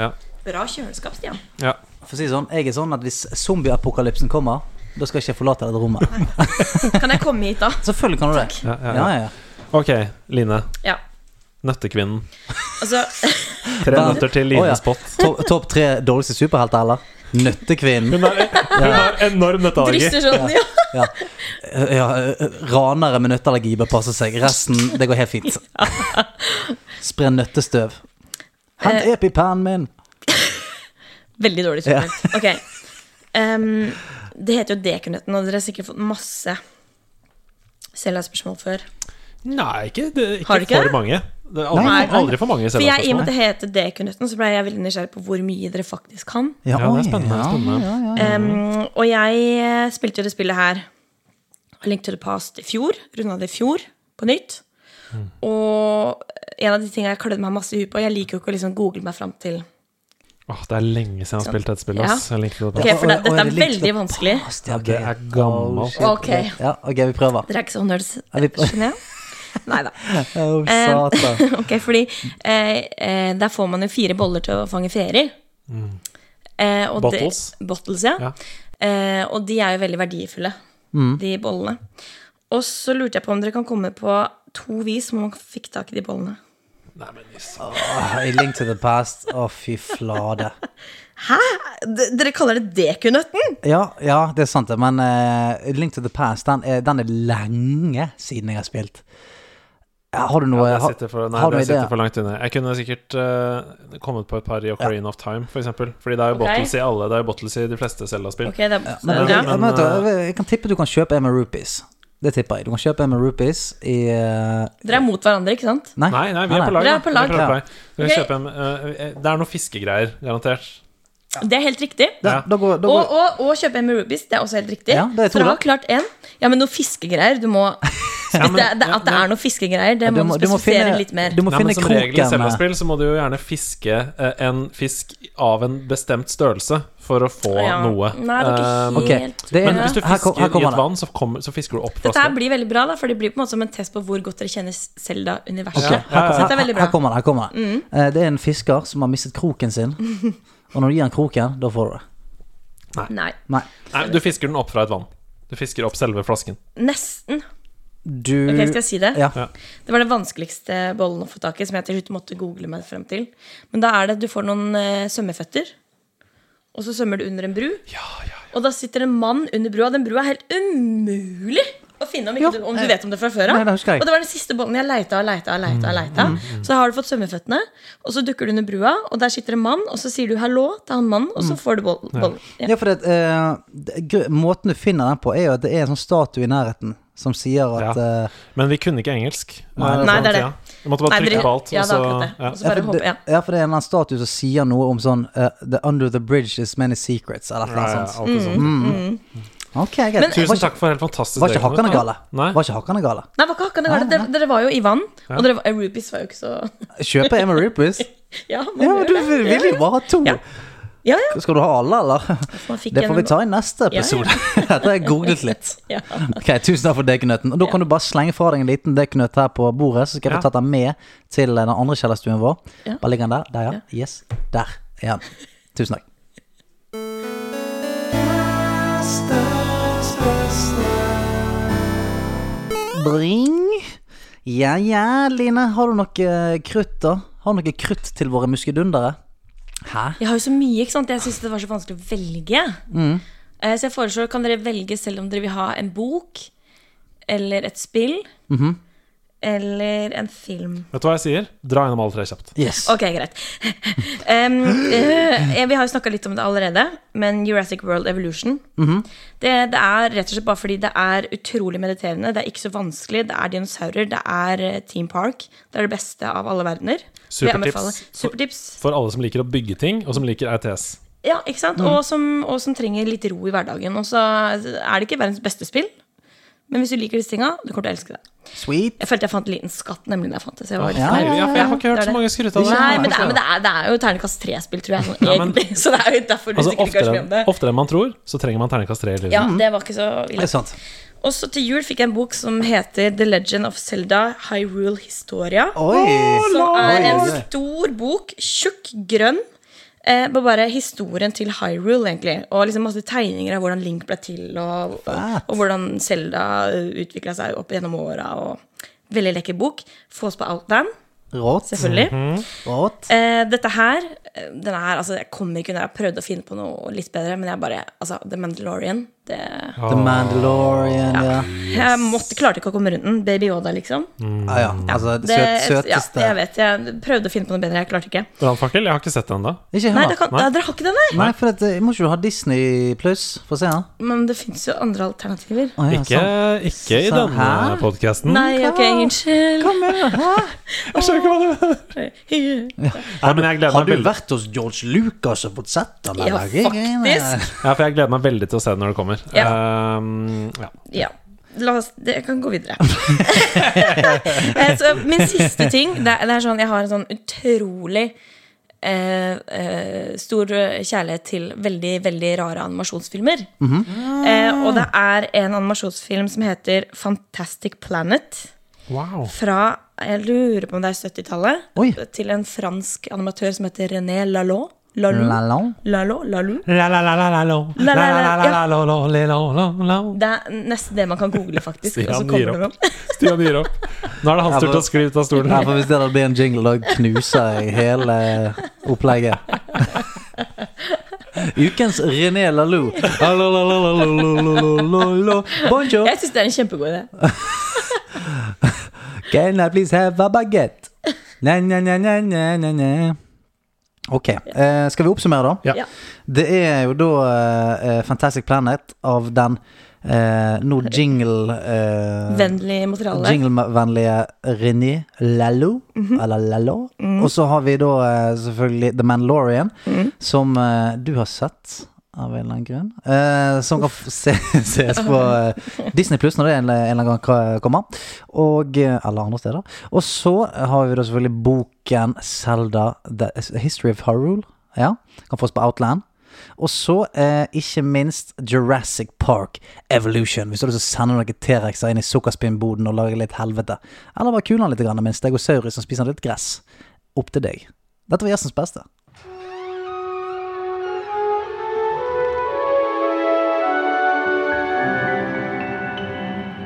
Ja. Bra kjøleskap, Stian. Ja. For å si det sånn, jeg er sånn at hvis zombieapokalypsen kommer, da skal ikke jeg forlate dette rommet. Kan jeg komme hit da? Selvfølgelig kan du det. Ja, ja, Ja, ja. ja, ja. Ok, Line. Ja. Nøttekvinnen. Altså, Tre Hva- nøtter til Å, ja. Lines pott. Topp top tre dårligste superhelter, eller? Nøttekvinnen. Hun har, hun har enorm nøtteallergi. drister sånn, ja. Ja. Ja, eh, ranere med nøtteallergi bør passe seg. Resten, det går helt fint. Spre nøttestøv. Hent Eh. epipennen min! Veldig dårlig superhelt. Ok. Em, det heter jo Dekunøtten, og dere har sikkert fått masse Selda-spørsmål før. Nei, ikke, det, ikke Har du ikke for det? mange. Det er aldri, Nei, nei. aldri for mange For jeg, I og med selvhetsspørsmål. at det heter Dekunøtten, så ble jeg veldig nysgjerrig på hvor mye dere faktisk kan. Ja, Ja, det oi, er spennende. ja. spennende. Mhm. Em, og jeg eh, spilte jo det spillet her A Link to the Past i fjor. Runda det i fjor på nytt. Mhm. Og en av de tingene jeg klødde meg masse i huet på Jeg liker jo ikke å liksom google meg fram til Åh, det er lenge siden jeg har spilt dette spillet. ass. Ja. Jeg likte det Ok, best. for det- Oi, oi, dette er det likte veldig jeg vanskelig. past. Ja, ok. Det er gammelt. Ok. Ja, ok, vi prøver. Dere er ikke så nerds, Er vi på- skjønner jeg? Nei da. Å, Eh. satan. ok, fordi eh, eh, der får man jo fire boller til å fange feer i. Eh, og det- Bottles. bottles, ja. Mm. Ja. Eh, og de er jo veldig verdifulle, de bollene. Og så lurte jeg på om dere kan komme på to vis som man fikk tak i de bollene. Nei, men i sa- Åh, I Link to the Past. Å, fy flate. Hæ? D dere kaller det dekunøtten? Ja, ja, det er sant, det. Men eh, Link to the Past, den er, den er lenge siden jeg har spilt. Ja, Har du noe det har- sitter for, nei, har du det idé? sitter for langt unna. Jeg kunne sikkert eh, kommet på et par i Ocarina of Time, for eksempel. Fordi det er jo Ok. bottles i alle, det er jo bottles i de fleste Zelda-spill. Ok, det er, Men, jeg- ja. jeg, men, vet du, jeg, jeg kan tippe du kan kjøpe en med rupees. Det tipper jeg. Du kan kjøpe en med rupees i eh, Dere er mot hverandre, ikke sant? Nei, Nei, nei, vi er på lag. Dere er da. på lag. Vi er på lag. Vi kan Ok. kjøpe en, eh, eh, det er noe fiskegreier, garantert. Det er helt riktig. Da, Ja. da går, da Og, går, og, og kjøpe en med rubies, det er også helt riktig. Ja, det er to, Dere da. har klart en. Ja, men noen fiskegreier. Du må det, det, At det er noen fiskegreier, det du må må- du du må spesifisere finne- litt mer. Du må Nei, finne men som regel i kroken. eh, Zelda-spill så må du jo gjerne fiske eh, en fisk av en bestemt størrelse for å få Ja. noe. Nei, det er ikke Eh, helt- Ok, det er, Men hvis du her, kom- fisker her i kommer et det. vann, så, kommer, så fisker du opp Dette her flasken. blir veldig bra, da, for det blir på en måte som en test på hvor godt dere kjenner Selda-universet. Ok, her, Så her, dette er veldig her, bra. Mm. her kommer det. Her kommer det. Eh, det er en fisker som har mistet kroken sin. Og når du gir han kroken, da får du det. Nei. Nei. Nei, du fisker den opp fra et vann. Du fisker opp selve flasken. Nesten. Du Ok, skal jeg si det? Ja. Ja. Det var den vanskeligste bollen å få tak i, som jeg til slutt måtte google meg frem til. Men da er det at du får noen eh, svømmeføtter, og så svømmer du under en bru. Og da sitter en mann under brua. Den brua er helt umulig å finne om, ikke Ja, du, om du vet om det fra før Nei, det husker jeg. Og det var den siste bollen jeg leita og leita og leita. og leita. Så har du fått svømmeføttene, og så dukker du under brua, og der sitter en mann, og så sier du hallo til han mannen, og så får du boll- bollen. Ja. Ja, for det, eh, det- gr- måten du finner den på, er jo at det er en sånn statue i nærheten som sier at Ja. eh, Men vi kunne ikke engelsk. Nei, eh, på Nei, det er den det. tida. Vi måtte bare Nei, trykke dere- på alt. ja, og det er så- akkurat det. ja. Og så bare ja, for håper det, jeg. ja, for det er en eller annen statue som sier noe om sånn eh, The under the bridge is many secrets, eller et eller Ja, ja, annet sånt. alt det sånt. Ok, greit. Men- Tusen Mm. Var ikke- takk for helt fantastisk. Var ikke dere. hakkene gale? Nei. Var ikke hakkene gale? Nei, var ikke hakkende gale. Dere, dere var jo i vann, og dere var, rupees var jo ikke så Kjøpe Emma Rippers? Ja, man Ja, gjør du det. vil jo bare ha to. Ja. Ja, ja. Skal du ha alle, eller? Man fikk Det får vi en- ta i neste episode. Dette har jeg googlet litt. Ja. Ok, Tusen takk for dekknøtten. Og Da kan du bare slenge fra deg en liten dekknøtt her på bordet, så skal jeg få tatt den med til eh, den andre kjellerstuen vår. Ja. Bare ligger den der. Der, ja. Yes. Der er han. Tusen takk. Bring. Ja ja, Line. Har du noe eh, krutt, da? Har du noe krutt til våre muskedundere? Hæ? Jeg har jo så mye, ikke sant? Jeg syns det var så vanskelig å velge. Eh, Så jeg foreslår, kan dere velge selv om dere vil ha en bok, eller et spill, eller en film. Vet du hva jeg sier? Dra gjennom alle tre kjapt. Yes. Ok, greit. Em, eh, vi har jo snakka litt om det allerede, men Jurassic World Evolution det, det er rett og slett bare fordi det er utrolig mediterende. Det er ikke så vanskelig. Det er dinosaurer. Det er eh, Team Park. Det er det beste av alle verdener. Så jeg Supertips. anbefaler- Supertips. For alle som liker å bygge ting, og som liker E RTS. Ja, ikke sant? Mm. Og, som, og som trenger litt ro i hverdagen. Og så er det ikke verdens beste spill, men hvis du liker disse tinga, du kommer til å elske det. Sweet. Jeg følte jeg fant en liten skatt, nemlig, da jeg fant det. Så jeg var litt Ja, flau. Ja, for jeg har ikke det hørt er så det. mange skryte av det. Nei, men det er, men det er, det er jo terningkast tre-spill, tror jeg. Sånn, men- egentlig. Så det er jo derfor du Altså, sikkert ikke har oftere, hørt om det. oftere enn man tror, så trenger man terningkast tre i livet. Ja, det var ikke så Det ille. er sant. Og så til jul fikk jeg en bok som heter The Legend of Zelda Hyrule Historia. Oi. Som er en Oi. stor bok, tjukk, grønn. Eh, på bare historien til Hyrule, egentlig. Og liksom masse tegninger av hvordan Link ble til, og, Fett. og hvordan Selda utvikla seg opp gjennom åra. og Veldig lekker bok. Fås på Outland, Rått. selvfølgelig. Rått. eh, dette her eh, den er, altså, Jeg kommer ikke unna. Jeg prøvde å finne på noe litt bedre, men jeg bare altså, The Mandalorian det, The Mandalorian, ja. Jeg måtte, klarte ikke å komme rundt den. Baby Yoda, liksom. Ja, ja. Altså, det, Det, søt, søteste ja, jeg vet. Jeg prøvde å finne på noe bedre. Jeg klarte ikke. Brannfakkel? Jeg har ikke sett den ennå. Ikke Nei, heller. det kan, Nei. dere har ikke det, nei? Nei, for at, eh, må ikke du ha Disney pluss for å se den? Men det fins jo andre alternativer. Å, ja, Ikke, sånn. ikke i Så- denne Hæ? podkasten. Nei, ok, unnskyld. Hva mener du? Hæ? Jeg skjønner ikke hva det er. Nei, men jeg gleder Har meg du veldig vært hos George Lucas og fått sett den? Ja, eller? faktisk. Ja, for jeg gleder meg veldig til å se den når det kommer. Ehm, ja. Ja. La oss, det, jeg kan gå videre. Eh, så min siste ting det, er- det er sånn, Jeg har en sånn utrolig eh, eh, stor kjærlighet til veldig, veldig rare animasjonsfilmer. eh, og det er en animasjonsfilm som heter Fantastic Planet. Wow. Fra jeg lurer på om det er Oi. 70-tallet, til en fransk animatør som heter René Lallot. Lalu. Lalong? Lalo. Lalu. La-la-la-la-la-lo. La, la, la, la, la. La-la-la-la-la-lo, le-lo-lo-lo. Det er nesten det man kan google, faktisk. Stian og så kommer gir det opp. opp. Stian gir opp. Nå er det hans tur til å skrive ut av stolen. Nei, for Hvis det hadde blitt en jingle, da knuser jeg hele opplegget. Ukens René Lalou. Alalalalalalalalo. Bonjour. Jeg syns det er en kjempegod idé. Can I please have a baguette? Na, na, na, na, na, na, na. Ok, eh, skal vi oppsummere da? Ja. Ja. Det er jo da eh, Fantastic Planet av den eh, nå jingle... Eh, Vennlig materiale. Jinglevennlige René Lalo. Eller Lalo. Og så har vi da eh, selvfølgelig The Mandalorian, som eh, du har sett. Av en eller annen grunn. Eh, som kan f- se, ses på eh, Disney Pluss når det en, en eller annen gang ka- kommer. Og, eh, eller andre steder. Og så har vi da selvfølgelig boken Selda The History of Hyrule. Ja, kan fås på Outland. Og så eh, ikke minst Jurassic Park Evolution. Hvis du har lyst til å sende noen T-rexer inn i sukkerspinnboden og lage litt helvete. Eller bare kule han litt grann med en stegosaurus som spiser litt gress. Opp til deg. Dette var gjestens beste.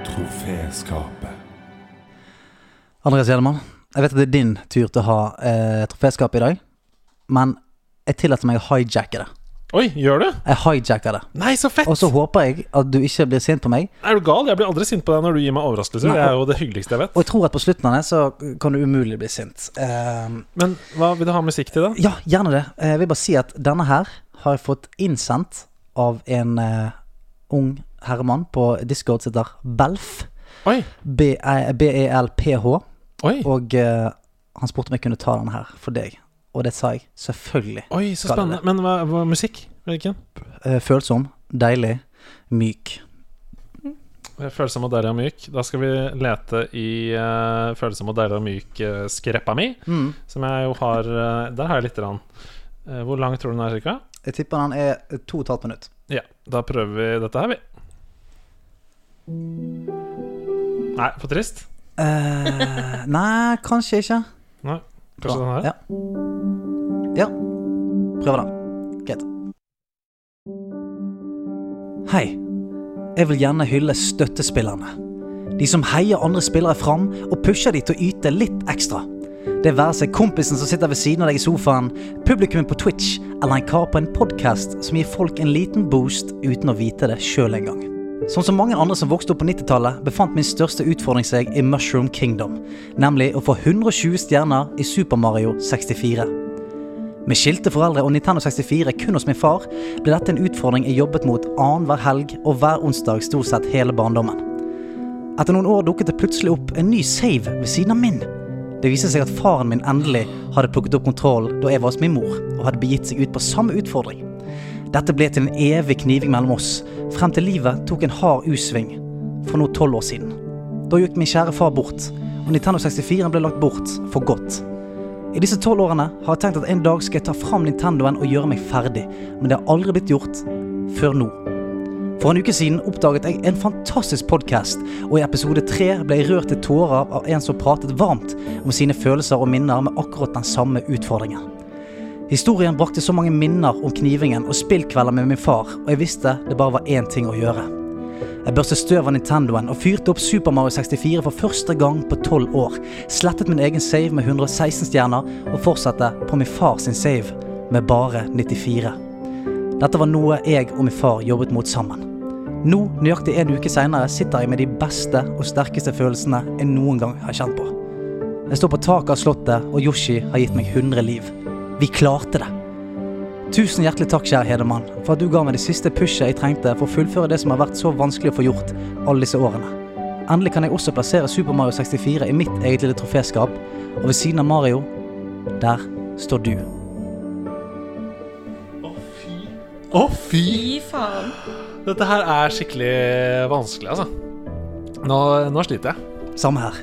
Troféskapet. Andreas Gjellemann, jeg vet at det er din tur til å ha eh, troféskapet i dag. Men jeg tillater meg å hijacke det. Oi, gjør du? Jeg hijacker det. Nei, så fett! Og så håper jeg at du ikke blir sint på meg. Er du gal? Jeg blir aldri sint på deg når du gir meg overraskelser. Nei, Det er jo det hyggeligste jeg vet. Og jeg tror at på slutten av det så kan du umulig bli sint. Eh, Men hva vil du ha musikk til, da? Ja, gjerne det. Eh, Jeg vil bare si at denne her har jeg fått innsendt av en eh, ung herremann på Discord som heter Belf. Oi, B- eh, B-E-L-P-H. oi, Og eh, han spurte om jeg kunne ta denne her for deg. Og det sa jeg selvfølgelig. oi, så Skal spennende. det. Men hva, hva musikk? Hvilken? Eh, følsom, deilig, myk. Følsom og deilig og myk. Da skal vi lete i eh, Følsom og deilig og myk-skreppa eh, mi, Mm. som jeg jo har eh, Der har jeg lite grann. Eh, hvor lang tror du den er, cirka? Jeg tipper han er to og et halvt minutt. Ja, da prøver vi dette her, vi. Nei, for trist? Eh, nei, kanskje ikke. Nei. Kanskje den her? Ja. ja. Prøver den. Greit. Hei. Jeg vil gjerne hylle støttespillerne. De som heier andre spillere fram og pusher de til å yte litt ekstra. Det være seg kompisen som sitter ved siden av deg i sofaen, publikummet på Twitch eller en kar på en podkast som gir folk en liten boost uten å vite det sjøl engang. Sånn som mange andre som vokste opp på 90-tallet, befant min største utfordring seg i Mushroom Kingdom, nemlig å få 120 stjerner i Super Mario 64. Med skilte foreldre og Nintendo 64 kun hos min far, ble dette en utfordring jeg jobbet mot annenhver helg og hver onsdag stort sett hele barndommen. Etter noen år dukket det plutselig opp en ny save ved siden av min. Det viste seg at faren min endelig hadde plukket opp kontrollen da jeg var hos min mor, og hadde begitt seg ut på samme utfordring. Dette ble til en evig kniving mellom oss, frem til livet tok en hard U-sving for nå tolv år siden. Da gikk min kjære far bort, og Nintendo 64 ble lagt bort for godt. I disse tolv årene har jeg tenkt at en dag skal jeg ta fram Nintendoen og gjøre meg ferdig, men det har aldri blitt gjort før nå. For en uke siden oppdaget jeg en fantastisk podkast, og i episode tre ble jeg rørt til tårer av en som pratet varmt om sine følelser og minner med akkurat den samme utfordringen. Historien brakte så mange minner om knivingen og spillkvelder med min far, og jeg visste det bare var én ting å gjøre. Jeg børstet støv av Nintendoen og fyrte opp Super Mario 64 for første gang på tolv år, slettet min egen save med 116 stjerner og fortsatte på min far sin save med bare 94. Dette var noe jeg og min far jobbet mot sammen. Nå, nøyaktig en uke seinere, sitter jeg med de beste og sterkeste følelsene jeg noen gang har kjent på. Jeg står på taket av slottet, og Yoshi har gitt meg 100 liv. Vi klarte det. Tusen hjertelig takk, kjære Hedemann, for at du ga meg det siste pushet jeg trengte for å fullføre det som har vært så vanskelig å få gjort alle disse årene. Endelig kan jeg også plassere Super Mario 64 i mitt eget lille troféskap, og ved siden av Mario, der står du. Å, fy! Fy faen. Dette her er skikkelig vanskelig, altså. Nå, nå sliter jeg. Samme her.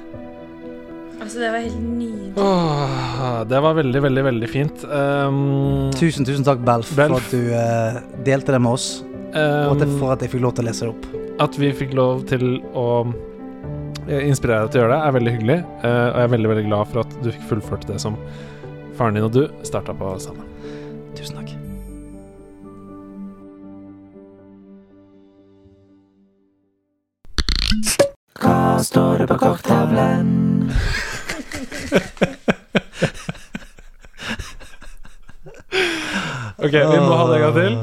Altså, det var helt nydelig. Åh, det var veldig, veldig, veldig fint. Um, Tusen, tusen takk, Belf, Belf. for at du eh, delte det med oss, og at jeg- um, for at jeg fikk lov til å lese det opp. at vi fikk lov til å eh, inspirere deg til å gjøre det, er veldig hyggelig. eh, Og jeg er veldig, veldig glad for at du fikk fullført det som faren din og du starta på sammen. Tusen takk. Ok, vi må ha det en gang til.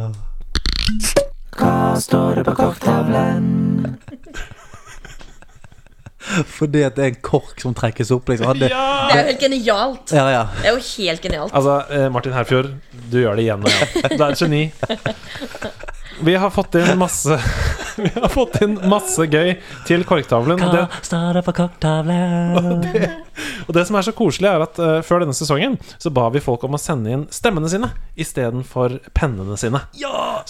Fordi at det er en kork som trekkes opp, liksom. Hadde, ja. Det er jo helt genialt. ja, Det er jo helt genialt. Altså, eh, Martin Herfjord, du gjør det igjen og igjen. Du er et geni. Vi har fått inn masse Vi har fått inn masse gøy til korktavlen. Og det, Starter på korktavlen. og det som er så koselig, er at eh, før denne sesongen så ba vi folk om å sende inn stemmene sine istedenfor pennene sine.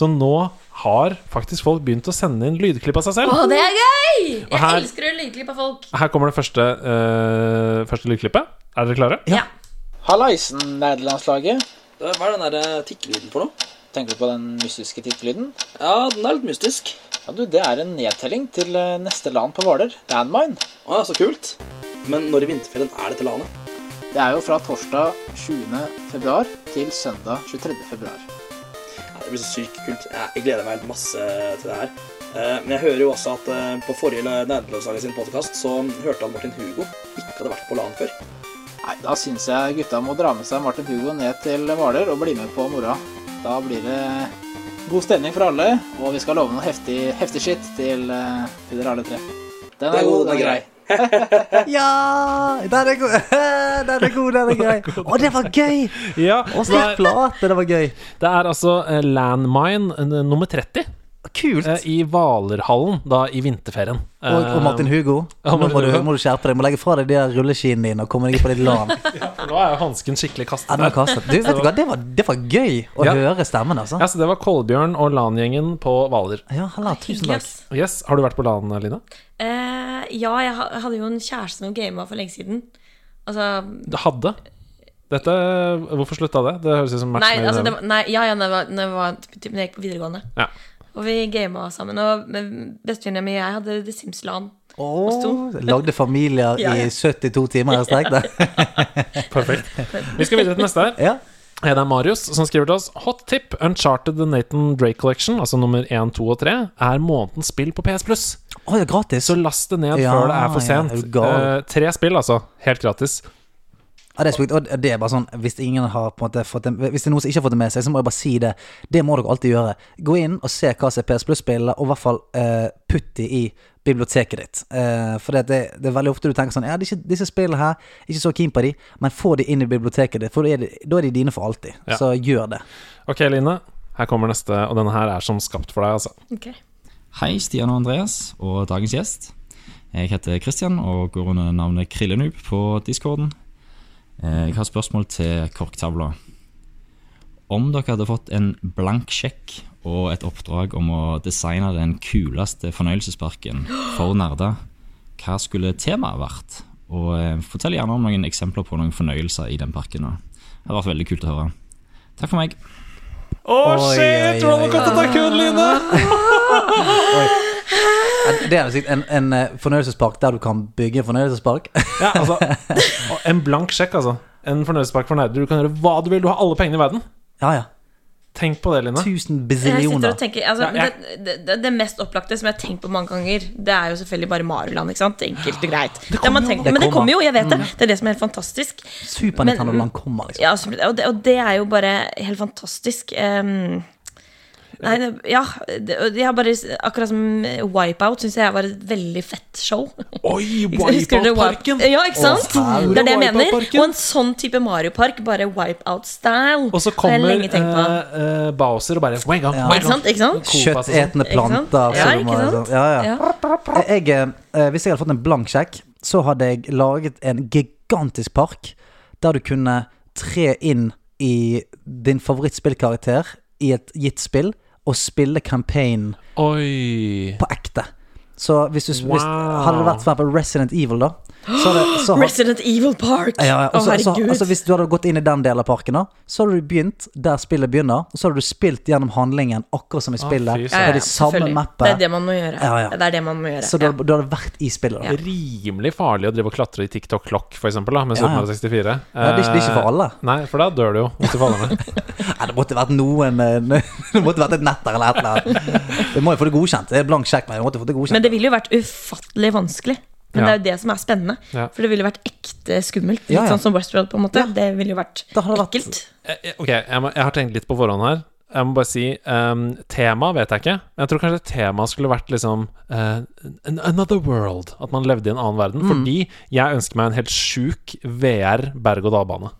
Så nå har faktisk folk begynt å sende inn lydklipp av seg selv. Å, det er gøy! Jeg her- elsker å lydklippe av folk. Her kommer det første, eh, første lydklippet. Er dere klare? Ja. Hallaisen, nerdelandslaget. Hva er den eh, der tikkelyden for noe? Tenker du på den mystiske tikkelyden? Ja, den er litt mystisk. Ja, du, Det er en nedtelling til eh, neste LAN på Hvaler. Landmine. Å ja, så kult. Men når i vinterferien er dette LANet? Det er jo fra torsdag 20. februar til søndag 23. februar. Det blir så sykt kult. Jeg, jeg gleder meg helt masse til det her. Eh, Men jeg hører jo også at eh, på forrige Nerdelandslaget sin podkast så hørte han Martin Hugo ikke hadde vært på LAN før. Nei, Da syns jeg gutta må dra med seg Martin Hugo ned til Hvaler og bli med på moroa. Da blir det god stemning for alle, og vi skal love noe heftig, heftig shit til, eh, til dere alle tre. Den er god, den er grei. Ja! Den er god, den er, god, den er grei. Å, det var gøy! Ja. Å, så flate, det var gøy. Det er altså eh, Landmine eh, nummer 30. Kult. Eh, I Hvalerhallen, da i vinterferien. Eh, Og, og Martin Hugo, Ja, nå Martin må du, Hugo. må du skjerpe deg. Du må legge fra deg de der rulleskiene dine og komme deg på ditt LAN. Nå er jo hansken skikkelig Ja, kastet den var der. kastet. Du, vet du hva, det var, det var gøy å Ja. høre stemmen, altså. Ja, så det var Kolbjørn og LAN-gjengen på Hvaler. Ja, halla, tusen Hyggelig, takk. ass. Yes, Har du vært på LAN, Line? Eh, ja, jeg ha- hadde jo en kjæreste som gama for lenge siden. Altså Det hadde. Dette Hvorfor slutta det? Det høres ut som match Nei, made in altså, det heaven. var, nei, ja, ja, det var, det var typ, når jeg gikk på videregående. Ja. Og vi gama sammen. Og men bestevenninna mi og jeg hadde The Sims LAN. Åh, lagde familier Ja, ja. i 72 timer i strekk. det. Perfekt. Vi skal videre til neste her. Ja. Eh, Det er Marius som skriver til oss. Hot tip! Uncharted The Nathan Drake Collection, altså nummer 1, 2 og 3, er månedens spill på PS Pluss. Å, det er gratis. Så last det ned Ja, før det er for ja, sent. er du gal? Eh, tre spill, altså. Helt gratis. Ja, det er sjukt. Og det er bare sånn, hvis ingen har på en måte fått det, Hvis det er noen som ikke har fått det med seg, så må jeg bare si det. Det må dere alltid gjøre. Gå inn og se hva som er PS Plus-spillene, og i hvert fall eh, putt de i biblioteket ditt. Eh, for det, det, det er veldig ofte du tenker sånn Ja, disse, disse spillene her, ikke så keen på de, men få de inn i biblioteket ditt, for da er de, da er de dine for alltid. Ja. Så gjør det. Ok, Line. Her kommer neste, og denne her er som skapt for deg, altså. Ok. Hei, Stian og Andreas, og dagens gjest. Jeg heter Christian og går under navnet Krillenoob på discorden. Eh, Jeg har spørsmål til korktavla. Om dere hadde fått en blank sjekk og et oppdrag om å designe den kuleste fornøyelsesparken for nerder, hva skulle temaet vært? Og eh, fortell gjerne om noen eksempler på noen fornøyelser i den parken. nå. Det hadde vært veldig kult å høre. Takk for meg. Å, Oi, shit! oi, oi. Rollercoaster Tycoon, Line! Ja, Det er jo sikkert en, en eh, fornøyelsespark der du kan bygge en fornøyelsespark. Ja, altså og En blank sjekk, altså. En fornøyelsespark for nerder. Du kan gjøre hva du vil. Du har alle pengene i verden. ja, ja. Tenk på det, Line. Tusen Jeg sitter og bazillioner. tenker altså, Ja, det, det, det mest opplagte som jeg har tenkt på mange ganger, det er jo selvfølgelig bare Maruland. ikke sant? Enkelt og greit. Det har man tenkt på, Det men det kommer. kommer jo, jeg vet det. Det er det som er helt fantastisk. Super Men- Nintendo-land kommer, liksom. Ja, absolutt. og, det, og det er jo bare helt fantastisk. Ehm, nei, det- ja. Det, og jeg har bare, akkurat som Wipeout syns jeg var et veldig fett show. Oi, Husker du Wipeout-parken! Wipe- Ja, ikke sant? herre. det er det jeg mener. Wipeout-parken. Og en sånn type Mario-park, bare Wipeout-style, Og så har kommer jeg lenge tenkt på. eh, eh, Bowser og bare wang on, wang Ikke sant? Ikke sant? Coop, altså, sånn. Kjøttetende Ikke sant? planter. Ja, så du må- ikke sant? sånn- Ja, ja. Ja. Jeg, eh, hvis jeg hadde fått en blank sjekk, så hadde jeg laget en gigantisk park der du kunne tre inn i din favorittspillkarakter i et gitt spill, og spille campaign on. Oi. på ekte. Så hvis du hvis, Wow. Hadde det vært for eksempel Resident Evil, da så hadde, så hadde, Resident Evil Park! ja, ja, Å, og så- så- herregud. altså, Hvis du hadde gått inn i den delen av parken, da så hadde du begynt der spillet begynner, og så hadde du spilt gjennom handlingen akkurat som i spillet. fy søren. det er de samme selvfølgelig. Det er mappene. det man må gjøre. Ja, ja. Det er det man må gjøre. Så du Ja. hadde, du hadde vært i spillet. Da. Ja. Rimelig farlig å drive og klatre i TikTok-klokk, for eksempel, da, med Ja, Super ja. Mario 64. Ja, det er ikke- det er ikke for Eh, alle. Nei, for da dør du jo hvis du faller ned. Nei, det måtte vært noen eh, Det måtte vært et netter eller et eller annet. Det må jo få det godkjent. Det er blank sjekk, men jeg måtte få det Men godkjent. det ville jo vært ufattelig vanskelig. Men Ja. det er jo det som er spennende. Ja. For det ville vært ekte skummelt. Litt Ja, ja. sånn som Westworld, på en måte. Det ville jo vært Da hadde det vært- ekkelt. Eh, eh, Ok, jeg, må, jeg har tenkt litt på forhånd her. Jeg må bare si um, Tema vet jeg ikke. Men jeg tror kanskje temaet skulle vært liksom eh, an- Another world. At man levde i en annen Mm. verden. Fordi jeg ønsker meg en helt sjuk VR berg-og-dal-bane.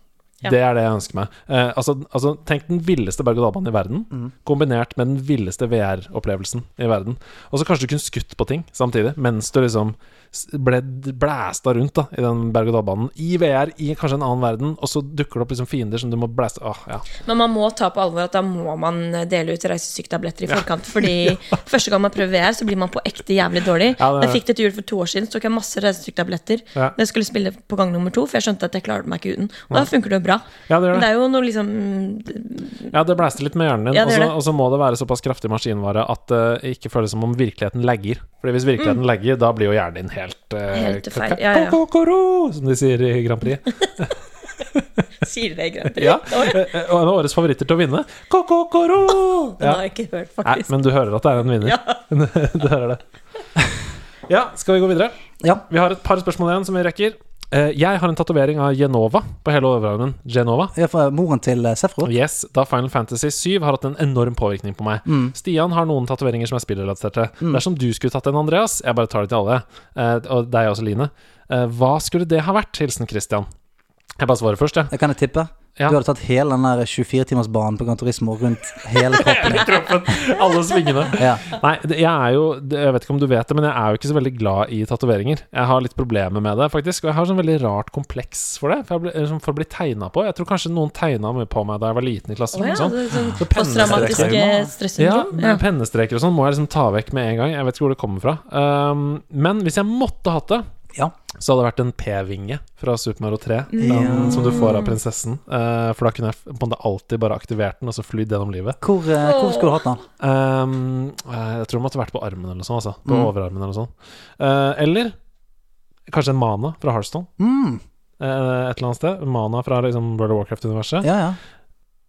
Ja. Det er det jeg ønsker meg. Eh, altså, altså, tenk den villeste berg-og-dal-banen i verden, kombinert med den villeste VR-opplevelsen i verden. Og så kanskje du kunne skutt på ting samtidig, mens du liksom s- ble d- blæsta rundt da i den berg-og-dal-banen. I VR, i kanskje en annen verden, og så dukker det opp liksom fiender som du må blæste Åh, ja. Men man må ta på alvor at da må man eh, dele ut reisesyktabletter i forkant. Fordi første gang man prøver VR, så blir man på ekte jævlig dårlig. Ja, det er jeg fikk det til jul for to år siden, så tok jeg masse reisesyktabletter. Ja. Når jeg skulle spille på gang nummer to, for jeg skjønte at jeg klarte meg ikke uten. Og da funker det jo bra. Ja, det gjør Men det. det er jo noe liksom Ja, det blæster litt med hjernen din. Ja, og det så- gjør det. og så må det være såpass kraftig maskinvare at det ikke føles som om virkeligheten lagger. Fordi hvis virkeligheten lagger, da blir jo hjernen din helt uh, Mm. Helt feil. Ja, ja. Kokoro, som de sier i Grand Prix. Sier det greit? Ja. eh, eh, Og en av årets favoritter til å vinne. Kokokoro! Den Ja. har jeg ikke hørt, Nei, faktisk. men du hører at det er en vinner. du hører det. Ja, skal vi gå videre? Ja. Vi har et par spørsmål igjen som vi rekker. Eh, Jeg har en tatovering av Genova på hele overarmen. Genova. Ja, fra moren til eh, Sefro. Yes, da Final Fantasy 7 har hatt en enorm påvirkning på meg. Stian har noen tatoveringer som er spillrelaterte. Dersom du skulle tatt en, Andreas Jeg bare tar det til alle. eh, Og deg også, Line. Eh, Hva skulle det ha vært? Hilsen Christian. Jeg bare svarer først, jeg. Det kan jeg tippe. Ja. Du hadde tatt hele den der 24-timersbanen på Gran Turismo rundt hele kroppen. din. Alle svingene. Ja. Nei, det- jeg er jo det- Jeg vet ikke om du vet det, men jeg er jo ikke så veldig glad i tatoveringer. Jeg har litt problemer med det, faktisk. Og jeg har sånn veldig rart kompleks for det. For, jeg ble, liksom, for å bli tegna på. Jeg tror kanskje noen tegna meg på meg da jeg var liten i Å klasserommet. ja, og sånn. det er sånn Så pennestreker. Posttraumatisk eh, stressyndrom. Ja, pennestreker og sånn må jeg liksom ta vekk med en gang. Jeg vet ikke hvor det kommer fra. Um, men hvis jeg måtte hatt det, ja. så hadde det vært en P-vinge fra Super Mario 3. Den som du får av prinsessen. Eh, for da kunne jeg f- på en måte alltid bare aktivert den og så flydd gjennom livet. Hvor, eh, hvor skulle du hatt den? Um, eh, jeg tror det måtte vært på armen eller noe sånt. Altså. På overarmen eller noe sånt. Eh, eller kanskje en mana fra Hearthstone. Mm. Eh, et eller annet sted. Mana fra liksom World of Warcraft-universet. Ja, ja.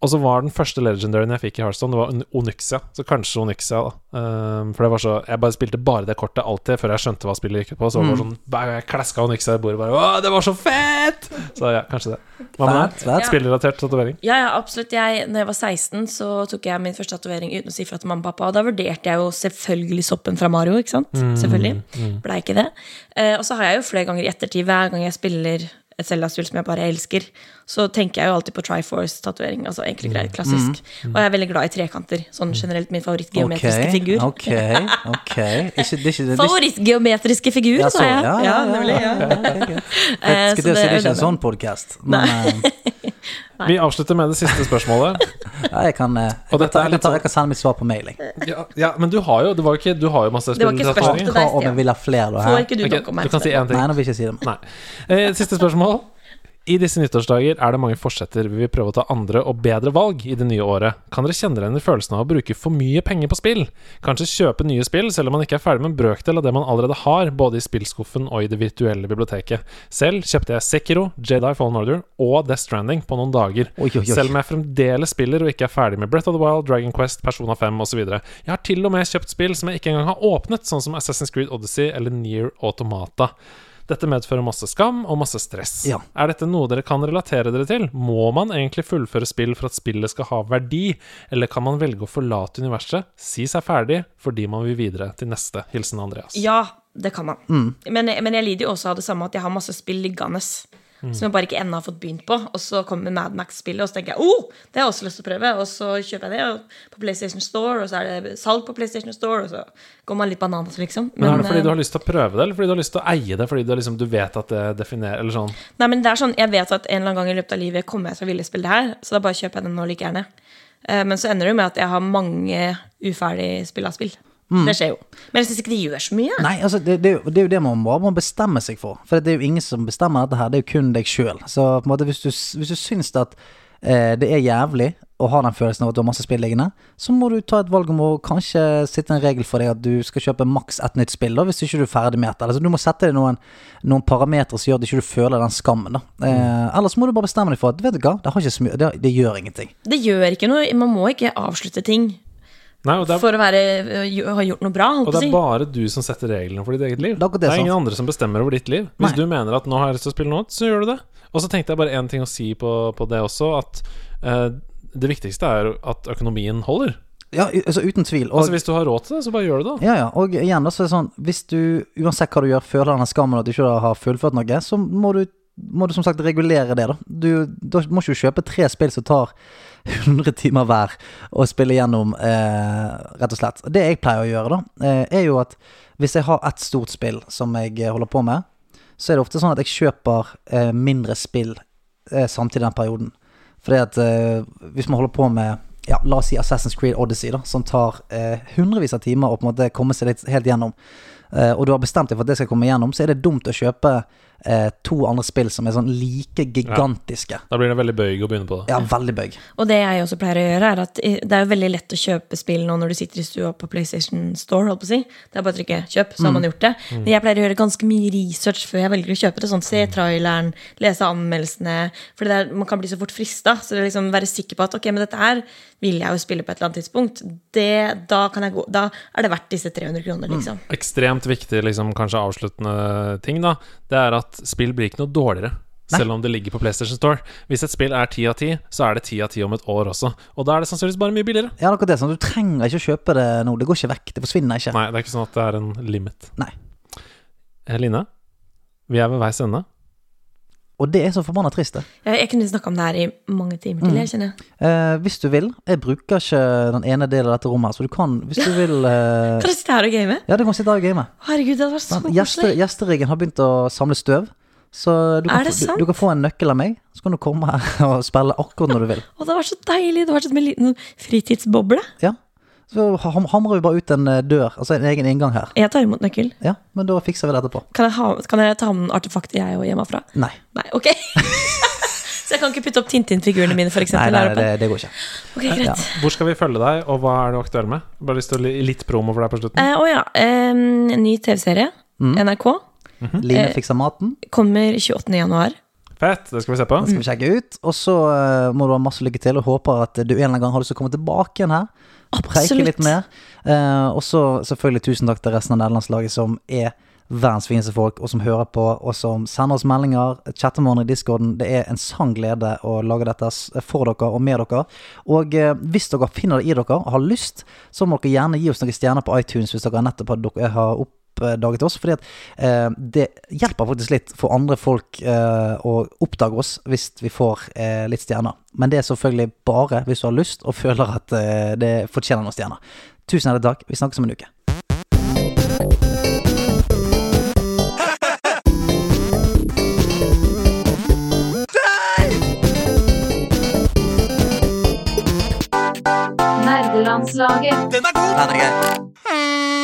Og så var den første legendaryen jeg fikk i Hearthstone, det var On- Onyxia. Så kanskje Onyxia, da. Ehm, for det var så Jeg bare spilte bare det kortet alltid, før jeg skjønte hva spillet gikk ut på. Så det var sånn, hver gang jeg klaska Onyxia i bordet, bare Å, det var så fett! Så ja, kanskje det. Hva med Fett, deg? fett. Spillrelatert tatovering? Ja, ja, absolutt. Jeg, når jeg var 16, så tok jeg min første tatovering uten å si fra til mamma og pappa. Og da vurderte jeg jo selvfølgelig soppen fra Mario, ikke sant? Mm, Selvfølgelig. Blei ikke det. Eh, og så har jeg jo flere ganger i ettertid, hver gang jeg spiller et Zelda-spill som jeg bare elsker, så tenker jeg jo alltid på Triforce-tatovering. Altså enkle Mm, greier, klassisk. Og jeg er veldig glad i trekanter. Sånn generelt min Ok, favorittgeometriske figur. ok, ok. Ikke, det er ikke, det er ikke Favorittgeometriske figur, Ja, sa så- jeg. ja, ja, Ja, ja, nemlig. Ja. Eh, Jeg så Skal til å si det er ikke jo en den- sånn podkast, men eh, Vi avslutter med det siste spørsmålet. ja, jeg kan, eh, jeg, Og dette kan ta, er jeg, kan litt ta, sånn- jeg kan sende mitt svar på mailing. ja, ja, men du har jo, det var jo ikke, du har jo masse Det var ikke spørsmål til spillrelatering. deg. Hva om jeg Stian. vil ha flere, da? Får Her? ikke du nok om meg? du kan si én ting. Nei, nå vil jeg ikke si det. Nei. Eh, siste spørsmål. I disse nyttårsdager er det mange forsetter vi vil prøve å ta andre og bedre valg i det nye året. Kan dere kjenne dere igjen i følelsen av å bruke for mye penger på spill? Kanskje kjøpe nye spill, selv om man ikke er ferdig med en brøkdel av det man allerede har, både i spillskuffen og i det virtuelle biblioteket. Selv kjøpte jeg Sekiro, Jedi Fallen Order og Death Stranding på noen dager. Oi, oi, oi. Selv om jeg fremdeles spiller og ikke er ferdig med Breath of the Wild, Dragon Quest, Persona 5 osv. Jeg har til og med kjøpt spill som jeg ikke engang har åpnet, sånn som Assassin's Creed Odyssey eller Near Automata. Dette medfører masse skam og masse stress. Ja. Er dette noe dere kan relatere dere til? Må man egentlig fullføre spill for at spillet skal ha verdi, eller kan man velge å forlate universet, si seg ferdig, fordi man vil videre til neste? Hilsen Andreas. Ja, det kan man. Men, men jeg lider jo også av det samme at jeg har masse spill liggende. Mm. Som jeg bare ikke ennå har fått begynt på. Og så kommer Mad Max-spillet, og så tenker jeg oh, det har jeg også lyst til å prøve. Og så kjøper jeg det og på PlayStation Store, og så er det salg på PlayStation Store, og så går man litt bananas, liksom. Men, er det fordi du eh, har lyst til å prøve det, eller fordi du har lyst til å eie det, fordi du, liksom, du vet at det definerer Eller sånn Nei, men det er sånn, Jeg vet at en eller annen gang i løpet av livet kommer jeg til å ville spille det her, så da bare kjøper jeg den nå like gjerne. Eh, Men så ender det jo med at jeg har mange uferdig spilla spill. Det skjer jo. Men jeg syns ikke det gjør så mye. jeg. Nei, altså, det, det, er jo- det er jo det man bare må bestemme seg for. For det er jo ingen som bestemmer dette her, det er jo kun deg sjøl. Så på en måte, hvis du, s- hvis du syns at eh, det er jævlig å ha den følelsen av at du har masse spill liggende, så må du ta et valg om å kanskje sitte en regel for deg at du skal kjøpe maks ett nytt spill, da, hvis ikke du er ferdig med et. Altså, du må sette deg noen, noen parametere som gjør at du ikke føler den skammen. Da. Eh, Mm. ellers må du bare bestemme deg for at vet du hva, det, har ikke så mye- det, det gjør ingenting. Det gjør ikke noe. Man må ikke avslutte ting Nei, og det er, for å være, å ha gjort noe bra. og Holdt det er jeg på å si. bare du som setter reglene for ditt eget liv. Det er akkurat det, sant. ingen andre som bestemmer over ditt liv. Hvis Nei. du mener at 'nå har jeg lyst til å spille noe', så gjør du det. Og så tenkte jeg bare én ting å si på, på det også, at eh, det viktigste er at økonomien holder. Ja, u- altså, uten tvil. Og, Altså Hvis du har råd til det, så bare gjør du det. da. Ja, ja. Og igjen, da, så er det sånn Hvis du, uansett hva du gjør, føler denne skammen at du ikke har fullført noe, så må du, må du som sagt regulere det, da. Du da må ikke du kjøpe tre spill som tar 100 timer hver, og spille gjennom, eh, rett og slett. Det jeg pleier å gjøre, da, eh, er jo at hvis jeg har ett stort spill som jeg eh, holder på med, så er det ofte sånn at jeg kjøper eh, mindre spill eh, samtidig i den perioden. Fordi at eh, hvis man holder på med ja, La oss si Assassin's Creed Odyssey, da, som tar eh, hundrevis av timer å på en måte komme seg litt, helt gjennom, eh, og du har bestemt deg for at det skal komme gjennom, så er det dumt å kjøpe eh, to andre spill som er sånn like gigantiske. Da blir det veldig bøyg å begynne på det. Ja, veldig bøgg. Og det jeg også pleier å gjøre, er at eh, det er jo veldig lett å kjøpe spill nå når du sitter i stua på PlayStation Store. holdt på å si. Det er bare å trykke 'kjøp', Mm. så har man gjort det. Men jeg pleier å gjøre ganske mye research før jeg velger å kjøpe det. sånn Se traileren, lese anmeldelsene. For det der, man kan bli så fort frista. Så det er liksom være sikker på at 'ok, men dette her vil jeg jo spille på et eller annet tidspunkt'. Det, da, kan jeg gå, da er det verdt disse 300 kroner, Mm. liksom. Ekstremt viktig, liksom, kanskje avsluttende ting, da, det er at spill blir ikke noe dårligere. Selv om det ligger på PlayStation Store. Hvis et spill er ti av ti, så er det ti av ti om et år også. Og da er det sannsynligvis bare mye billigere. Ja, det er akkurat det, sånn, du trenger ikke å kjøpe det nå. Det går ikke vekk. Det forsvinner ikke. Nei, det er ikke sånn at det er en limit. Nei. Eh, Line, vi er ved veis ende. Og det er så forbanna trist, det. Jeg, jeg kunne snakka om det her i mange timer til, jeg Mm. kjenner jeg. Eh, hvis du vil. Jeg bruker ikke den ene delen av dette rommet, her, så du kan, hvis du vil eh, Kan du sitte her og game? Ja, du kan sitte her og game. Herregud, det hadde vært så Men koselig. gjeste, gjesteriggen har begynt å samle støv. Så du Er kan, det få- sant? du, du kan få en nøkkel av meg, så kan du komme her og spille akkurat når du vil. Å, det hadde vært så deilig. Det hadde vært som en liten sånn fritidsboble. Ja. Så ham- hamrer vi bare ut en eh, dør, altså en egen inngang her. Jeg tar imot nøkkel. Ja, Men da fikser vi det etterpå. Kan jeg, ha, kan jeg ta med noen artefakter jeg òg hjemmefra? Nei. Nei, ok. så jeg kan ikke putte opp Tintin-figurene mine, for Nei, eksempel, nei, her nei oppe? det, det går ikke. Ok, greit. Hvor skal vi følge deg, og hva er du aktuell med? Bare lyst til å li- litt promo for deg på slutten. Eh, Å ja. em, ny TV-serie. Mm. NRK. Line Eh, fikser maten, Kommer 28. januar. Fett, det skal vi se på. skal vi mm. sjekke ut. Og så eh, må du ha masse lykke til, og håper at du en eller annen gang har lyst til å komme tilbake igjen her. Preike Absolutt. litt mer. Eh, og så selvfølgelig tusen takk til resten av nederlandslaget som er verdens fineste folk, og som hører på, og som sender oss meldinger, chatter med hverandre i discorden. Det er en sann glede å lage dette s- for dere og med dere. Og eh, hvis dere finner det i dere og har lyst, så må dere gjerne gi oss noen stjerner på iTunes hvis dere nettopp har, dere har oppdaget oss, fordi at eh, det hjelper faktisk litt for andre folk eh, å oppdage oss hvis vi får eh, litt stjerner. Men det er selvfølgelig bare hvis du har lyst og føler at eh, det fortjener noen stjerner. Tusen hjertelig takk. Vi snakkes om en uke. Nerdelandslaget. Den er god! Ha det greit. Hmm.